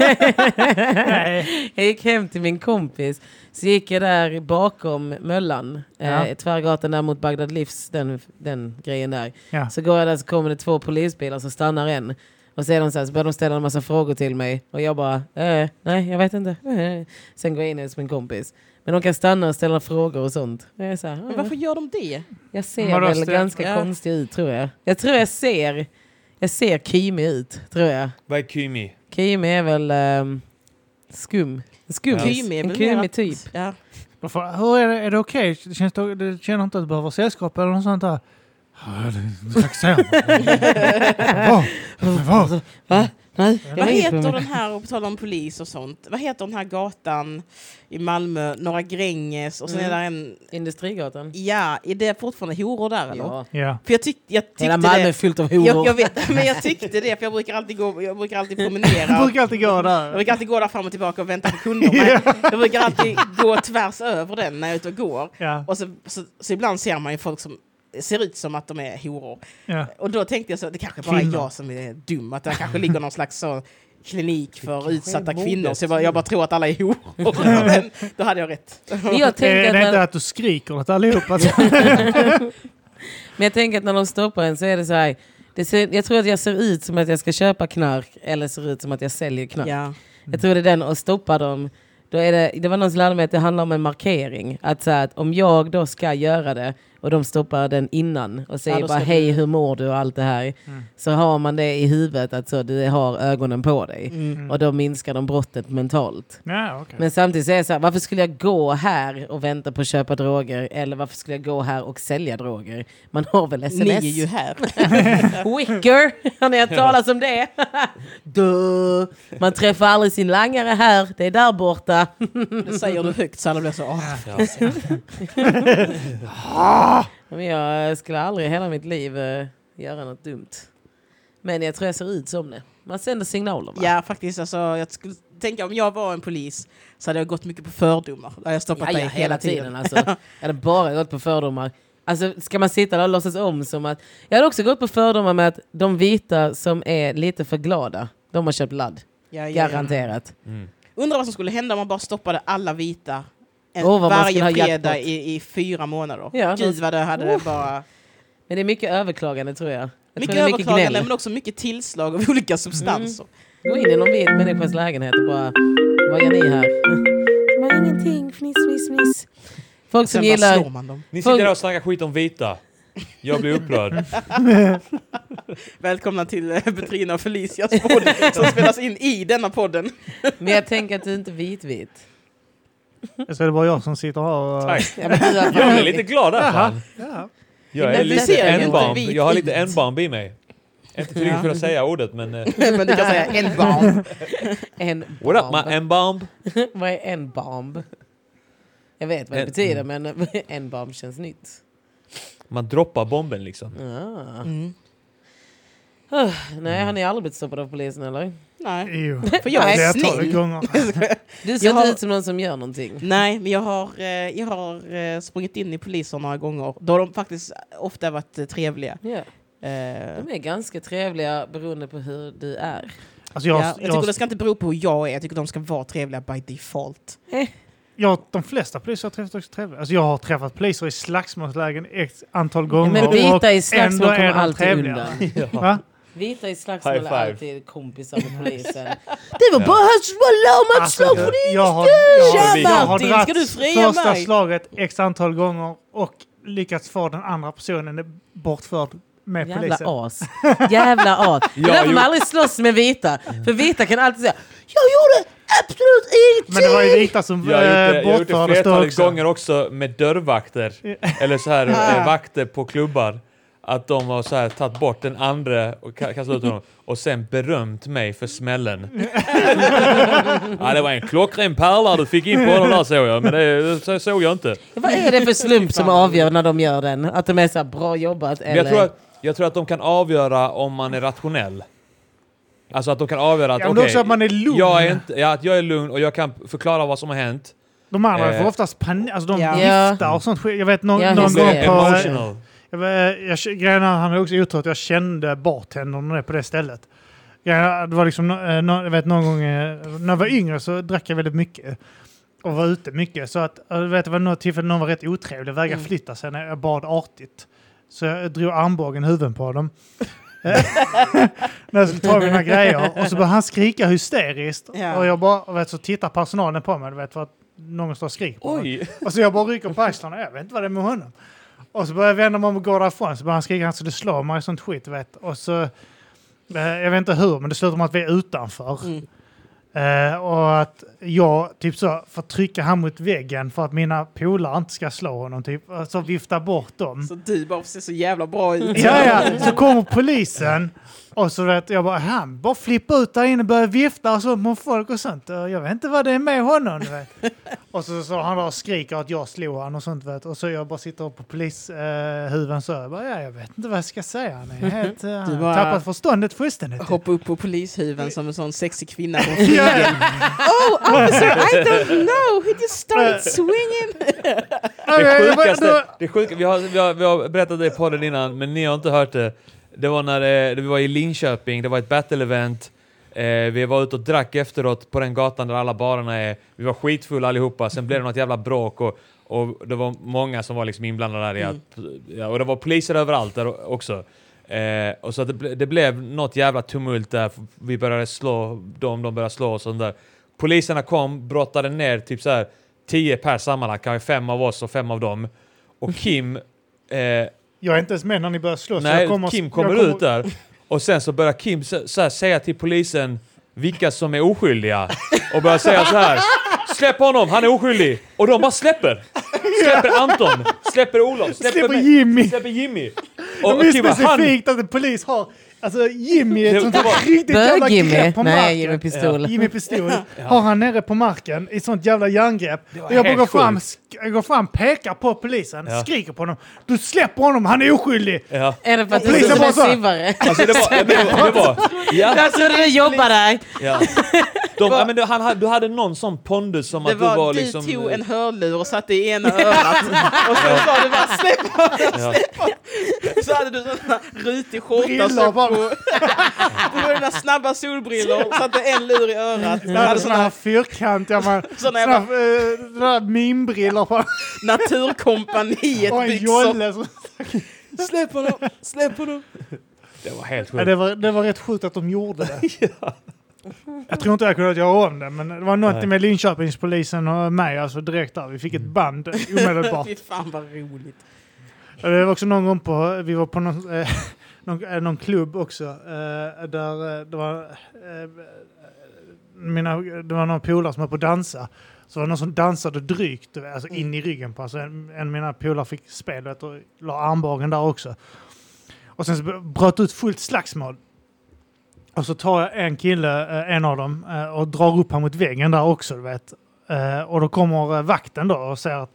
jag gick hem till min kompis. Så gick jag där bakom Möllan.
Ja.
Eh, tvärgatan där mot Bagdad Livs, den, den grejen där.
Ja.
Så går jag där så kommer det två polisbilar så stannar en. Och så, är de så, här, så börjar de ställa en massa frågor till mig. Och jag bara, eh, nej jag vet inte. Eh. Sen går jag in hos min kompis. Men de kan stanna och ställa frågor och sånt. Och Jag, är så här,
Men
"Eh."
varför gör de det?
jag ser
Vadå,
väl
ställ-
ganska
ja.
konstig ut tror jag. Jag tror jag ser, jag ser kymig ut tror jag.
Vad är Kymi?
Kymi är väl ehm, skum. En skummis.
Kymi är
en
väl
kymig
mer-
typ.
Ja.
Då får- Hur är det, är det okej? Det Känns det, det känner inte att du behöver sällskap eller något sånt där? Ja, det- det taxerar man. Vad? Vad?
Va? Nej, jag
Mm. Vad
har inget
heter
problem.
den här, och på tal om polis och sånt, vad heter den här gatan i Malmö, Norra Gränges och sen
Mm.
är där en,
Industrigatan.
ja, är det fortfarande horor där eller?
Ja.
Ja.
För jag, tyck, jag tyckte
Hela Malmö är
det.
fyllt av
Jag, jag
horor.
vet, men jag tyckte det, för jag brukar alltid, gå, jag brukar alltid
Jag
promenera.
brukar alltid gå
Jag
där.
brukar alltid gå där fram och tillbaka och vänta på kunder. Men Jag brukar alltid gå tvärs över den när jag är ute och går.
Ja.
Och så, så, så ibland ser man ju folk som ser ut som att de är horor.
Ja.
Och då tänkte jag så, det kanske bara är
Kvinnor.
jag som är dum, att det kanske ligger någon slags så klinik för
kanske
utsatta
är modet.
kvinnor. Så jag bara, jag bara tror att alla är horor. Men då hade jag rätt.
Men jag
Det
tänker
är
att
inte
när,
att du skriker åt allihopa.
men jag tänker att när de stoppar en så är det så här. Det ser, jag tror att jag ser ut som att jag ska köpa knark eller ser ut som att jag säljer knark.
Ja.
Jag tror det är den och stoppa dem. Då är det, det var någon som lärde mig att det handlar om en markering. Att, så här, att om jag då ska göra det och de stoppar den innan och säger
Ja, då
bara
ska du- Mm.
hej hur mår du och allt det här. Så har man det i huvudet att så, du har ögonen på dig.
Mm.
Och då minskar de brottet mentalt.
ja, okay.
Men samtidigt så är det så här, varför skulle jag gå här och vänta på att köpa droger? Eller varför skulle jag gå här och sälja droger? Man har väl
Ni är
sms?
ju här.
Wicker, har ni hört talas om det? Duh. Man träffar aldrig sin langare här, det är där borta.
Det säger du högt så alla blir så, åh,
Men jag eh, skulle aldrig i hela mitt liv eh, göra något dumt. Men jag tror jag ser ut som det. Man sänder signaler va?
Ja, faktiskt. Alltså, jag skulle tänka om jag var en polis så hade jag gått mycket på fördomar. Där jag stoppat
Ja, ja,
dig hela tiden.
alltså. Jag hade bara gått på fördomar. Alltså, ska man sitta där och låtsas om som att... Jag hade också gått på fördomar med att de vita som är lite för glada, de har köpt ladd.
Ja, ja, ja.
Garanterat.
Mm.
Undrar vad som skulle hända om man bara stoppade alla vita en,
Åh, vad man skulle ha
varje fredag
jackpot.
i, i fyra månader.
Ja,
Gud
då-
vad det hade det bara...
Men det är mycket överklagande tror jag. jag tror
Mycket
det är
överklagande
gnäll. Mm.
men också mycket tillslag av olika substanser.
Gå in i någon vit människas lägenhet och bara, vad gör ni här? De har ingenting, fniss, fniss, fniss. Folk som
Sen bara slår
gillar...
man dem.
Ni sitter där och snackar skit om vita. Jag blir upprörd.
Välkomna till eh, Petrina och Felicias podd som spelas in i denna podden.
Men jag tänker att du inte är vit-vit.
Så är det bara jag som sitter här och...
Tack.
Ja, men du har-
Jag är lite glad där fan.
Ja.
Jag är
Men vi
lite
ser ju inte
n-bomb.
vit
Jag har lite
vit.
n-bomb i mig. Inte tillräckligt för att säga ordet men... eh,
men du kan säga en barn.
En
What up
bomb.
my n-bomb?
Vad är en bomb? Jag vet vad det
En-
betyder, men en bomb känns nytt.
Man droppar bomben liksom.
Ah.
Mm.
Ah, nej, har ni aldrig blivit stoppade av polisen eller?
Nej.
Jo.
För jag är
Flertalet
snäll.
gånger.
Du ser inte
Jag har-
ut som någon som gör någonting.
Nej, men jag har, eh, jag har eh, sprungit in i poliser några gånger. Då har de faktiskt ofta varit eh, trevliga.
Ja,
Eh,
de är ganska trevliga beroende på hur du är.
Alltså
ja,
jag,
jag tycker
jag,
det ska inte bero på hur jag är, jag tycker de ska vara trevliga by default.
jag, de flesta poliser jag har träffat är också trevliga. Alltså jag har träffat poliser i slagsmålslägen ett antal
Ja,
gånger.
men
och
vita i
ändå
slagsmål kommer
är de
alltid
trevliga.
undan.
Va?
Vita i slagsmål är
High five.
alltid kompisar med polisen. det var bara hans lama att
Alltså,
slå
jag,
på
jag har, jag har,
Tja,
jag har
Martin, ska du fria
dragit första
mig?
slaget x antal gånger och lyckats få den andra personen bortförd med
Jävla
polisen.
as. Jävla as. Det är
Ja,
därför
jo.
man aldrig slåss med vita. För vita kan alltid säga Jag gjorde absolut ingenting.
Men det var ju vita som
Jag har gjort det,
eh,
jag har gjort det
bortfördes då
flertalet
också.
gånger också med dörrvakter. Eller så här eh, vakter på klubbar. Att de har så här tagit bort den andra och ka- kastat ut honom. Och sen berömt mig för smällen. ja, det var en klockren pärla du fick in på honom där såg jag. Men det, det såg jag inte.
Vad är det för slump som avgör när de gör den? Att de är så här, bra jobbat
Men jag
eller...
tror, att, jag tror att de kan avgöra om man är rationell. Alltså att de kan avgöra att
Ja, men
okej,
också att man är lugn.
jag är inte, ja, att jag är lugn och jag kan förklara vad som har hänt.
De andra
Eh.
får oftast panik. Alltså de
Ja.
viftar och sånt skit. Jag vet någon,
Ja,
någon
just
gång
det.
på...
Emotional.
Jag, vet- jag, grejen är, han är också otur att jag kände bartendern där på det stället. Grejen är, det var liksom, eh, nå- jag vet någon gång eh, när jag var yngre så drack jag väldigt mycket. Och var ute mycket. Så att, jag vet, det var något tillfälle någon var rätt otrevlig, vägrade flytta sig när jag bad artigt. Så jag drog armbågen i huvudet på dem. Eh, när jag skulle ta mina grejer. Och så började han skrika hysteriskt.
Ja.
Och jag bara, och vet, så tittar personalen på mig, du vet, för att någon står och skriker. på mig.
Oj!
Och så Alltså, jag bara rycker på axlarna, jag vet inte vad det är med honom. Och så börjar jag vända mig om och gå därifrån, så börjar han skrika så det slår mig och sånt skit. Vet. Och så, eh, jag vet inte hur, men det slutar med att vi är utanför. Eh, och att jag typ så får trycka han mot väggen för att mina polare inte ska slå honom, typ. Och så vifta bort dem.
Så du bara ser så jävla bra ut.
Ja, ja. Så kommer polisen och så vet jag bara, han bara flippar ut där inne och börjar vifta och så mot folk och sånt. Och Jag vet inte vad det är med honom. Du vet. Och så, så han där och skriker att jag slog han och sånt. Vet. Och så jag bara sitter på polishuven så jag bara, ja, jag vet inte vad jag ska säga. Han är helt, eh, han har
bara-
tappat förståndet fullständigt.
Hoppa upp på polishuven som en sån sexig kvinna.
Ja, ja.
oh officer, I don't know! He just started swinging!
Det sjukaste, det sjuka, vi, har, vi, har, vi har berättat det i podden innan, men ni har inte hört det. Det var när eh, vi var i Linköping, det var ett battle-event. Eh, vi var ute och drack efteråt på den gatan där alla barerna är. Vi var skitfulla allihopa, sen blev det något jävla bråk och, och det var många som var liksom inblandade där. i att- Ja, och det var poliser överallt där också. Eh, och så att det, ble, det blev något jävla tumult där, vi började slå dem, de började slå och sånt där. Poliserna kom, brottade ner typ så här 10 per sammanlagt, kanske fem av oss och fem av dem. Och Kim, eh, nej,
Jag är inte ens med när ni börjar slåss.
Kim
jag
kommer,
kommer,
ut där. Och sen så börjar Kim så, så här säga till polisen vilka som är oskyldiga. Och börjar säga så här. Släpp honom, han är oskyldig! Och de bara släpper! Släpper Anton, släpper Olof, släpper,
Släpper
mig,
Jimmy.
släpper Jimmy!
Och det är
Kim bara, han,
specifikt att en polis har... Alltså Jimmy är
Det-
ett sånt
det var-
där riktigt jävla
Bög-Jimmy.
grepp på
Nej,
marken.
Jimmy Pistol.
Jimmy Pistol har han nere på marken i sånt jävla järngrepp. Och jag bara
helt
går fram,
sjukt.
sk- jag går fram, pekar på polisen,
Ja.
skriker på honom. Du släpper honom, han är oskyldig!
ja.
Är det för att
Och
du
polisen
är
bara
en
så här.
sivare?
Alltså det var, det var, det var ja,
Jag trodde det jobbade där.
ja. De, ja men du, han, hade- du hade någon sån pondus som
Det
att du var,
var, du
liksom...
tog en hörlur och satte i ena örat och så sa du bara släpp
ja.
Så hade du såna rutig skjorta
Brillor
så på,
bara.
du var dina snabba solbrillor och satte en lur i örat. Du
Jag hade
hade
sådana här
såna
fyrkantiga, man, såna
Såna
här,
jävla-
eh, såna här mimbrillor på och en
Naturkompaniet-byxor.
jolle. som-
Släpp honom, släpp honom.
Det var helt
Ja,
sjukt.
det, var, det var rätt sjukt att de gjorde det. Jag tror inte jag kunde göra om det, men det var något med Linköpingspolisen och mig, alltså direkt där. Vi fick ett band omedelbart.
Fy fan vad roligt.
Ja, Det var också någon gång på, vi var på någon, eh, någon, eh, någon klubb också, eh, där eh, det var, eh, mina, det var någon polare som var på att dansa. Så var det någon som dansade drygt, du vet, alltså in i ryggen på alltså en, en av mina polare fick spel du vet, och la armbågen där också. Och sen så bröt ut fullt slagsmål. Och så tar jag en kille, eh, en av dem, eh, och drar upp honom mot väggen där också, du vet. Eh, Och då kommer eh, vakten då och säger att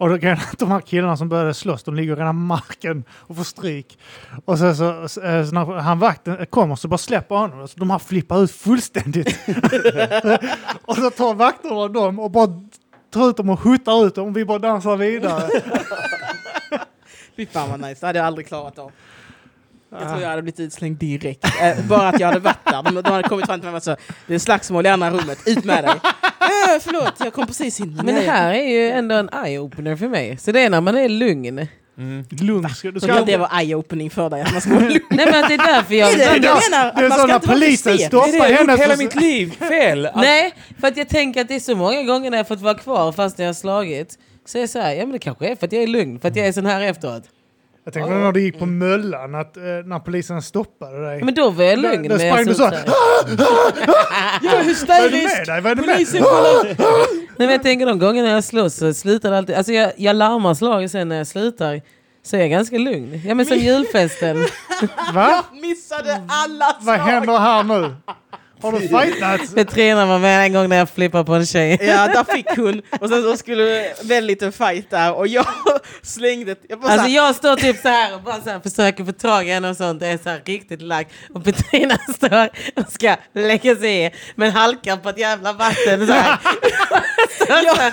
och då kan att de här killarna som började slåss, de ligger redan på marken och får stryk. Och sen så, så, eh, så när han vakten kommer så bara släpper han honom. Så de här flippar ut fullständigt. och så tar vakterna dem och bara tar ut dem och huttar ut dem och vi bara dansar vidare.
Fy fan vad nice, det hade jag aldrig klarat av. Jag tror jag hade blivit utslängd direkt. Eh, bara att jag hade varit där. De, de hade kommit fram till mig och sagt det är slagsmål i andra rummet, ut med dig. Äh, förlåt, jag kom precis in.
Men det här är ju ändå en eye-opener för mig. Så det är när man är lugn.
Mm.
Lugn. Ska, du
Jag tror
ska,
att det var eye-opening för dig, att man ska vara lugn.
Nej men att det är därför jag...
Det är det
ibland-
jag menar, att
det är
man
så
ska
när
inte vara
polisen
hysterisk.
Det är det
stoppar
jag har
henne.
gjort hela
så-
Alltså-
mitt liv fel! Att-
Nej, för att jag tänker att det är så många gånger när jag fått vara kvar fast när jag har slagit. Så är jag så här, ja men det kanske är för att jag är lugn, för att jag är sån här efteråt.
Jag tänkte när du gick på Möllan, att, eh, när polisen stoppade dig.
Ja, Men då var jag
Där-
lugn.
där
men jag
sprang du
såg
så här.
Jag är
vad är det
hysterisk!
med dig? Vad är det med
Polisen kollar!
Nej, men jag tänker de gånger när jag slåss så slutar det alltid. Alltså jag, jag larmar slaget sen när jag slutar. Så är jag ganska lugn. Ja men som julfesten.
Va?
Missade alla
Vad
slag!
händer här nu? Har du fightats?
Det tränar man med en gång när jag flippar på en tjej.
Ja, där fick hon. Och sen så skulle väldigt en fight där och jag slängde... Jag bara
Alltså
såhär,
jag står typ så här och bara så här försöker få tag i henne och sånt. Det är så här riktigt lack. Och Petrina står och ska lägga sig i men halkar på ett jävla vatten. Så här.
Ja.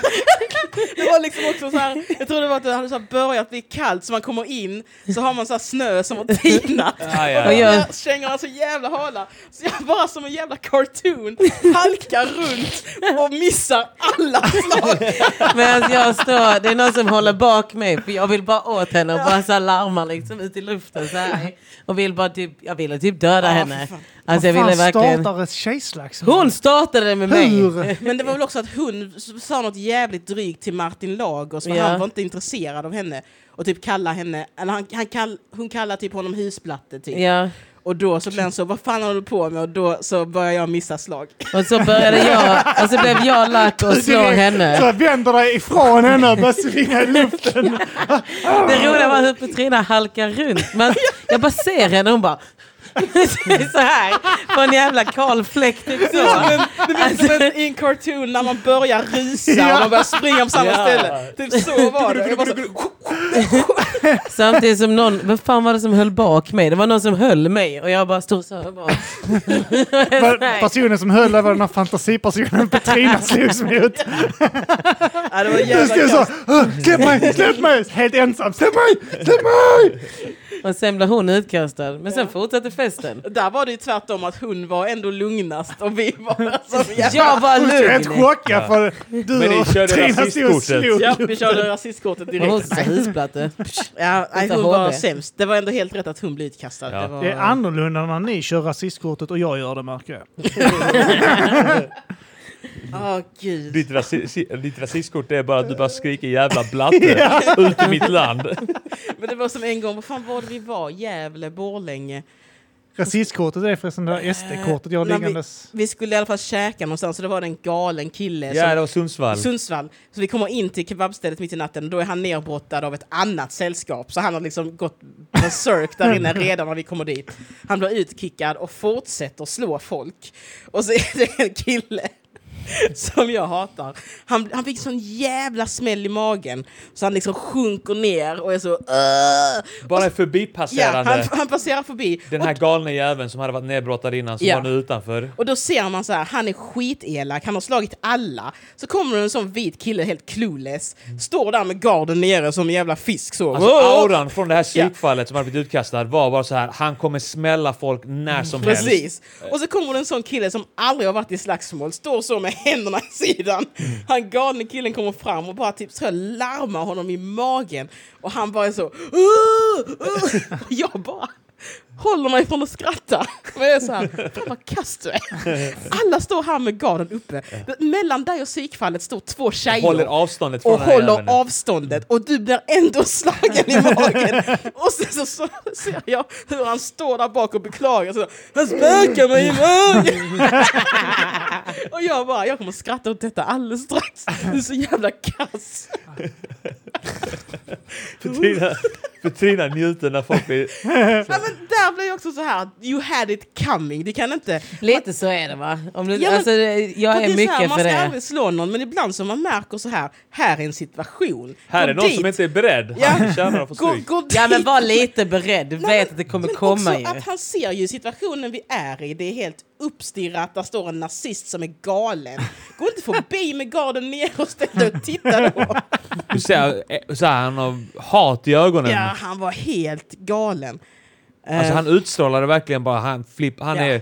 Det var liksom också så här, jag tror det var att det hade så här börjat bli kallt så man kommer in så har man så här snö som har tinat.
Ja, ja,
Och
ja.
jag-
Jag kängorna är så jävla hala så jag bara som en jävla cartoon halkar runt och missar alla slag.
Men alltså jag står, det är någon som håller bak mig för jag vill bara åt henne och bara så här larmar liksom ut i luften så här. Och vill bara typ, jag ville typ döda henne. Alltså jag ville
Vad fan
verkligen.
startar ett tjejslagsmål?
Hon startade det med mig.
Hur?
Men det var väl också att hon s- sa något jävligt drygt till Martin Lagos för
Ja.
han var inte intresserad av henne och typ kalla henne, eller han, han kall, hon kallar typ honom husplatte typ.
Ja.
Och då så blev han så, vad fan håller du på med? Och då så börjar jag missa slag.
Och så började jag, och så blev jag lack och slår henne.
Så jag vänder dig ifrån henne och börjar svinga i luften.
Det roliga var hur Petrina halkar runt. Men jag bara ser henne och hon bara så här. På en jävla kal fläck. Typ så.
Det blir som en- Alltså, i en cartoon när man börjar rusa och man börjar springa på samma
Ja.
ställe. Typ så var det. Jag bara så,
Samtidigt som någon, vad fan var det som höll bak mig? Det var någon som höll mig och jag bara stod så här. och Bara.
För Personen som höll där var den här fantasipersonen Petrina slogs mot.
ja, det var
Jag
jävla
stod
kaos.
så "Åh, Släpp mig! Släpp mig! Helt ensam. Släpp mig! Släpp mig!
Och sen blev hon utkastad. Men sen fortsatte festen.
Där var det ju tvärtom att hon var ändå lugnast och vi var så jävla...
Jag var
Hon stod helt
lugn.
chockad för
Men
du
ni
och
körde
Petrina stod och
rasistkortet.
slog.
Ja, vi körde rasistkortet
Och hon
direkt.
sa husplatte.
Ja, nej,
Utan
hon var
HD.
sämst. Det var ändå helt rätt att hon blev utkastad.
Ja.
Det var...
Det är annorlunda när ni kör rasistkortet och jag gör det märker jag.
Åh, gud.
Ditt, rasi- ditt rasistkort är bara att du bara skriker jävla blatte ut i mitt land.
Men det var som en gång, vad fan var det vi var? Gävle, Borlänge.
Rasistkortet är förresten det där SD-kortet jag har
Nej, vi-
liggandes.
Vi skulle i alla fall käka någonstans och det var det en galen
Ja,
kille som
det var Sundsvall.
Sundsvall. Så vi kommer in till kebabstället mitt i natten och då är han nerbrottad av ett annat sällskap. Så han har liksom gått berserk där inne redan när vi kommer dit. Han blir utkickad och fortsätter slå folk. Och så är det en kille som jag hatar. Han, han fick sån jävla smäll i magen så han liksom sjunker ner och är så... "Åh!"
Bara en
Ja,
förbipasserande.
han, han passerar förbi.
Den här galna jäveln som hade varit nedbrottad innan, som
Ja.
var nu utanför.
Och då ser man så här, han är skitelak, han har slagit alla. Så kommer det en sån vit kille helt clueless, står där med garden nere som en jävla fisk så.
Alltså
Åh!
auran från det här psykfallet som hade blivit utkastad var bara så här, han kommer smälla folk när som helst.
Precis. Och så kommer det en sån kille som aldrig har varit i slagsmål, står så med händerna i sidan. Han galne killen kommer fram och bara typ så här larmar honom i magen. Och han bara är så... "Åh! Åh!" Och jag bara håller mig från att skratta. Men jag är så här, fan vad kass du är. Alla står här med garden uppe. Mellan dig och psykfallet står två tjejer
Håller avståndet från
och
den här jäveln.
håller avståndet och du blir ändå slagen i magen. Och sen så, så ser jag hur han står där bak och beklagar sig. Han spökar mig i magen! och jag bara, jag kommer skratta åt detta alldeles strax. Du är så jävla kass.
Petrina, Petrina njuter när folk blir...
Ja, men där blir jag också så här, you had it coming. Det kan inte...
Lite så är det va? Om du,
Ja, men-
alltså, jag är
det så här,
mycket
man
för
ska
det.
aldrig slå någon, men ibland så man märker så här, här är en situation.
Här
Gå
är någon
dit.
som inte är beredd.
Ja.
Han tjänar att få
Gå,
stryk.
gå
Ja men
dit.
var lite beredd. Du
Nej,
vet att det kommer
men
komma
också
ju.
att han ser ju situationen vi är i. Det är helt uppstirrat. Där står en nazist som är galen. Gå inte förbi med garden ner och ställ dig och titta då.
Du ser eh, så här, han har hat i ögonen.
Ja, han var helt galen.
Alltså
Eh,
han utstrålade verkligen bara, han, flipp, han
Ja.
är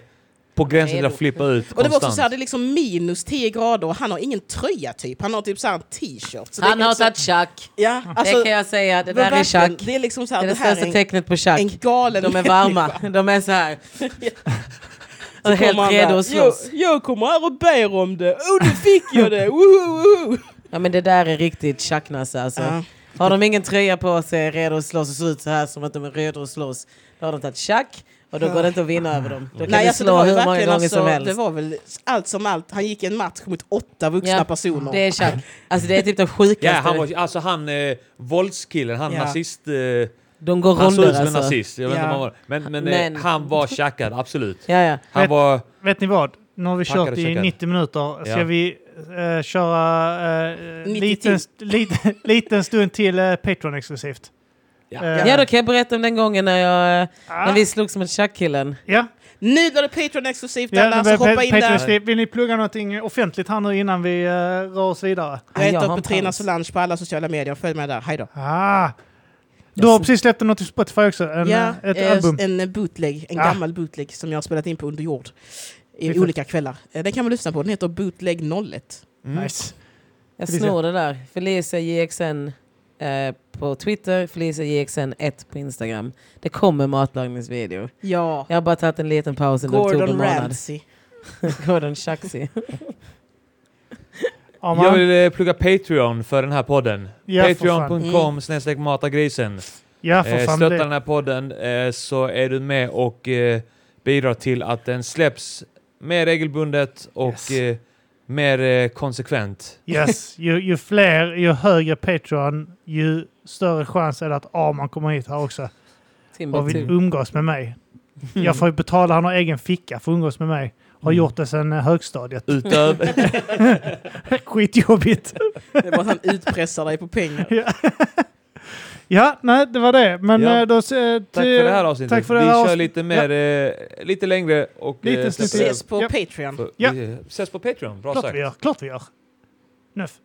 på gränsen till att
Redo.
flippa ut
och det var också
konstant.
så här, det är liksom minus 10 grader och han har ingen tröja typ. Han har typ så här en t-shirt. Så det är
Han har
också-
tagit tjack.
Ja, liksom- alltså,
Det kan jag säga. Det
men
där är
verkligen,
tjack.
Det är liksom så här,
Det är det
det här
största
är
tecknet på
en,
tjack.
en galen
De är
människa.
varma. De är så här. Och
Så kommer
helt
han
redo
där,
att slåss.
Jag, jag kommer här och ber om det. Oh, nu fick jag det! Woho, woho.
Ja men det där är riktigt tjacknasse alltså.
Ja.
Har de ingen tröja på sig, är redo att slåss och ser ut så här som att de är redo att slåss. Då har de tagit tjack och då går det inte att vinna över dem. Då kan
Nej,
du
alltså,
slå
det var ju
hur många
verkligen
gånger
alltså,
som helst.
Det var väl allt som allt. Han gick en match mot åtta vuxna
Ja,
personer.
Det är tjack. Alltså det är typ det sjukaste.
Ja, han var, alltså han eh, våldskillen, han
Ja.
nazist... Eh,
De går
han såg
ronder
ut som en
alltså.
nazist. Jag vet inte
Ja.
om han var Men, men,
Men-
Eh, han var tjackad, absolut.
Ja, ja.
Han
Vet-
var...
Vet ni vad? Nu har vi
Tackar,
kört i
tackar.
90 minuter. Ska
Ja.
vi eh, köra eh,
90
liten, st- liten, liten stund till eh, Patreon exklusivt?
Ja.
Eh,
Ja, då kan jag berätta om den gången när, jag, eh,
Ah.
när vi slogs mot tjackkillen.
ja.
Nu blir det Patreon exklusivt
Ja,
alla,
nu
så
börjar
hoppa
Pa-
in där.
Patreon-exklusivt. Vill ni plugga någonting offentligt här nu innan vi eh, rör oss vidare?
Jag
Ja,
heter
han
Petrina
fanns.
Solange på alla sociala medier. Följ med där. Hej då.
Ah. Du har precis släppt något till Spotify också. En,
ja,
eh, ett
eh,
album.
En eh, bootleg, en
Ja.
gammal bootleg som jag har spelat in på under jord.
Vi
I
får-
olika kvällar. Eh, Den kan man lyssna på. Den heter Bootleg 01.
eh, mm.
Nice.
Jag
Felicia.
snor det där. Felicia JXN eh, på Twitter, Felicia JXN1 på Instagram. Det kommer matlagningsvideor.
Ja.
Jag har bara tagit en liten paus under oktober
Gordon
månad.
Ramsay.
Gordon Shaxi.
Ja,
Jag
man.
vill eh, plugga Patreon för den här podden.
Ja, för
Mm.
Patreon.com snedstreck matagrisen.
ja, för
Eh,
fan.
stötta
Det.
den här podden eh, så är du med och eh, bidrar till att den släpps mer regelbundet och
Yes.
eh, mer eh, konsekvent.
Yes. Ju, ju fler, ju högre Patreon, ju större chans är det att Arman kommer hit här också och vill
Typ.
Timbuktu.
umgås med mig. Jag får ju betala, han har egen ficka för att umgås med mig. Har
Mm.
gjort det sedan eh, högstadiet.
Utöver...
Skitjobbigt.
Det är bara att han utpressar dig på pengar.
Ja, nej, det var det. Men
Ja.
eh, då... eh, till-
Tack för det här avsnittet.
Tack för det
vi
här
kör
avsnittet.
lite mer, eh, lite längre och...
Lite
eh,
snyttigare.
Ses på
Japp.
Patreon.
För-
Ja.
vi ses på Patreon. Bra
Klart vi
sagt.
gör. Klart vi gör. Nuff.